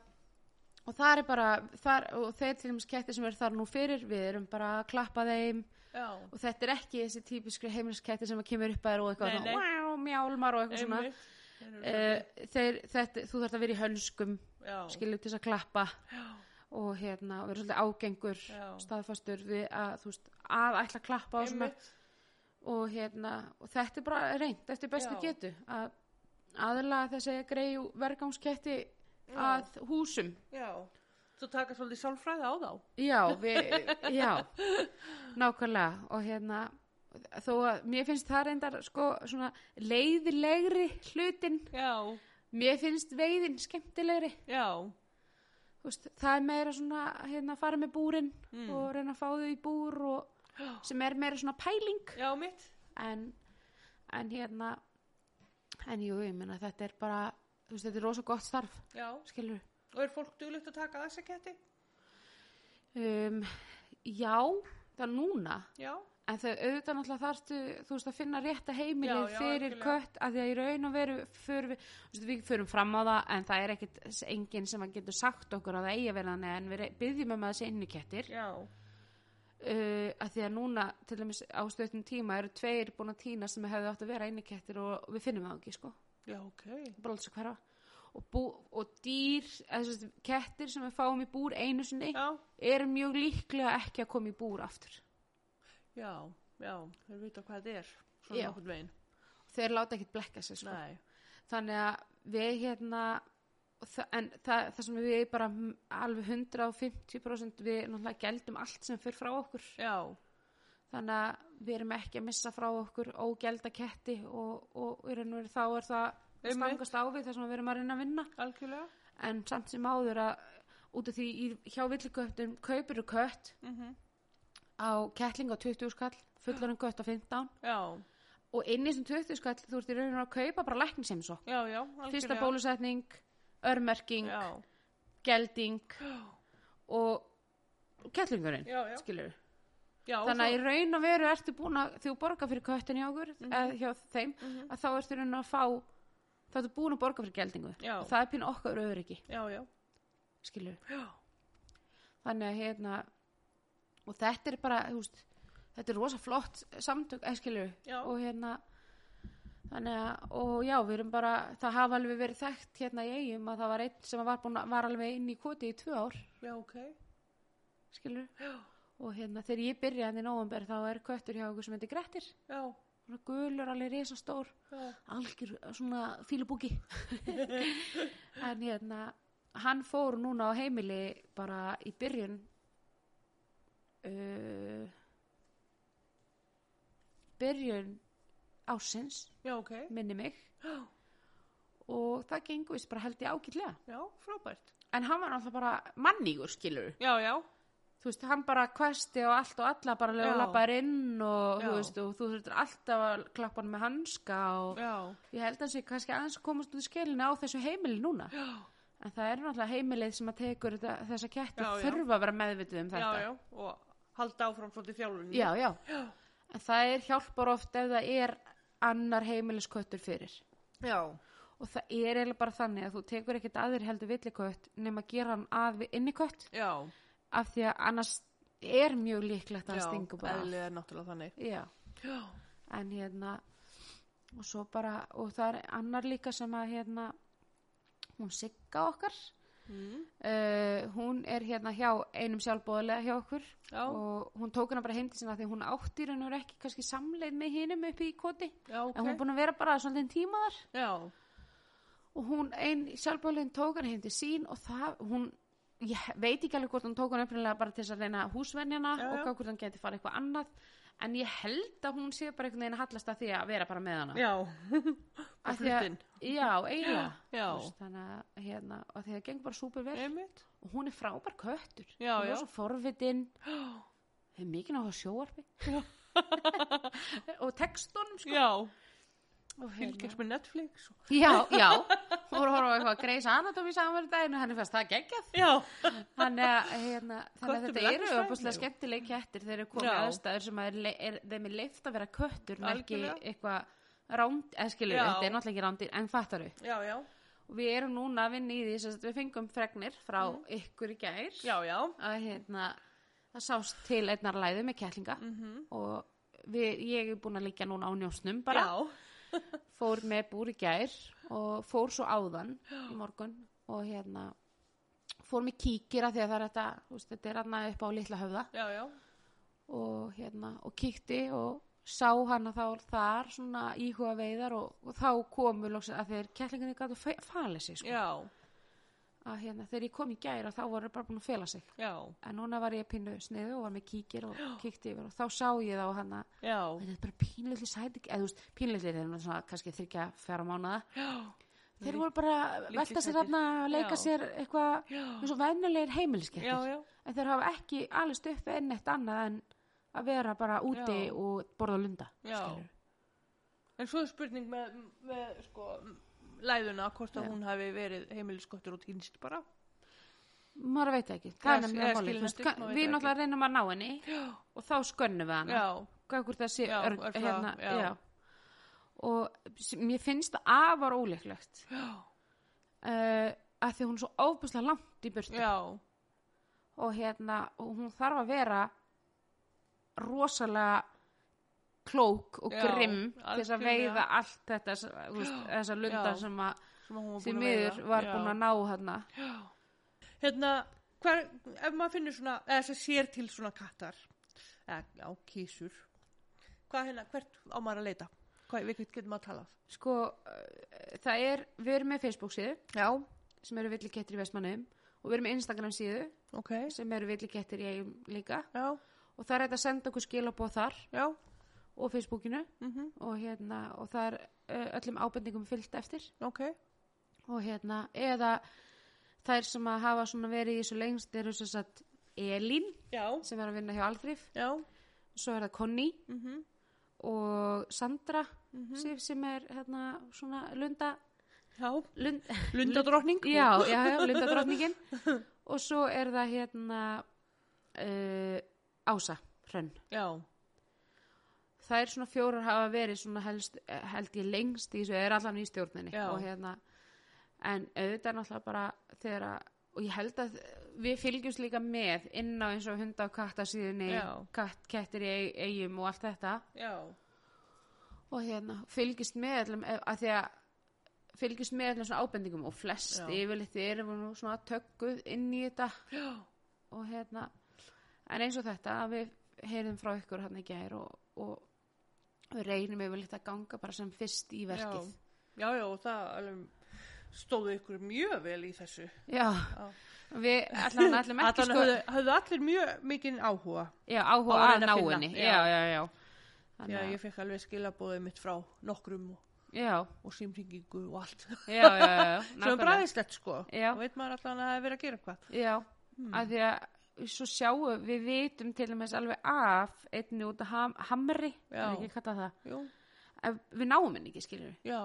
S2: og það er bara þar, og þeir til dæmis kettir sem eru þar nú fyrir við erum bara að klappa þeim
S1: já,
S2: og þetta er ekki þessi típiskri heimiliskettir sem að kemur upp að þér og eitthvað
S1: Nei,
S2: svona,
S1: nei.
S2: wow, mjálmar og eitthvað svona
S1: einmitt Þeir eru
S2: Eh, þeir, þetta, þú þarft að vera í hönskum
S1: bara- já,
S2: skilur til þess að klappa
S1: já,
S2: og hérna, og vera svolítið ágengur
S1: Já.
S2: staðfastur við að, þú veist, að ætla að klappa og svona,
S1: einmitt.
S2: og hérna og þetta er bara reynd eftir bestu
S1: Já.
S2: getu að aðlaga þessi greiðu vergangsketti að húsum
S1: já þú taka svolítið sálfræði á þá
S2: já, við, já nákvæmlega, og hérna þó að mér finnst það reyndar sko svona leiðilegri hlutin,
S1: já,
S2: mér finnst veiðin skemmtilegri
S1: já,
S2: Þú veist, það er meira svona hérna fara með búrin
S1: Mm.
S2: og reyna að fá þau í búr og,
S1: Já.
S2: sem er meira svona pæling
S1: já mitt
S2: en, en hérna en jú, ég meina þetta er bara þú veist, þetta er rosa gott starf
S1: já,
S2: skilur
S1: og er fólk duglegt að taka þessa ketti
S2: um, já, það er núna
S1: já,
S2: en þau auðvitað náttúrulega þarftu þú veist að finna rétta heimilið
S1: Já, já,
S2: fyrir
S1: algjörlega.
S2: kött að því að í raun og veru fyrir við, þú veist, við förum fram á það en það er ekkit enginn sem að getur sagt okkur að það eigi að vera þannig en við byggjum um að þessi innukettir
S1: já,
S2: uh, að því að núna til dæmis á stöðum tíma eru tveir búin að týna sem hefðu átt að vera innikettir og við finnum það ekki sko,
S1: já, ok
S2: bara alls að hverfa og, bú, og dýr, eða sem sagt, kettir sem við fáum í búr einu sinni
S1: já,
S2: eru mjög líklega ekki að koma í búr aftur
S1: já, já, þeir vita hvað þetta er
S2: Já.
S1: svona okkur veginn
S2: þeir láta ekkit blekka sig sko.
S1: nei,
S2: þannig að við hérna og þa- en það, það sem við bara m- alveg 150% við náttúrulega geldum allt sem fyrir frá okkur
S1: já,
S2: þannig að við erum ekki að missa frá okkur ógelda ketti og, og, og raunver, þá er það að
S1: Einmitt.
S2: stangast á við þar sem við erum að reyna að vinna
S1: algjörlega
S2: en samt sem áður að út af því í, hjá villiköttum kaupir þú kött
S1: mm
S2: á kettling á 20 skall fullar en kött á 15
S1: já,
S2: og inn í þessum 20 skall þú ert í rauninu að kaupa bara læknisheimsókn
S1: já, já, algjörlega
S2: fyrsta bólusetning, örmerking
S1: já,
S2: gelding og kettlingurinn
S1: já, já,
S2: skilur við
S1: já
S2: þannig að í
S1: svo-
S2: raun og veru ertu búin að þú borga fyrir köttin hjá okkur mm
S1: Mhm.
S2: hjá þeim
S1: Mhm.
S2: að þá ertu í raun að fá þá ertu búin að borga fyrir geldingu
S1: Já.
S2: og það er pín okkar öryggi
S1: já, já,
S2: skilur við.
S1: já,
S2: þannig að hérna og þetta er bara þú veist, þetta er rosa flott samtök eh, skilur við.
S1: Já.
S2: og hérna þannig að og já við erum bara það hafa alveg verið þekkt hérna í eigum að það var einn sem var, búin, að- var alveg inn í koti í tvö ár
S1: já, ok
S2: skilur við.
S1: já,
S2: og hérna þegar ég byrjaði hann í nóvumber þá er köttur hjá okkur sem heitir Grettir
S1: já,
S2: Svona gulur alveg risastór
S1: já,
S2: algjör eh, svona fílubúki en hérna hann fór núna á heimili bara í byrjun uh, byrjun ásins
S1: já, ok
S2: minni mig
S1: já,
S2: og það gengur vist bara held ég ágætlega
S1: já, frábært
S2: en hann var náttúrulega bara mannígur skilur
S1: já, já,
S2: þú veist, hann bara kvesti og allt og alla bara
S1: Já.
S2: lega lappar inn og
S1: Já.
S2: þú veist, og þú þurftur alltaf að klappa hann með hanska og
S1: já,
S2: ég held að hann sé kannski aðeins að komast út í skilinu á þessu heimili núna
S1: já,
S2: en það er náttúrulega heimilið sem að tekur þetta, þessa kettu
S1: Já, já.
S2: þurfa að vera meðvitið um þetta
S1: já, já og halda áfram svolítið þjálfunni
S2: já, já. en það er hjálpar oft ef það er annar heimilisköttur fyrir
S1: já,
S2: og það er eiginlega bara þannig að þú tekur ekkert aðrir heldur villikött nema að gera hann að við innikött
S1: já,
S2: af því að annars er mjög líklegt að hann
S1: já,
S2: stingur bara af.
S1: eðlið er náttúrulega þannig
S2: já,
S1: já,
S2: en hérna og svo bara, og það er annar líka sem að hérna hún sigga okkar
S1: mm.
S2: Uh, hún er hérna hjá einum sjálfbóðlega hjá okkur
S1: já,
S2: og hún tók hana bara heim til sinna því hún átti hann og ekki kannski samleið með hinum upp í koti
S1: já, ok
S2: en hún er búin að vera bara svolítið tíma þar
S1: já,
S2: og hún ein sjálfbóðlegin tók hana heim til sín og það hún ég veit ekki alveg hvort hún tók hana upprinlega bara til þess að reyna húsvenjana
S1: Já, já.
S2: og gá hvort hann geti fara eitthvað annað en ég held að hún sé bara einhvern veginn að hallast að því að vera bara með hana
S1: já
S2: Af
S1: og
S2: því að-
S1: hlutin,
S2: já, eiginlega
S1: Já.
S2: Þú veist, þannig að hérna, og þegar gengur bara súper vel
S1: einmitt
S2: og hún er frábær köttur
S1: Já,
S2: hún
S1: já.
S2: er svo forvitin hefur mikið náttúrulega sjóarfi og textunum sko.
S1: já,
S2: og hérna.
S1: fylgjast með Netflix og...
S2: já, já hún voru að horfa á eitthvað Grey's Anatomy saman verið daginn og henni fannst það geggjað
S1: já,
S2: þannig að, hérna, þannig
S1: Köttur
S2: að þetta
S1: með
S2: eru
S1: læknisfræði.
S2: opaslega skemmtilegi kettir þeir eru komið
S1: Já.
S2: aðstæður sem að er, le- er, þeim er leift að vera köttur en ekki
S1: Algjörlega.
S2: eitthvað ránd, eða skilur,
S1: Já.
S2: þetta er náttúrulega ekki rándir en fattaru,
S1: já, já,
S2: og við erum núna að vinna í því sem sagt, við fengum fregnir frá ykkur í gær
S1: Mm. já, já,
S2: að hérna, það sást til einnar læðu með kettlinga
S1: mhm,
S2: og við, ég er búin að liggja núna á njósnum bara,
S1: já,
S2: fór með búr í gær og fór svo áðan í morgun og hérna fór með kíkir að því að það er þetta þú veist, þetta er hann upp á litla höfða
S1: já, já,
S2: og hérna og kíkti og sá hana þá þar svona íhuga veiðar og, og þá komu loksins að þeir kettlinginni gætu falið sig sko.
S1: já,
S2: að hérna þegar ég kom í gær að þá voru þeir bara búin að fela sig
S1: já,
S2: en núna var ég pínu sniðu og var með kíkir og kíkti yfir og þá sá ég þá hana
S1: já,
S2: þetta er bara pínlitli sæti eða þú veist pínlitli þeir eru svona kannski þryggja fjara mánuða
S1: já,
S2: Þeir voru bara að
S1: Lítið
S2: velta sér
S1: sætir.
S2: þarna og leika
S1: Já.
S2: sér eitthvað
S1: já,
S2: eins og venjulegir
S1: já,
S2: heimiliskettir.
S1: já,
S2: En þeir hafa ekki alveg stuppið enn eitt annað en að vera bara úti
S1: Já.
S2: og borða lunda.
S1: Já.
S2: skilurðu.
S1: en svo er spurning með, með sko, læðuna, hvort að
S2: Já.
S1: hún hafi verið heimiliskottur og týnst bara,
S2: Maður veit það ekki.
S1: Já,
S2: Það er
S1: eða
S2: nefnilega málið.
S1: skilur
S2: Þú veist,
S1: eftir,
S2: kann-
S1: maður veit
S2: Við
S1: það
S2: náttúrulega reynum að ná henni
S1: já,
S2: og þá skönnum við hana.
S1: já,
S2: Hvað hvort það sé
S1: Já,
S2: örg,
S1: örfá,
S2: hérna,
S1: já.
S2: já. Og s- mér finnst það afar óleiklegt
S1: já,
S2: uh, að því hún er svo óbúslega langt í burtu.
S1: já,
S2: og hérna og hún þarf að vera rosalega klók og
S1: Já,
S2: grimm til þess að
S1: algjörlega.
S2: veiða allt þetta s- þú veist, þessa lunda
S1: Já.
S2: sem að
S1: sem að hún var
S2: því
S1: búin að
S2: miður
S1: veiða.
S2: var
S1: Já.
S2: búin að ná hérna
S1: Já. Hérna, hver, ef maður finnir svona, eða þess að sér til svona kattar, eða á kísur, hvað hérna, hvert á maður að leita? Hvað, við getum maður að tala?
S2: sko eh, það er, við erum með Facebook síðu
S1: Já.
S2: sem eru villikettir í Vestmannum og við erum með Instagram síðu
S1: Ok.
S2: sem eru villikettir í eigum líka
S1: Já,
S2: og það er hægt að senda okkur skilabóð þar
S1: já,
S2: og Facebookinu
S1: mhm,
S2: og hérna og það er eh, öllum ábendingum fyllt eftir
S1: ok.
S2: og hérna, eða þær sem að hafa svona verið í þessu lengst eru sem sagt Elín
S1: Já,
S2: sem er að vinna hjá Aldrif
S1: já,
S2: svo er það Conny
S1: mhm, mm
S2: og Sandra
S1: Mhm.
S2: Sif, sem er hérna svona lunda
S1: já,
S2: lund,
S1: lundadrottning.
S2: já, já, já, lundadrottningin og svo er það hérna uh, Ása Hrönn
S1: Já,
S2: það er svona fjórar hafa verið svona helst, held ég lengst í þessu er allan í stjórninni
S1: Já.
S2: og hérna en auðvitað er náttúrulega bara þegar að og ég held að við fylgjumst líka með inn á eins og hunda og katta síðunni
S1: Já.
S2: katt, kettir í eig- eigum og allt þetta
S1: já,
S2: og hérna fylgjumst með allum að því að fylgjumst með allum svona ábendingum og flest
S1: Já.
S2: yfirleitt erum við nú svona tökkuð inn í þetta
S1: já,
S2: og hérna en eins og þetta að við heyrðum frá ykkur hann í gær og, og við reynum yfirleitt að ganga bara sem fyrst í verkið
S1: já, já, og það alveg stóðu ykkur mjög vel í þessu.
S2: já, við allan, allan ekki
S1: Allan
S2: sko
S1: höfðu, höfðu allir mjög mikinn áhuga.
S2: já, áhuga
S1: Á að
S2: að
S1: reyna að finna,
S2: náinni já,
S1: já.
S2: já, já
S1: Já,
S2: Þannig,
S1: ég fekk alveg skilabóðið mitt frá nokkrum og,
S2: að- já,
S1: og símringingu og allt.
S2: já, já, já, já
S1: Svo
S2: nákvæmlega.
S1: bræðislegt sko.
S2: Já.
S1: Þá veit maður allan að það er verið að gera eitthvað.
S2: já,
S1: Hmm.
S2: að því að svo sjáum við vitum til og með alveg af einni út af ham, hamri
S1: Já.
S2: er ekki að kalla það
S1: Jú,
S2: Ef við náum henni ekki skilur
S1: já,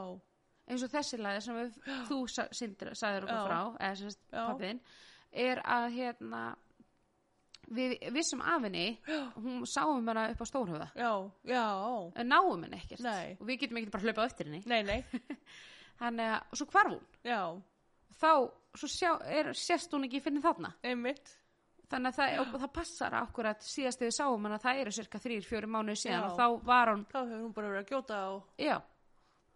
S2: eins og þessi lagi sem við, þú sa- sindri, sagðir okkur
S1: Já.
S2: frá eða sem sagt
S1: Já.
S2: pappiðin er að hérna við vissum af henni hún sáum hana upp á stórhöfða
S1: já, já,
S2: en náum henni ekkert
S1: Nei.
S2: og við getum ekkert bara hlaupað eftir henni
S1: nei, nei,
S2: þannig að og svo hvarf hún
S1: já,
S2: þá svo sjá, er, sérst hún ekki fyrir þarna
S1: einmitt,
S2: þannig að það, og það passar okkur að síðast þegar við sáum hana það eru cirka þrýr, fjóri mánuði síðan
S1: Já.
S2: og þá var hún,
S1: þá hefur hún bara verið að gjóta og
S2: já,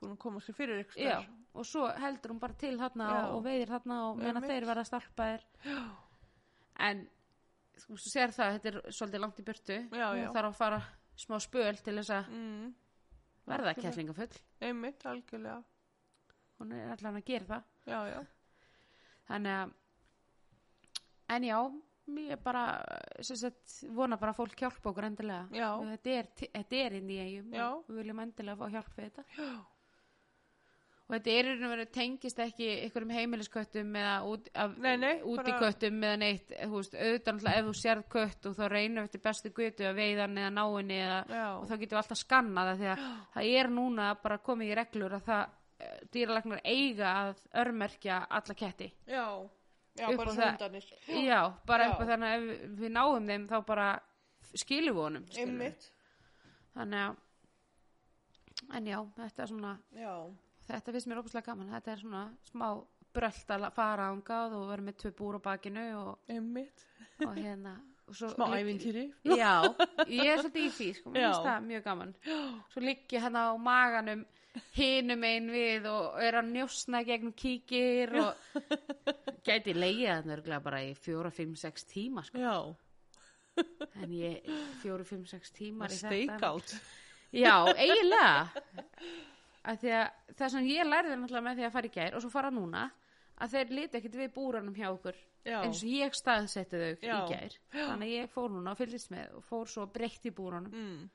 S1: búin að koma sér fyrir ykkur.
S2: já og svo heldur hún bara til þarna
S1: Já.
S2: og, og veiðir þarna og meðan
S1: Einmitt.
S2: þeir verða starpaðir
S1: Já,
S2: en þú veist, þú sér það að þetta er svolítið langt í burtu
S1: Já, já.
S2: hún þarf að fara smá spöl til þess að
S1: mm,
S2: verða
S1: Algjörlega.
S2: kettlingafull
S1: einmitt, algjörlega,
S2: hún er allan að gera það
S1: já, já,
S2: þannig að en já, mér er bara sem sagt, vona bara að fólk hjálpa okkur endilega
S1: já,
S2: Og þetta er, ti- þetta er inn í eigum
S1: Já.
S2: og við viljum endilega fá hjálp við þetta
S1: já,
S2: og þetta er einhvern veginn tengist ekki einhverjum heimilisköttum eða út, af,
S1: Nei, nei, bara-
S2: útiköttum eða neitt þú veist, auðvitað náttúrulega ef þú sérð kött og þá reynum eftir bestu gutu að veiða hann eða ná henni eða
S1: já,
S2: og þá getum við alltaf skannað það því að það er núna bara komið í reglur að það eh, dýralagnar eiga að örmerkja alla ketti
S1: já, já,
S2: Upp á
S1: bara
S2: það-
S1: hundanir,
S2: já, bara
S1: Já.
S2: upp á þannig að ef við náum þeim þá bara f- skilum við honum skilurðu.
S1: einmitt,
S2: þannig að en já, þetta er svona
S1: Já.
S2: þetta finnst mér óbúslega gaman, þetta er svona smá brölt að la- fara ángað og vera með tvö búr á bakinu og,
S1: Einmitt.
S2: og hérna og svo
S1: Smá
S2: ligg-
S1: ævintýri.
S2: já, ég er svolítið í því sko, mér
S1: Já.
S2: finnst það mjög gaman svo ligg ég hérna á maganum hinum einn við og er að njósna gegnum kíkir og gæti leiðið hann örglega bara í fjóra, fimm, sex tíma sko.
S1: Já.
S2: en ég fjóra, fimm, sex tímar í þetta
S1: Steikátt.
S2: Já, eiginlega að því að það sem ég lærði náttúrulega með því að fara í gær og svo fara núna að þeir liti ekkit við búranum hjá okkur
S1: Já.
S2: eins og ég staðsetti þau
S1: Já.
S2: í gær þannig að ég fór núna og fylgist með og fór svo breytt í búranum
S1: Mm.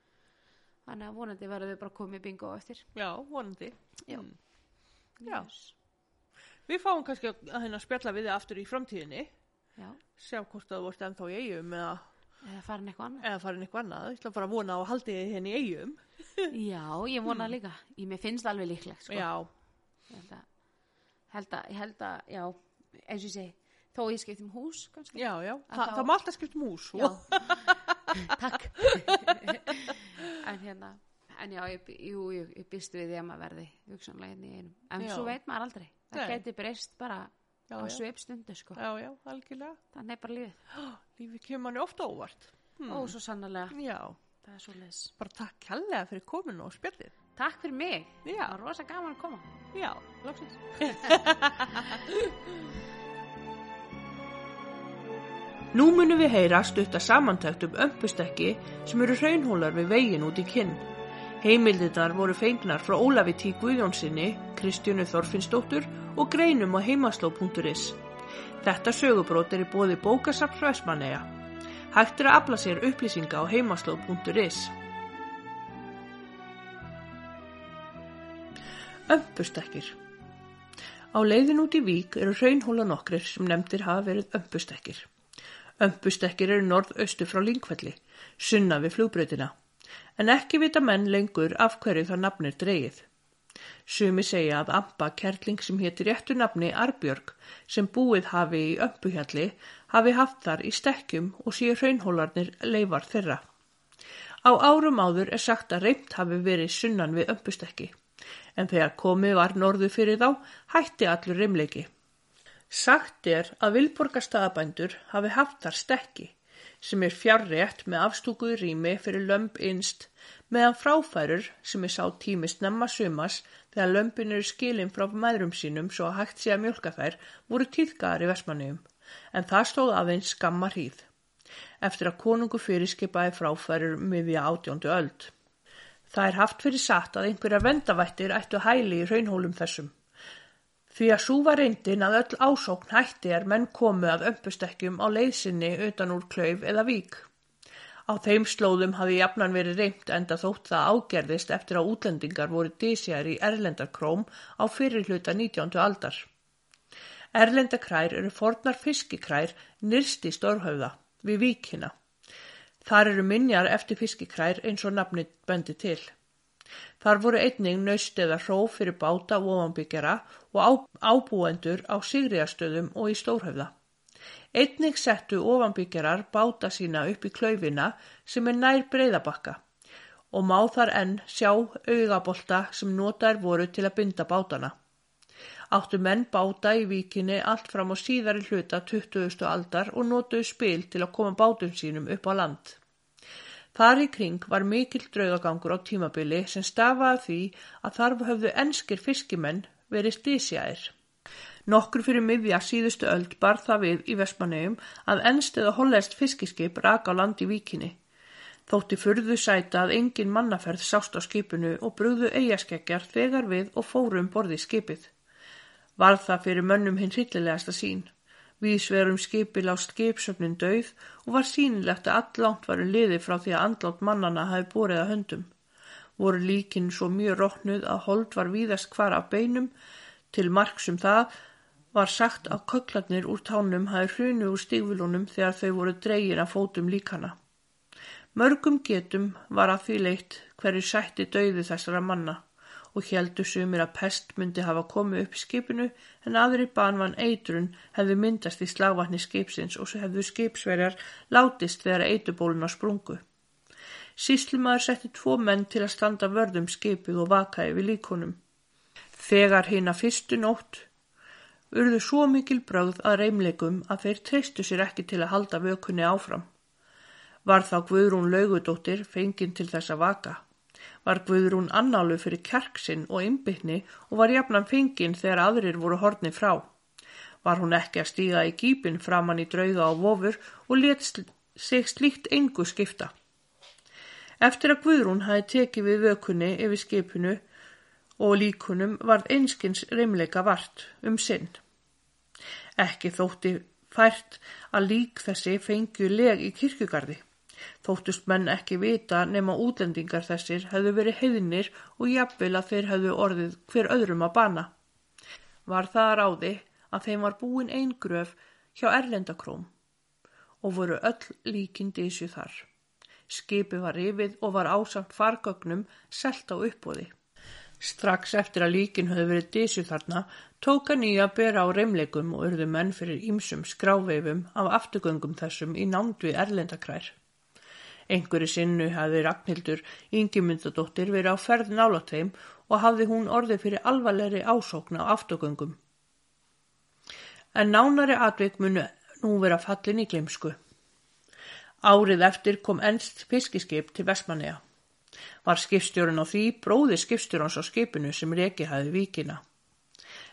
S2: þannig að vonandi verður þau bara komið bingo á eftir
S1: Já, vonandi.
S2: Já.
S1: Mm. Já. Við fáum kannski að að hérna spjalla við þið aftur í framtíðinni.
S2: Já,
S1: Sjá hvort það vorst ennþá í eigum eða,
S2: eða farin eitthvað annað
S1: eða farin eitthvað annað. Ég ætla bara að vona að haldi þið henni í eigum.
S2: Já, ég vona líka, ég mér finnst það alveg líklegt sko.
S1: Já.
S2: ég held að, held að, ég held að, já eins og ég segi, þó ég skipt um hús kannski,
S1: Já, já.
S2: Að
S1: Þa,
S2: þá-
S1: Það má alltaf um skipt mús.
S2: Já. Takk. en hérna, en já, ég, b- jú, ég, ég býst við því að maður verði hugsanlega hérna í einum. En
S1: Já.
S2: svo veit maður aldrei. Það
S1: Nei.
S2: geti breyst bara
S1: Já,
S2: á
S1: já.
S2: sveipstundu, sko.
S1: Já, já, algjörlega.
S2: Þannig er bara lífið.
S1: Lífi kemur manni ofta óvart.
S2: Ó, svo sannlega.
S1: Já.
S2: Það er svo leis.
S1: Bara takk kærlega fyrir kominu og spjallið.
S2: Takk fyrir mig.
S1: Já.
S2: Það var rosa gaman að koma.
S1: Já.
S2: Loksins.
S1: Nú munum við heyra stutta samantækt um ömpustekki sem eru hraunhólar við veginn út í kinn. Heimildirnar voru fengnar frá Ólafi T. Guðjónsinni, Kristjánu Þorfinnsdóttur og greinum á heimasló.is. Þetta sögubrót er í bóði bókasafns Vestmanneja. Hægt er að afla sér upplýsinga á heimasló.is. Ömpustekkir Á leiðin út í vík eru hraunhóla nokkrir sem nefndir hafa verið ömpustekkir. Ömpustekkir eru norðaustu frá Lingfelli, sunna við flugbrautina, en ekki vita menn lengur af hverju það nafn er dreigið. Sumi segja að Amba Kerling sem héti réttu nafni Arbjörg sem búið hafi í ömpuhjalli hafi haft þar í stekkjum og séu hraunhólarnir leifar þeirra. Á árum áður er sagt að reymt hafi verið sunnan við ömpustekki, en þegar komið var norðu fyrir þá hætti allur reymleiki. Sagt er að Vilborgarstaðabændur hafi haft þar stekki, sem er fjárrétt með afstúkuðu rými fyrir lömb innst, meðan fráfærur, sem er sá tími snemma sumas, þegar lömbin eru skilin frá meðrum sínum svo að hægt sé að mjölka þær, voru tíðgar í Vestmanniðum, en það stóð aðeins skamma hríð eftir að konungu fyrirskipaði fráfærur miðja átjóndu öld. Það er haft fyrir satt að einhverja vendavættir ættu hæli í raunhólum þessum. Því að sú var reyndin að öll ásókn hætti er menn komu að ömpustekkjum á leiðsinni utan úr klauf eða vík. Á þeim slóðum hafi jafnan verið reymt enda þótt það ágerðist eftir að útlendingar voru dísjar í erlendarkróm á fyrirhluta 19. aldar. Erlendakrær eru fornar fiskikrær nyrst í Stórhauða, við Víkina. Þar eru minjar eftir fiskikrær eins og nafnið bendi til. Þar voru einning nöst eða hróf fyrir báta og ofanbyggjara og á, ábúendur á Sigriðastöðum og í Stórhauða. Einnig settu ofanbyggjarar báta sína upp í klaufina sem er nær breyðabakka og má þar enn sjá augabolta sem notaðir voru til að binda bátana áttu menn báta í víkinni allt fram á síðari hluta 20. aldar og notuðu spil til að koma bátum sínum upp á land. Þar í kring var mikill draugagangur á tímabili sem stafaði af því að þar höfðu enskir fiskimenn verið stísjæðir. Nokkur fyrir miðja síðustu öld bar það við í Vestmanneum að ennst eða hollest fiskiskip rak á land í víkinni. Þótti furðu sæta að engin mannaferð sást á skipinu og brugðu eigaskeggjar þegar við og fóru um borði skipið. Varð það fyrir mönnum hinn hryllilegasta sín. Vísverum skipi lást skipsöfnin dauð og var sínilegt að allangt varu liði frá því að andlátt mannana hafi borið að höndum. Voru líkin svo mjög róknuð að hold var víðast hvar af beinum, til marks um það var sagt að köklarnir úr tánum hafi hrunu úr stigvilunum þegar þau voru dregin að fótum líkana. Mörgum getum var að því leitt hverju sætti dauði þessara manna og heldu sumir að pest myndi hafa komið upp í skipinu en aðri banvan eitrun hefði myndast í slagvatni skipsins og svo hefðu skipsverjar látist þegar eitubóluna sprungu. Síslumaður setti tvo menn til að standa vörðum skipið og vaka yfir líkonum. Þegar hina fyrstu nótt urðu svo mikil brögð að reymleikum að þeir treystu sér ekki til að halda vökunni áfram. Var þá Guðrún laugudóttir fenginn til þess að vaka. Var Guðrún annálu fyrir kjarksinn og innbytni og var jafnan fenginn þegar aðrir voru horni frá. Var hún ekki að stíga í gípin framann í drauga á vofur og let sl- sig slíkt engu skipta. Eftir að Guðrún hafi tekið við vökunni yfir skipinu og líkunum varð einskins reymleika vart um sinn. Ekki þótti fært að lík þessi fengju leg í kirkjugarði. Þóttust menn ekki vita nema útlendingar þessir hefðu verið heiðinir og jafnvel að þeir hefðu orðið hver öðrum að bana. Var það að ráði að þeim var búin ein gröf hjá Erlendakróm og voru öll líkindi þessu þar. Skipi var rifið og var ásamt fargögnum selt á uppbóði. Strax eftir að líkin höfðu verið dísu þarna, tók hann í að bera á reymleikum og urðu menn fyrir ímsum skráveifum af afturgöngum þessum í nánd við erlendakrær. Einhverju sinnu hafði Ragnhildur Ingimundadóttir verið á ferð nála þeim og hafði hún orðið fyrir alvarlegri ásókn á afturgöngum. En nánari atvik munu nú vera fallin í gleimsku. Árið eftir kom ennst fiskiskip til Vestmanneja. Var skipstjórun á því bróði skipstjórans á skipinu sem reki hafði víkina.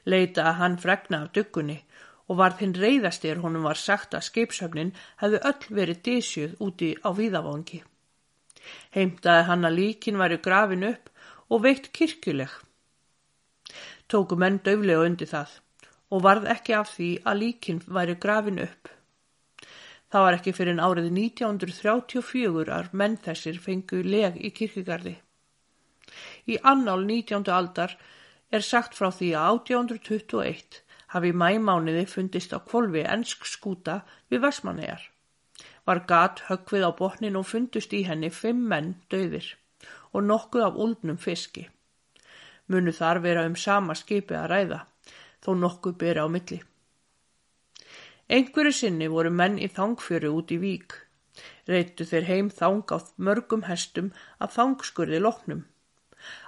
S1: Leita að hann fregna af duggunni og varð hinn reyðast er honum var sagt að skipshöfnin hefði öll verið dísjuð úti á víðavangi. Heimtaði hann að líkin væri grafin upp og veitt kirkjuleg. Tóku menn dauflega undir það og varð ekki af því að líkin væri grafin upp. Það var ekki fyrir en árið 1934 að menn þessir fengu leg í kirkjugarði. Í annál 19. aldar er sagt frá því að 1821 hafi í mæmániði fundist á kvolfi ensk skúta við Vestmannegar. Var gat höggvið á botnin og fundust í henni fimm menn döðir og nokkuð af úldnum fiski. Munu þar vera um sama skipi að ræða, þó nokkuð byrja á milli. Einhverju sinni voru menn í þangfjöru út í vík. Reittu þeir heim þang á mörgum hestum að þangskurði loknum.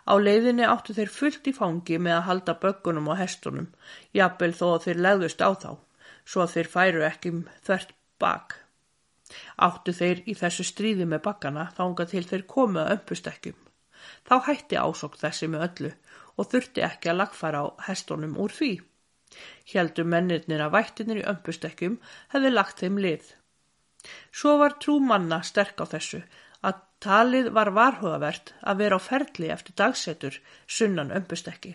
S1: Á leiðinni áttu þeir fullt í fangi með að halda böggunum og hestunum, jafnvel þó að þeir legðust á þá, svo að þeir færu ekki um þvert bak. Áttu þeir í þessu stríði með bakkana þanga til þeir komu að ömpustekkjum. Þá hætti ásók þessi með öllu og þurfti ekki að lagfæra á hestunum úr því. Hjaldu mennirnir að vættinir í ömpustekkjum hefði lagt þeim lið. Svo var trú manna sterk á þessu að talið var varhugavert að vera á ferli eftir dagsetur sunnan ömpustekki.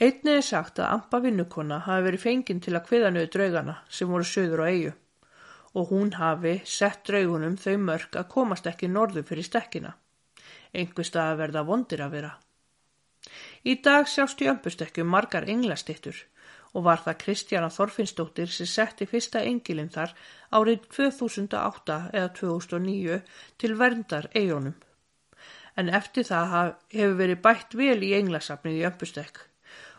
S1: Einnig er sagt að Ampa vinnukona hafi verið fengin til að kviða niður draugana sem voru söður á eigu og hún hafi sett draugunum þau mörg að komast ekki norðu fyrir stekkina. Einhver stað verða vondir að vera. Í dag sjást í ömpustekkjum margar englastittur og var það Kristjana Þorfinnsdóttir sem setti fyrsta engilinn þar árið 2008 eða 2009 til verndar eigunum. En eftir það haf- hefur verið bætt vel í englasafnið í ömpustekk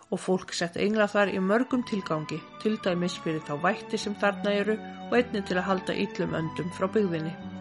S1: og fólk sett engla þar í mörgum tilgangi, til dæmis fyrir þá vætti sem þarna eru og einnig til að halda illum öndum frá byggðinni.